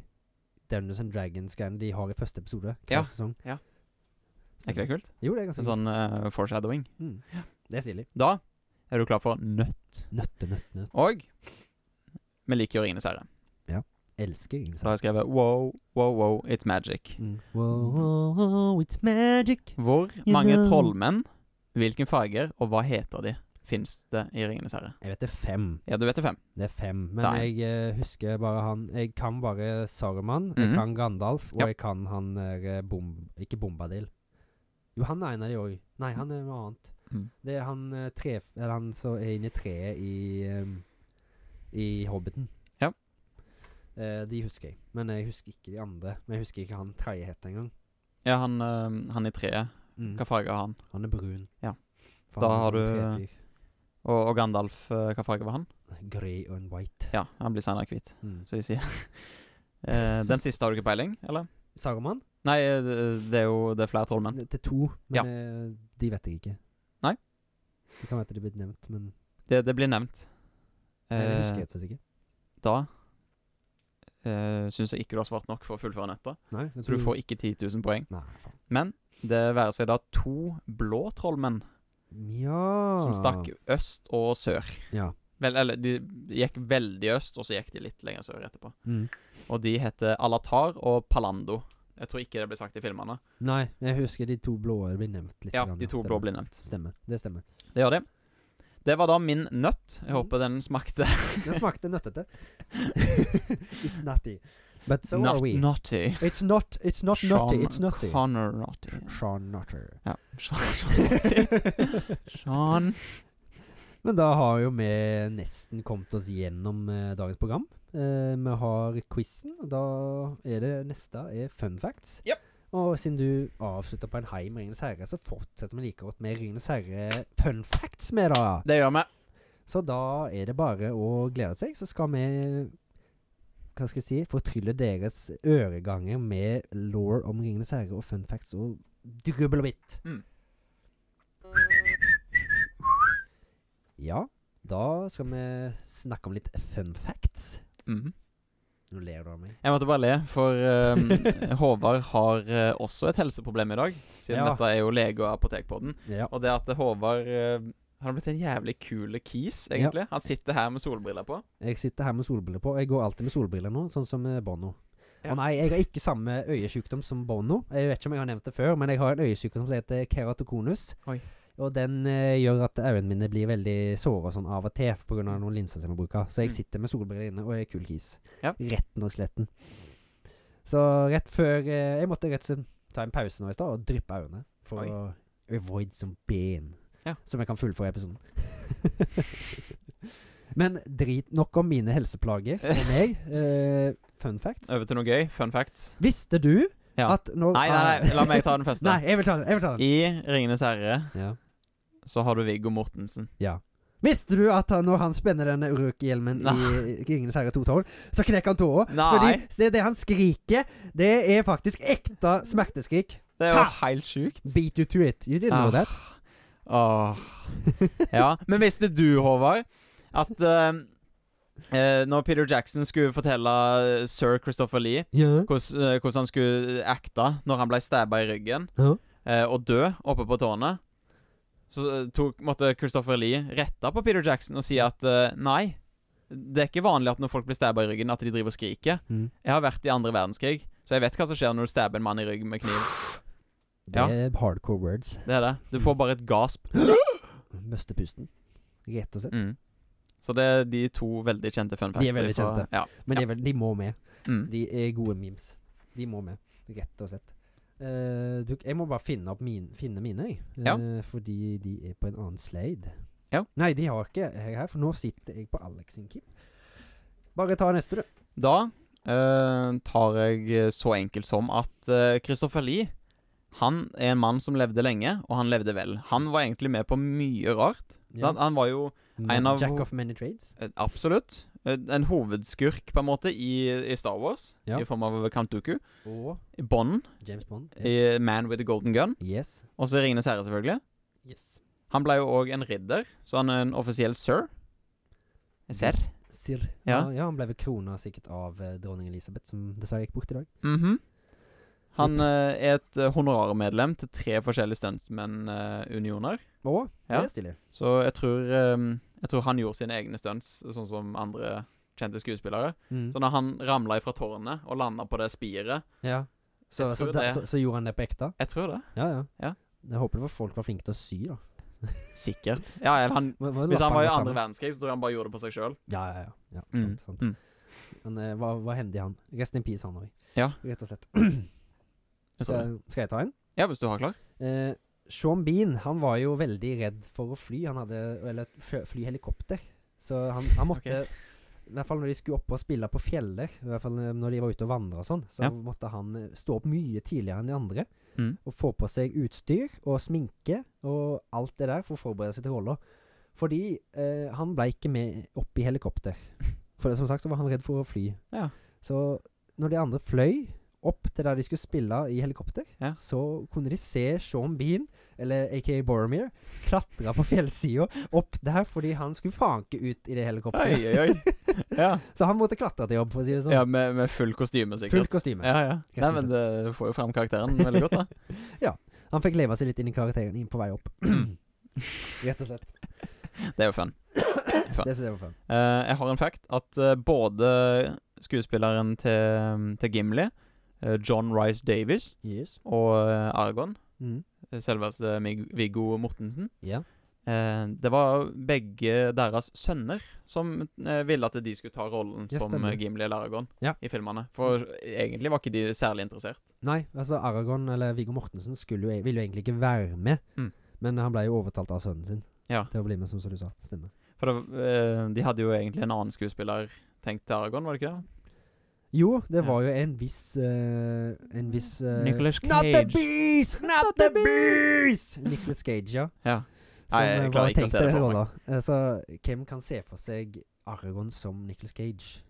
Dungeons and Dragons-greiene de har i første episode. hver
Ja,
Sesong.
ja. Er ikke det kult?
Jo, det er
En
ganske
sånn eh, foreshadowing.
Mm. Det er stilig.
Da er du klar for nøtt.
Nøtte, nøtte, nøtte.
Og vi liker å ringe seere.
Elsker ingen
Så da har jeg skrevet wow, wow, wow, it's magic.
Mm. Wow, wow, wow, it's magic.
Hvor
You
mange
know.
trollmenn, hvilke farger og hva heter de, fins det i Ringenes herre?
Jeg vet det er fem.
Ja, du vet det fem.
Det er fem. Men
Nei.
jeg eh, husker bare han Jeg kan bare Saruman, jeg
Mhm.
kan Gandalf, og
Ja.
jeg kan han der, eh, bom, Ikke Bombadil. Jo, han er en av de òg. Nei, han er noe annet.
Mhm.
Det er han eh, tre... Eller han som er inni treet i ehm, I Hobbiten.
Ja.
Eh, de husker jeg. Men jeg husker ikke de andre. Men jeg husker ikke han tredje het engang.
Ja, han, eh, han i treet.
Mm.
Hva farge har han?
Han er brun.
Ja.
For
Da
han er
har
sånn
du-
trefyr.
Og, og Gandalf, eh, hva farge var han?
Grey and white.
Ja, han blir senere hvit,
Mm.
så vi sier. Eh, den siste har du ikke peiling, eller?
Saruman
Nei, eh, det, det er jo det er flere trollmenn.
til to, men
Ja.
eh, de vet jeg ikke.
Nei.
Det kan være at de er blitt nevnt, men
Det, det blir nevnt.
Nei, det husker
Eh,
jeg ikke.
da eh, syns jeg ikke du har svart nok for å fullføre nøtta,
Nei, jeg
så
tror-
du får ikke 10 000 poeng.
Nei, faen.
Men det være seg da to blå trollmenn
Ja
som stakk øst og sør.
Ja.
Vel, eller de gikk veldig øst, og så gikk de litt lenger sør etterpå.
Mm.
Og de heter Alatar og Palando. Jeg tror ikke det ble sagt i filmene.
Nei, jeg husker de to blå blir nevnt litt.
Ja,
grann,
de to
stemmer.
blå blir nevnt.
Stemmer. Det stemmer.
Det gjør de. Det var da min nøtt. Jeg
Mm.
håper den smakte
Den smakte nøttete. it's nutty. But so are
Nut-
we.
nutty.
It's not It's not nutty, it's nutty.
Connor Nutty.
Sean Nutter.
Ja. Sean Sean Nutty. Sean
Men da har jo vi nesten kommet oss gjennom eh, dagens program. Eh, vi har quizen, og da er det neste er fun facts.
Japp.
Og siden du avslutta på en high med Ringenes herre, så fortsetter vi like godt med Ringenes herre fun facts med, da.
Det gjør vi.
Så da er det bare å glede seg, så skal vi hva skal jeg si, fortrylle deres øreganger med law om Ringenes herre og fun facts og drubbel og bitt.
Mm.
Ja, da skal vi snakke om litt fun facts.
Mhm.
Nå ler du av meg.
Jeg måtte bare le, for eh, Håvard har eh, også et helseproblem i dag. Siden
Ja.
dette er jo lege- og apotekpodden.
Ja.
Og det at Håvard eh, Han har blitt en jævlig kul kis, egentlig. Han sitter her med solbriller på.
Jeg sitter her med solbriller på. Jeg går alltid med solbriller nå, sånn som eh, Bono.
Ja.
Å nei, jeg har ikke samme øyesykdom som Bono. Jeg vet ikke om jeg har nevnt det før, men jeg har en øyesykdom som heter keratokonus.
Oi.
Og den eh, gjør at øynene mine blir veldig såre og sånn av og til pga. noen linser som jeg bruker. Så jeg
Mm.
sitter med solbriller inne og er kul kis.
Ja.
Rett nok sletten. Så rett før eh, Jeg måtte rett og slett ta en pause nå i stad og dryppe øynene for
Oi.
å avoid some pain.
Ja.
Som jeg kan fullføre episoden. Men drit nok om mine helseplager og meg. Eh, fun facts.
Over til noe gøy. Fun fact.
Visste du
Ja.
at når
Nei, nei, nei, la meg ta den første.
Oh, Nei, jeg vil ta den. Jeg vil ta den.
I 'Ringenes herre'
Ja.
så har du Viggo Mortensen.
Visste du at han, når han spenner denne Uruk-hjelmen i Ringenes herre 212, så knekker han tåa? Så de,
Nei.
så det han skriker, det er faktisk ekte smerteskrik.
Det er jo
Ha!
helt sjukt.
Beat you to it. You didn't know
Ah.
that.
Åh. Ja. Men visste du, Håvard, at eh, eh, når Peter Jackson skulle fortelle eh, sir Christopher Lee
Ja.
hvordan eh, hvordan han skulle acte når han ble stabba i ryggen.
Ja.
eh, og dø oppe på tårnet, så eh, tok, måtte Christopher Lee rette på Peter Jackson og si at eh, nei, det er ikke vanlig at når folk blir stabba i ryggen, at de driver og skriker.
Mm.
Jeg har vært i andre verdenskrig, så jeg vet hva som skjer når du stabber en mann i ryggen med kniv.
Det er hardcore words.
Det er det. Du får bare et gasp.
Møste pusten, rett og slett.
Mm. Så det er de to veldig kjente fun facts.
De er veldig
fra-
kjente.
Ja.
Men de, er vel- de må med.
Mm.
De er gode memes. De må med, rett og slett. Eh, du, jeg må bare finne, opp min, finne mine, jeg.
Ja.
Eh, fordi de er på en annen slide.
Ja.
Nei, de har ikke jeg her, for nå sitter jeg på Alex sin kip. Bare ta neste, du.
Da eh, tar jeg så enkelt som at eh, Christopher Lee han er en mann som levde lenge, og han levde vel. Han var egentlig med på mye rart. Han, han var jo
Men-
av-
Jack of many trades.
eh, absolutt eh, en hovedskurk, på en måte, i, i Star Wars.
Ja.
I form av Count Dooku.
Og
I Bond,
James Bond.
i Man with a Golden Gun.
Yes.
Og så i Ringenes herre, selvfølgelig.
yes.
Han ble jo òg en ridder, så han er en offisiell sir. Sir.
Sir. Ja.
Ja.
Ja, han ble vel krona sikkert av eh, dronning Elisabeth, som dessverre gikk bort i dag.
Mhm. Han eh, er et eh, honorarmedlem til tre forskjellige stuntmenn-unioner.
Å,
Ja.
det er stilig.
så jeg tror, eh, jeg tror han gjorde sine egne stunts, sånn som andre kjente skuespillere.
Mm.
Så når han ramla ifra tårnet og landa på det spiret
ja. så,
jeg
så,
tror
da,
det-
så, så gjorde han det på ekte?
Jeg tror det.
Ja, ja.
Ja.
Jeg håper det var folk var flinke til å sy, da.
Sikkert. Ja, eller han,
Hva- hva
Hvis han
lapper
var i
rett
andre
sammen?
verdenskrig, så tror jeg han bare gjorde det på seg sjøl.
Ja, ja, ja. ja sant,
Mm,
sant.
mm.
Men eh, hva, hva hendte i han? Rest in peace, han òg.
Ja.
Rett og slett.
Ja.
Skal, skal jeg ta en?
hvis du har klar.
Eh, Sean Bean han var jo veldig redd for å fly. Han hadde Eller fø- fly helikopter. Så han, han måtte I hvert fall når de skulle opp og spille på fjeller, i hvert fall eh, når de var ute og vandra og sånn, så
Ja.
måtte han eh, stå opp mye tidligere enn de andre.
Mm.
Og få på seg utstyr og sminke og alt det der for å forberede seg til rolla. Fordi eh, han ble ikke med opp i helikopter. For som sagt så var han redd for å fly.
Ja.
Så når de andre fløy opp til der de skulle spille i helikopter,
Ja.
så kunne de se Sean Bean, eller aka Boromir, klatre på fjellsida opp der fordi han skulle fanke ut i det
Oi,
helikopteret.
oi, oi. Ja,
Så han måtte klatre til jobb, for å si det sånn.
ja med, med full kostyme,
Fullt
sikkert.
kostyme.
Ja, ja. Nei, men det får jo fram karakteren veldig godt, da.
Han fikk leve seg litt inn i karakteren inn på vei opp. Rett og slett.
Det er jo fun.
Det synes jeg var fun.
Eh, jeg har en fact at eh, både skuespilleren til, til Gimli, eh, John Rice Davies,
Yes.
og eh, Argon,
Mm.
eh, selveste Mig- Viggo Mortensen
Ja.
eh, Det var begge deres sønner som eh, ville at de skulle ta rollen
Ja,
som
stemmer.
eh, Gimli eller Argon
Ja.
i filmene. For egentlig var ikke de særlig interessert.
Nei, altså Aragon, eller Viggo Mortensen, skulle jo, e- ville jo egentlig ikke være med.
Mm.
Men han ble jo overtalt av sønnen sin
Ja.
til å bli med, som som du sa. Stemmer.
For det, var- eh, de hadde jo egentlig en annen skuespiller tenkt til Argon, var det ikke det?
Jo, det
Ja.
var jo en viss eh, En viss eh,
Nicolas
Not the
Cage.
beast! Not the beast! Nicolas Cage, ja.
Ja.
Som
Nei, jeg
eh,
klarer
var
ikke å
tenkt
se
til
det
den
for meg.
rolla. Eh, Så hvem kan se for seg Aragon som Nicolas Cage?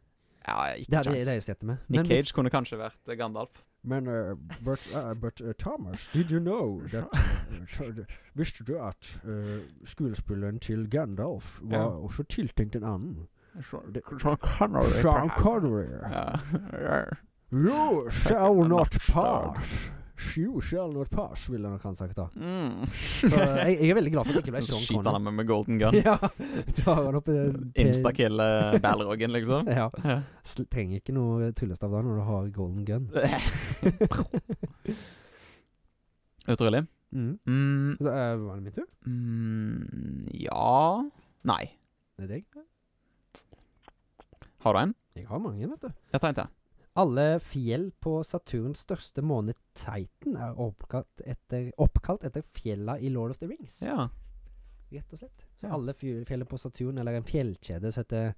Ja,
Det
ikke
hadde jeg
kjangs.
det sett med.
Nick
Men hvis-
Cage kunne kanskje vært eh, Gandalf.
Men uh, but, uh, but uh, Thomas, did you know that uh, så- Visste du at uh, skuespilleren til Gandalf var
Ja.
også tiltenkt en annen?
Sean,
Det-
Sean Connery.
Sean
perhaps.
Connery.
Ja.
You shall
Not
not
starred.
pass. You shall not pass, ville han nok han sagt da.
Mm.
Så, uh, jeg, jeg er veldig glad for at det ikke ble
Så
Sean
skyter han
Connery.
meg med golden gun.
Ja, tar han opp uh,
Instakille Balrogen, liksom.
Ja.
Ja.
Sl- Trenger ikke noe tryllestav da når du har golden gun.
Utrolig.
Mm.
Mm,
Så, uh, var det min tur?
mm, ja Nei.
Det er deg.
Har du en?
Jeg har mange, vet du.
Jeg tar en til.
Alle fjell på Saturns største måne Titan er oppkalt etter, oppkalt etter fjella i Lord of the Rings.
Ja.
Rett og slett. Så
Ja.
alle fj- fjellene på Saturn, eller en fjellkjede som heter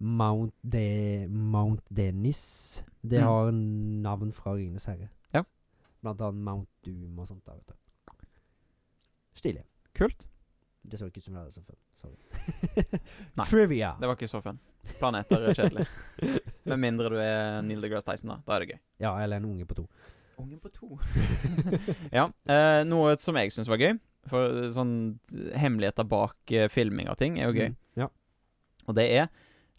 Mount, De Mount Dennis Det
Mm.
har navn fra Ringenes herre.
Ja.
Blant annet Mount Doom og sånt. der, vet du. Stilig.
Kult.
Det så ikke ut som det hadde så fun. Sorry.
Nei.
Trivia.
Det var ikke så fun. Planeter er kjedelig. Med mindre du er Neil deGrasse Tyson, da. Da er det gøy.
Ja, eller en unge på to.
Ungen på to. ja. Eh, noe som jeg syns var gøy, for eh, sånn eh, hemmeligheter bak eh, filming av ting er jo gøy.
Mm. Ja.
Og det er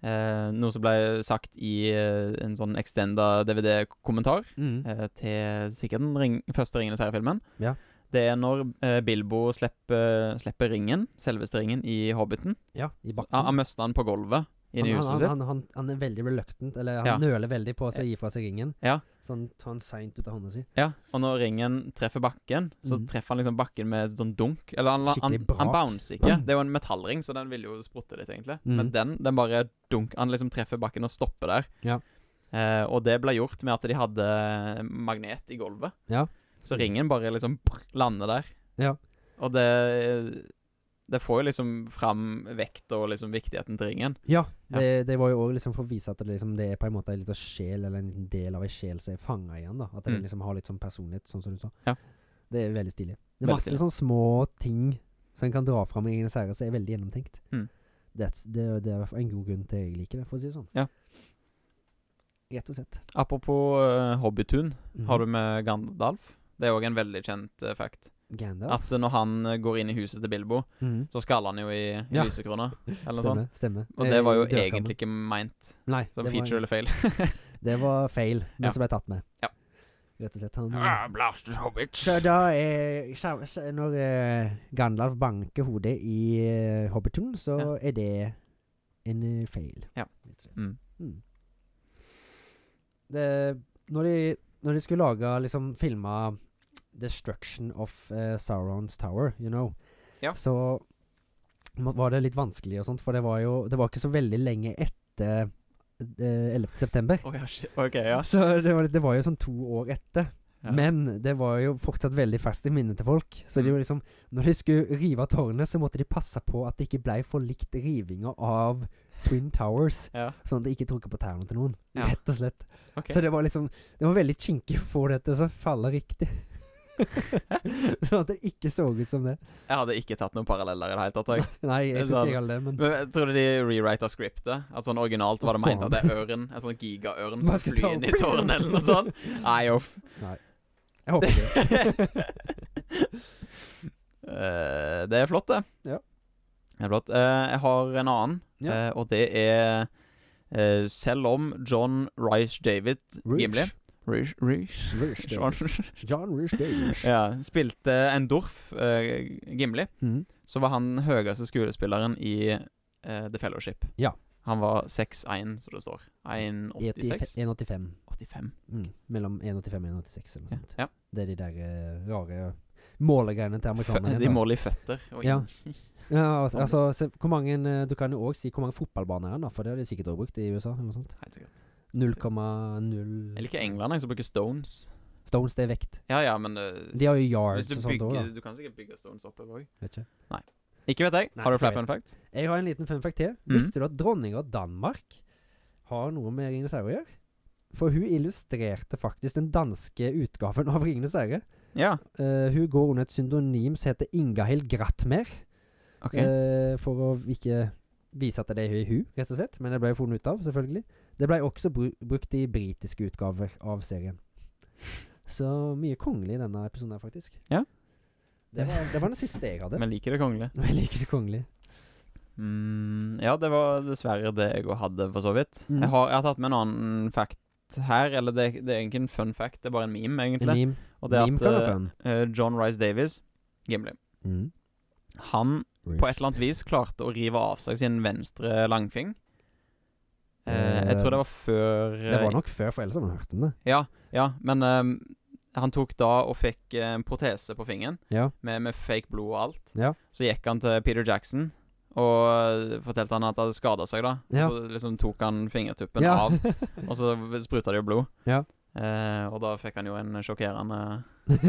eh, noe som ble sagt i eh, en sånn extenda DVD-kommentar
Mm.
eh, til sikkert den ring første Ringenes herre-filmen.
Ja.
Det er når eh, Bilbo slipper, slipper ringen, selveste ringen, i Hobbiten.
Ja, i bakken.
Han, han møster den på gulvet inne i
han,
huset
han,
sitt.
han, han, han er veldig reluctant, eller han
Ja.
nøler veldig på å si- gi fra seg ringen.
Ja.
Så han tar den seint ut av hånda si.
Ja, Og når ringen treffer bakken, så
Mhm.
treffer han liksom bakken med et sånn dunk. Eller han, han,
Skikkelig
han, han
brak.
bouncer ikke. Det er jo en metallring, så den vil jo sprutte litt, egentlig.
Mhm.
Men den den bare dunk Han liksom treffer bakken og stopper der.
Ja.
Eh, og det ble gjort med at de hadde eh, magnet i gulvet.
Ja.
Så ringen bare liksom brr, lander der.
Ja.
Og det Det får jo liksom fram vekt og liksom viktigheten til ringen.
Ja,
Ja.
det, det var jo òg liksom for å vise at det, liksom, det er på en måte en liten sjel, eller en del av ei sjel som er fanga igjen. da At den
Mm.
liksom har litt sånn personlighet, sånn som du sa.
Ja.
Det er veldig stilig. Det
Veldig
er masse
stilig.
sånn små ting som en kan dra fram i Ringenes herre, som er veldig gjennomtenkt.
Mm.
That's, det, det er en god grunn til jeg liker det, for å si det sånn.
Ja.
Rett og slett. Mm.
Apropos eh, Hobbytun,
Mhm.
har du med Gandalf? Det er òg en veldig kjent eh, fact.
Gandalf.
At eh, når han eh, går inn i huset til Bilbo,
Mhm.
så skaller han jo i, i
Ja.
lysekrona. Eller noe
Stemmer.
sånt.
stemmer.
Og
Eh,
det var jo
dørkarmen.
egentlig ikke meint
Nei,
som
det var-
feature eller fail.
Det var feil, men
Ja.
som ble tatt med.
Ja.
Rett og slett. Han,
Blasted hobbits.
Så da eh, sa- sa- Når eh, Gandalf banker hodet i eh, Hobbiton, så
Ja.
er det en eh, feil.
Ja.
rett og slett.
Mm.
Mm. Det, når, de, når de skulle lage liksom filma 'Destruction of eh, Saurons Tower', you know,
Ja.
så må- var det litt vanskelig og sånt, for det var jo Det var ikke så veldig lenge etter eh, 11. september.
Å ja, shit. OK, ja.
Så det var, det var jo sånn to år etter.
Ja.
Men det var jo fortsatt veldig ferskt i minnet til folk. Så de
Mm.
var liksom Når de skulle rive av tårnet, så måtte de passe på at det ikke ble for likt rivinga av Twin Towers.
ja.
Sånn at det ikke tråkka på tærne til noen.
Ja.
Rett og slett.
OK.
Så det var liksom Det var veldig kinkig å få det til å så falle riktig. sånn at det ikke så ut som det.
Jeg hadde ikke tatt noen paralleller i det hele tatt. Jeg.
Nei,
Det er
jeg tror
sant.
ikke jeg hadde det, men
Men jeg trodde de rewrita scriptet. At sånn Originalt var det
Å,
meint
faen.
at det er ørn, en sånn gigaørn
Hva
som
skal
flyr
ta
inn i
opp?
tårnet eller noe sånt. Nei, off.
jeg håper ikke det.
Eh, det er flott, det.
Ja.
Det er flott. Eh, jeg har en annen,
Ja.
eh, og det er eh, Selv om John Rice David Gimli Rish, Rish.
Rush Davies. John Rush Davies.
ja, spilte en Dorf, eh, Gimli,
Mm.
så var han høyeste skuespilleren i eh, The Fellowship.
Ja.
Han var 6'1, som det står.
E
1,86?
1,85.
85.
Mm. Mellom 1,85 og 1,86 eller noe sånt.
Ja.
Det er de der eh, rare målegreiene til amerikanerne.
Fø-
igjen,
De
da.
måler i føtter. Og
Ja.
inn.
Ja, altså, altså se, hvor mange, eh, Du kan jo òg si hvor mange fotballbaner er den, da, for det har de sikkert også brukt i USA. eller noe sånt.
Helt sikkert.
0,0
Jeg liker England, jeg, som bruker stones.
Stones, det er vekt.
Ja, ja, men eh,
De har jo
Hvis
yards
du
og sånt òg, da.
bygger Du kan sikkert bygge stones oppover òg.
Vet ikke.
Ikke vet jeg.
Nei,
har du
ikke
flere
vet.
fun facts?
Jeg har en liten fun fact til.
Mhm.
Visste du at dronninga av Danmark har noe med Ringenes herre å gjøre? For hun illustrerte faktisk den danske utgaven av Ringenes herre.
Ja.
Eh, hun går under et syndonym som heter Ingahild Grattmer.
OK.
Eh, for å ikke vise at det er hun, rett og slett. Men det ble jo funnet ut av, selvfølgelig. Det ble også bru brukt i britiske utgaver av serien. Så mye kongelig i denne episoden her, faktisk.
Ja.
Det var, det var den siste jeg hadde.
Men liker det kongelige.
Jeg liker det kongelige.
Mm, ja, det var dessverre det jeg òg hadde, for så vidt.
Mm.
Jeg, har, jeg har tatt med en annen fact her. Eller det, det er egentlig en fun fact, det er bare en meme,
En
egentlig.
meme.
Og det er
meme kan være
at
fun.
eh, John Rice Davies, Gimli,
Mm.
han på et eller annet vis klarte å rive av seg sin venstre langfing. Eh, jeg tror det var før
Det var nok før, for ellers hadde man hørt om det.
Ja, ja men eh, han tok da og fikk eh, en protese på fingeren.
Ja.
med, med fake blod og alt.
Ja.
Så gikk han til Peter Jackson og eh, fortalte han at han hadde skada seg. da
Ja.
Og Så liksom tok han fingertuppen
ja.
av, og så v- spruta det jo blod.
Ja.
Eh, og da fikk han jo en sjokkerende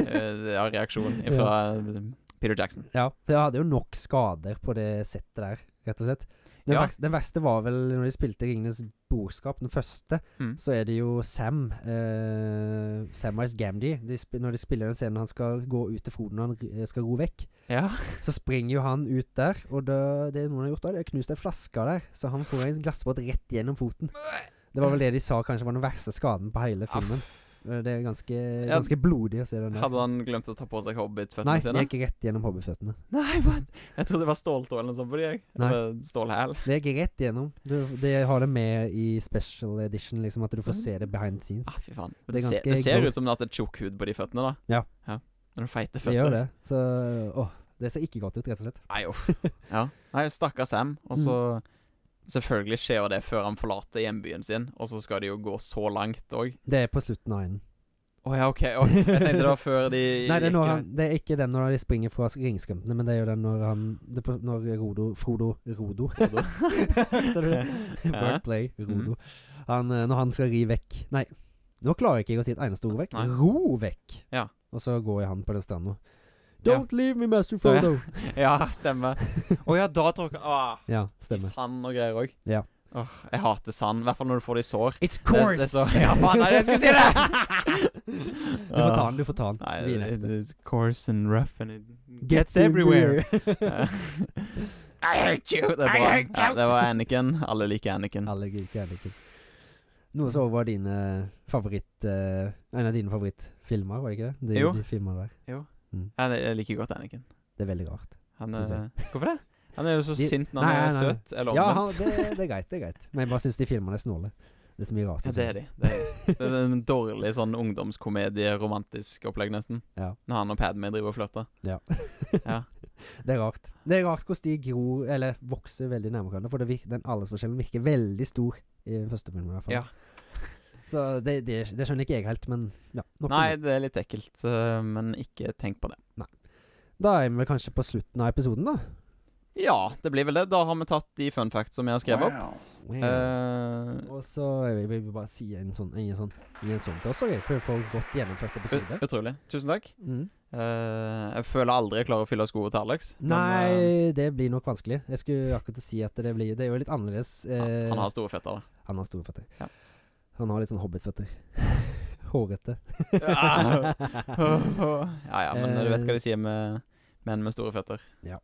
eh, ja, reaksjon fra eh, Peter Jackson.
ja. Det hadde jo nok skader på det settet der, rett og slett. Den,
Ja.
verste, den verste var vel når de spilte Ringenes borskap, den første.
Mm.
så er det jo Sam. Uh, Samwise Gamgee. De sp når de spiller den scenen han skal gå ut til Froden og han ri- eh, skal ro vekk,
Ja.
så springer jo han ut der, og da, det noen har gjort da, det er knust ei flaske der, så han får en glassbåt rett gjennom foten. Det var vel det de sa kanskje var den verste skaden på hele filmen. Eh, Det er ganske, ganske blodig å se den der.
Ah. Hadde han glemt å ta på seg
Nei,
hobbitføttene
det
sine?
gikk rett gjennom hobbyføttene.
Nei, men Jeg trodde det var ståltå eller noe sånt på de, jeg.
Nei.
Eller Stålhæl.
Det gikk rett gjennom. Du, det har det med i special edition, liksom, at du får se det behind the scenes.
Ah, fy faen.
Det
Det,
er
se,
ganske
det ser
gross.
ut som det har hatt tjukk hud på de føttene, da.
Ja.
ja. når du har feite
Det gjør
føtter.
det. Så åh, det ser ikke godt ut, rett og slett.
Nei, uff. Ja. Nei, stakkars Sam. Og så Mm. Selvfølgelig skjer det før han forlater hjembyen sin, og så skal de jo gå så langt òg.
Det er på slutten av enden.
Å ja, OK. å, jeg tenkte det var før de
Nei, det er, når
gikk-
han, det er ikke den når de springer fra ringskrømtene, men det er jo den når han det er på, Når Rodo Frodo Rodo. Hørte du det? Word play. Rodo. Han, eh, når han skal ri vekk Nei, nå klarer ikke jeg å si et eneste ord vekk.
Nei.
Ro vekk!
Ja.
Og så går han på den stranda.
Ja.
Don't leave me, master
Så, ja.
Frodo!
Ja, stemmer. Å ja, da tråkker ah,
Ja,
I
stemmer.
sand og greier òg.
Ja.
Åh, jeg hater sand. I hvert fall når du får det i sår.
It's
Det, det er så, ja, faen, nei, jeg skulle si det!
Du får ta den, du får ta den. Vi
Nei,
er
it
neste.
is coarse and rough and it gets everywhere. I hate you! Det er bra. Ja, det var Anniken. Alle liker Anniken.
Alle liker Anniken. Noe som også var dine favoritt eh, En av dine favorittfilmer, var det ikke det? De,
Jo.
De filmene der.
Ja, det- jeg liker godt Anniken.
Det er veldig rart.
Han
Synes
er, hvorfor det? Han er jo så
De-
sint når han
Nei,
er
nei, nei.
søt, eller
Ja, han,
omvendt.
det, det er greit, det er greit. Men jeg bare syns de filmene er snåle. Det er så mye rart.
Ja,
i
det er
sånne.
de. Det er, de. det er en dårlig sånn ungdomskomedie-romantisk opplegg, nesten.
Ja.
Når han og Padme driver og flørter.
Ja.
Ja.
Det er rart. Det er rart hvordan de gror, eller vokser veldig nærme hverandre. For det vir den aldersforskjellen virker veldig stor i den første filmen, i hvert fall.
Ja.
Så det, det, det skjønner ikke jeg helt, men ja. nok om
Nei,
det.
det er litt ekkelt, eh, men ikke tenk på det.
Da er vi vel kanskje på slutten av episoden, da.
Ja, det blir vel det. Da har vi tatt de fun facts som vi har skrevet opp. Eh,
Og så jeg vil jeg bare si en sånn, en sånn, en sånn til oss, okay, for å få en godt gjennomført episode.
ut- utrolig. Tusen takk.
Mm.
Eh, jeg føler aldri jeg klarer å fylle skoene til Alex. men, eh,
Nei, det blir nok vanskelig. Jeg skulle akkurat si at det blir Det er jo litt annerledes.
han-
eh,
han har store fetter, da.
Han har store føtter.
Ja.
Han har litt sånn hobbitføtter. Hårete.
Ja. ja ja, men du vet hva de sier med menn med store føtter.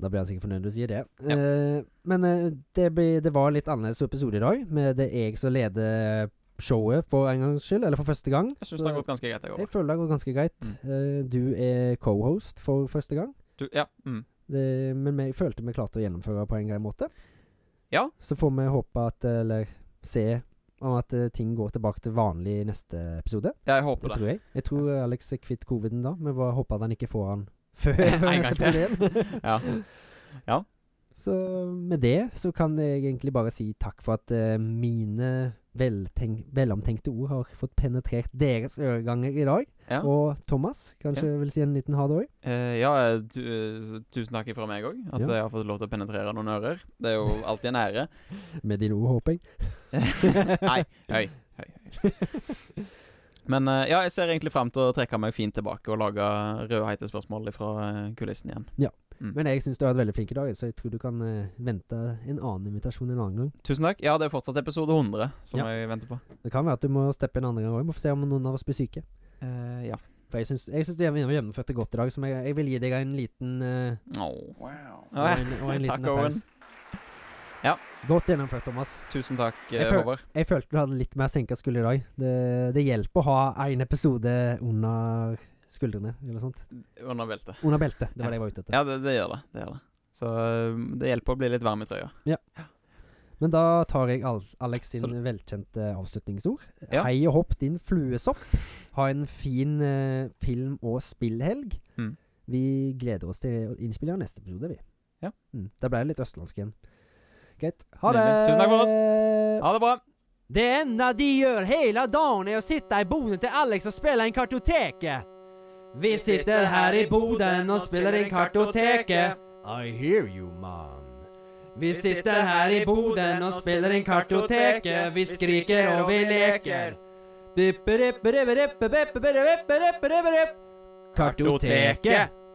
Da blir han sikkert fornøyd når du sier det.
Ja.
Eh, men eh, det, blir- det var litt annerledes episode i dag, med det er jeg som leder showet for en gangs skyld, eller for første gang.
Jeg syns
Så
det har gått ganske greit, jeg
jeg
òg.
føler det går ganske greit.
Mm.
Eh, du er co-host for første gang,
Ja. Mm.
det, men vi følte vi klarte å gjennomføre på en grei måte.
Ja.
Så får vi håpe at, eh, eller se om at eh, ting går tilbake til vanlig i neste episode.
Ja, jeg håper
Det
det.
tror jeg. Jeg tror Alex er kvitt coviden da, men bare håper at han ikke får han før, før
En
neste
gang til.
episode. igjen.
Ja.
så med det så kan jeg egentlig bare si takk for at eh, mine veltenk velomtenkte ord har fått penetrert deres øreganger i dag.
Ja.
Og Thomas kanskje vil si en liten ha det òg.
Eh, ja, eh, tu, eh, tusen takk fra meg òg, at
Ja.
jeg har fått lov til å penetrere noen ører. Det er jo alltid en ære.
Med dine ord, håper jeg.
Nei. Høy. høy, høy. Men eh, ja, jeg ser egentlig fram til å trekke meg fint tilbake og lage rødheite spørsmål fra kulissen igjen.
Men jeg syns du har vært veldig flink i dag, så jeg tror du kan eh, vente en annen invitasjon en annen gang.
Tusen takk. Ja, det er fortsatt episode 100 som
Ja.
jeg venter på.
Det kan være at du må steppe en andre gang òg. Må få se om noen av oss blir syke.
Eh, ja.
For jeg syns jeg syns du gjennomførte godt i dag, så jeg, jeg vil gi deg en liten eh,
Åh.
Wow.
Og en, og en liten
Takk, Owen.
applaus.
Ja.
Godt gjennomført, Thomas.
Tusen takk,
Jeg
eh,
føl-
Håvard.
Jeg følte du hadde litt mer senka skulder i dag. Det, det hjelper å ha én episode under skuldrene, eller sånt.
Under beltet.
Under beltet. Det var det jeg var ute etter.
Ja, det, det gjør det. Det gjør det. Så eh, det hjelper å bli litt varm i trøya.
Men da tar jeg Al Alex sin
Så-
velkjente avslutningsord.
Ja.
Hei og hopp, din fluesopp. Ha en fin eh, film- og spillhelg.
Mm.
Vi gleder oss til å innspille av neste episode, vi.
Ja.
Mm. Da ble det litt østlandsk igjen. Greit. Ha det!
Nydelig. Tusen takk for
oss.
Ha det bra.
Det enda de gjør hele dagen er å sitte i boden til Alex og spille en kartoteke. Vi sitter her i boden og spiller en kartoteke. I hear you, man. Vi sitter her i boden og spiller en kartoteke. Vi skriker og vi leker. Bipperipperipperipperipperipperipperipperipp. Kartoteke.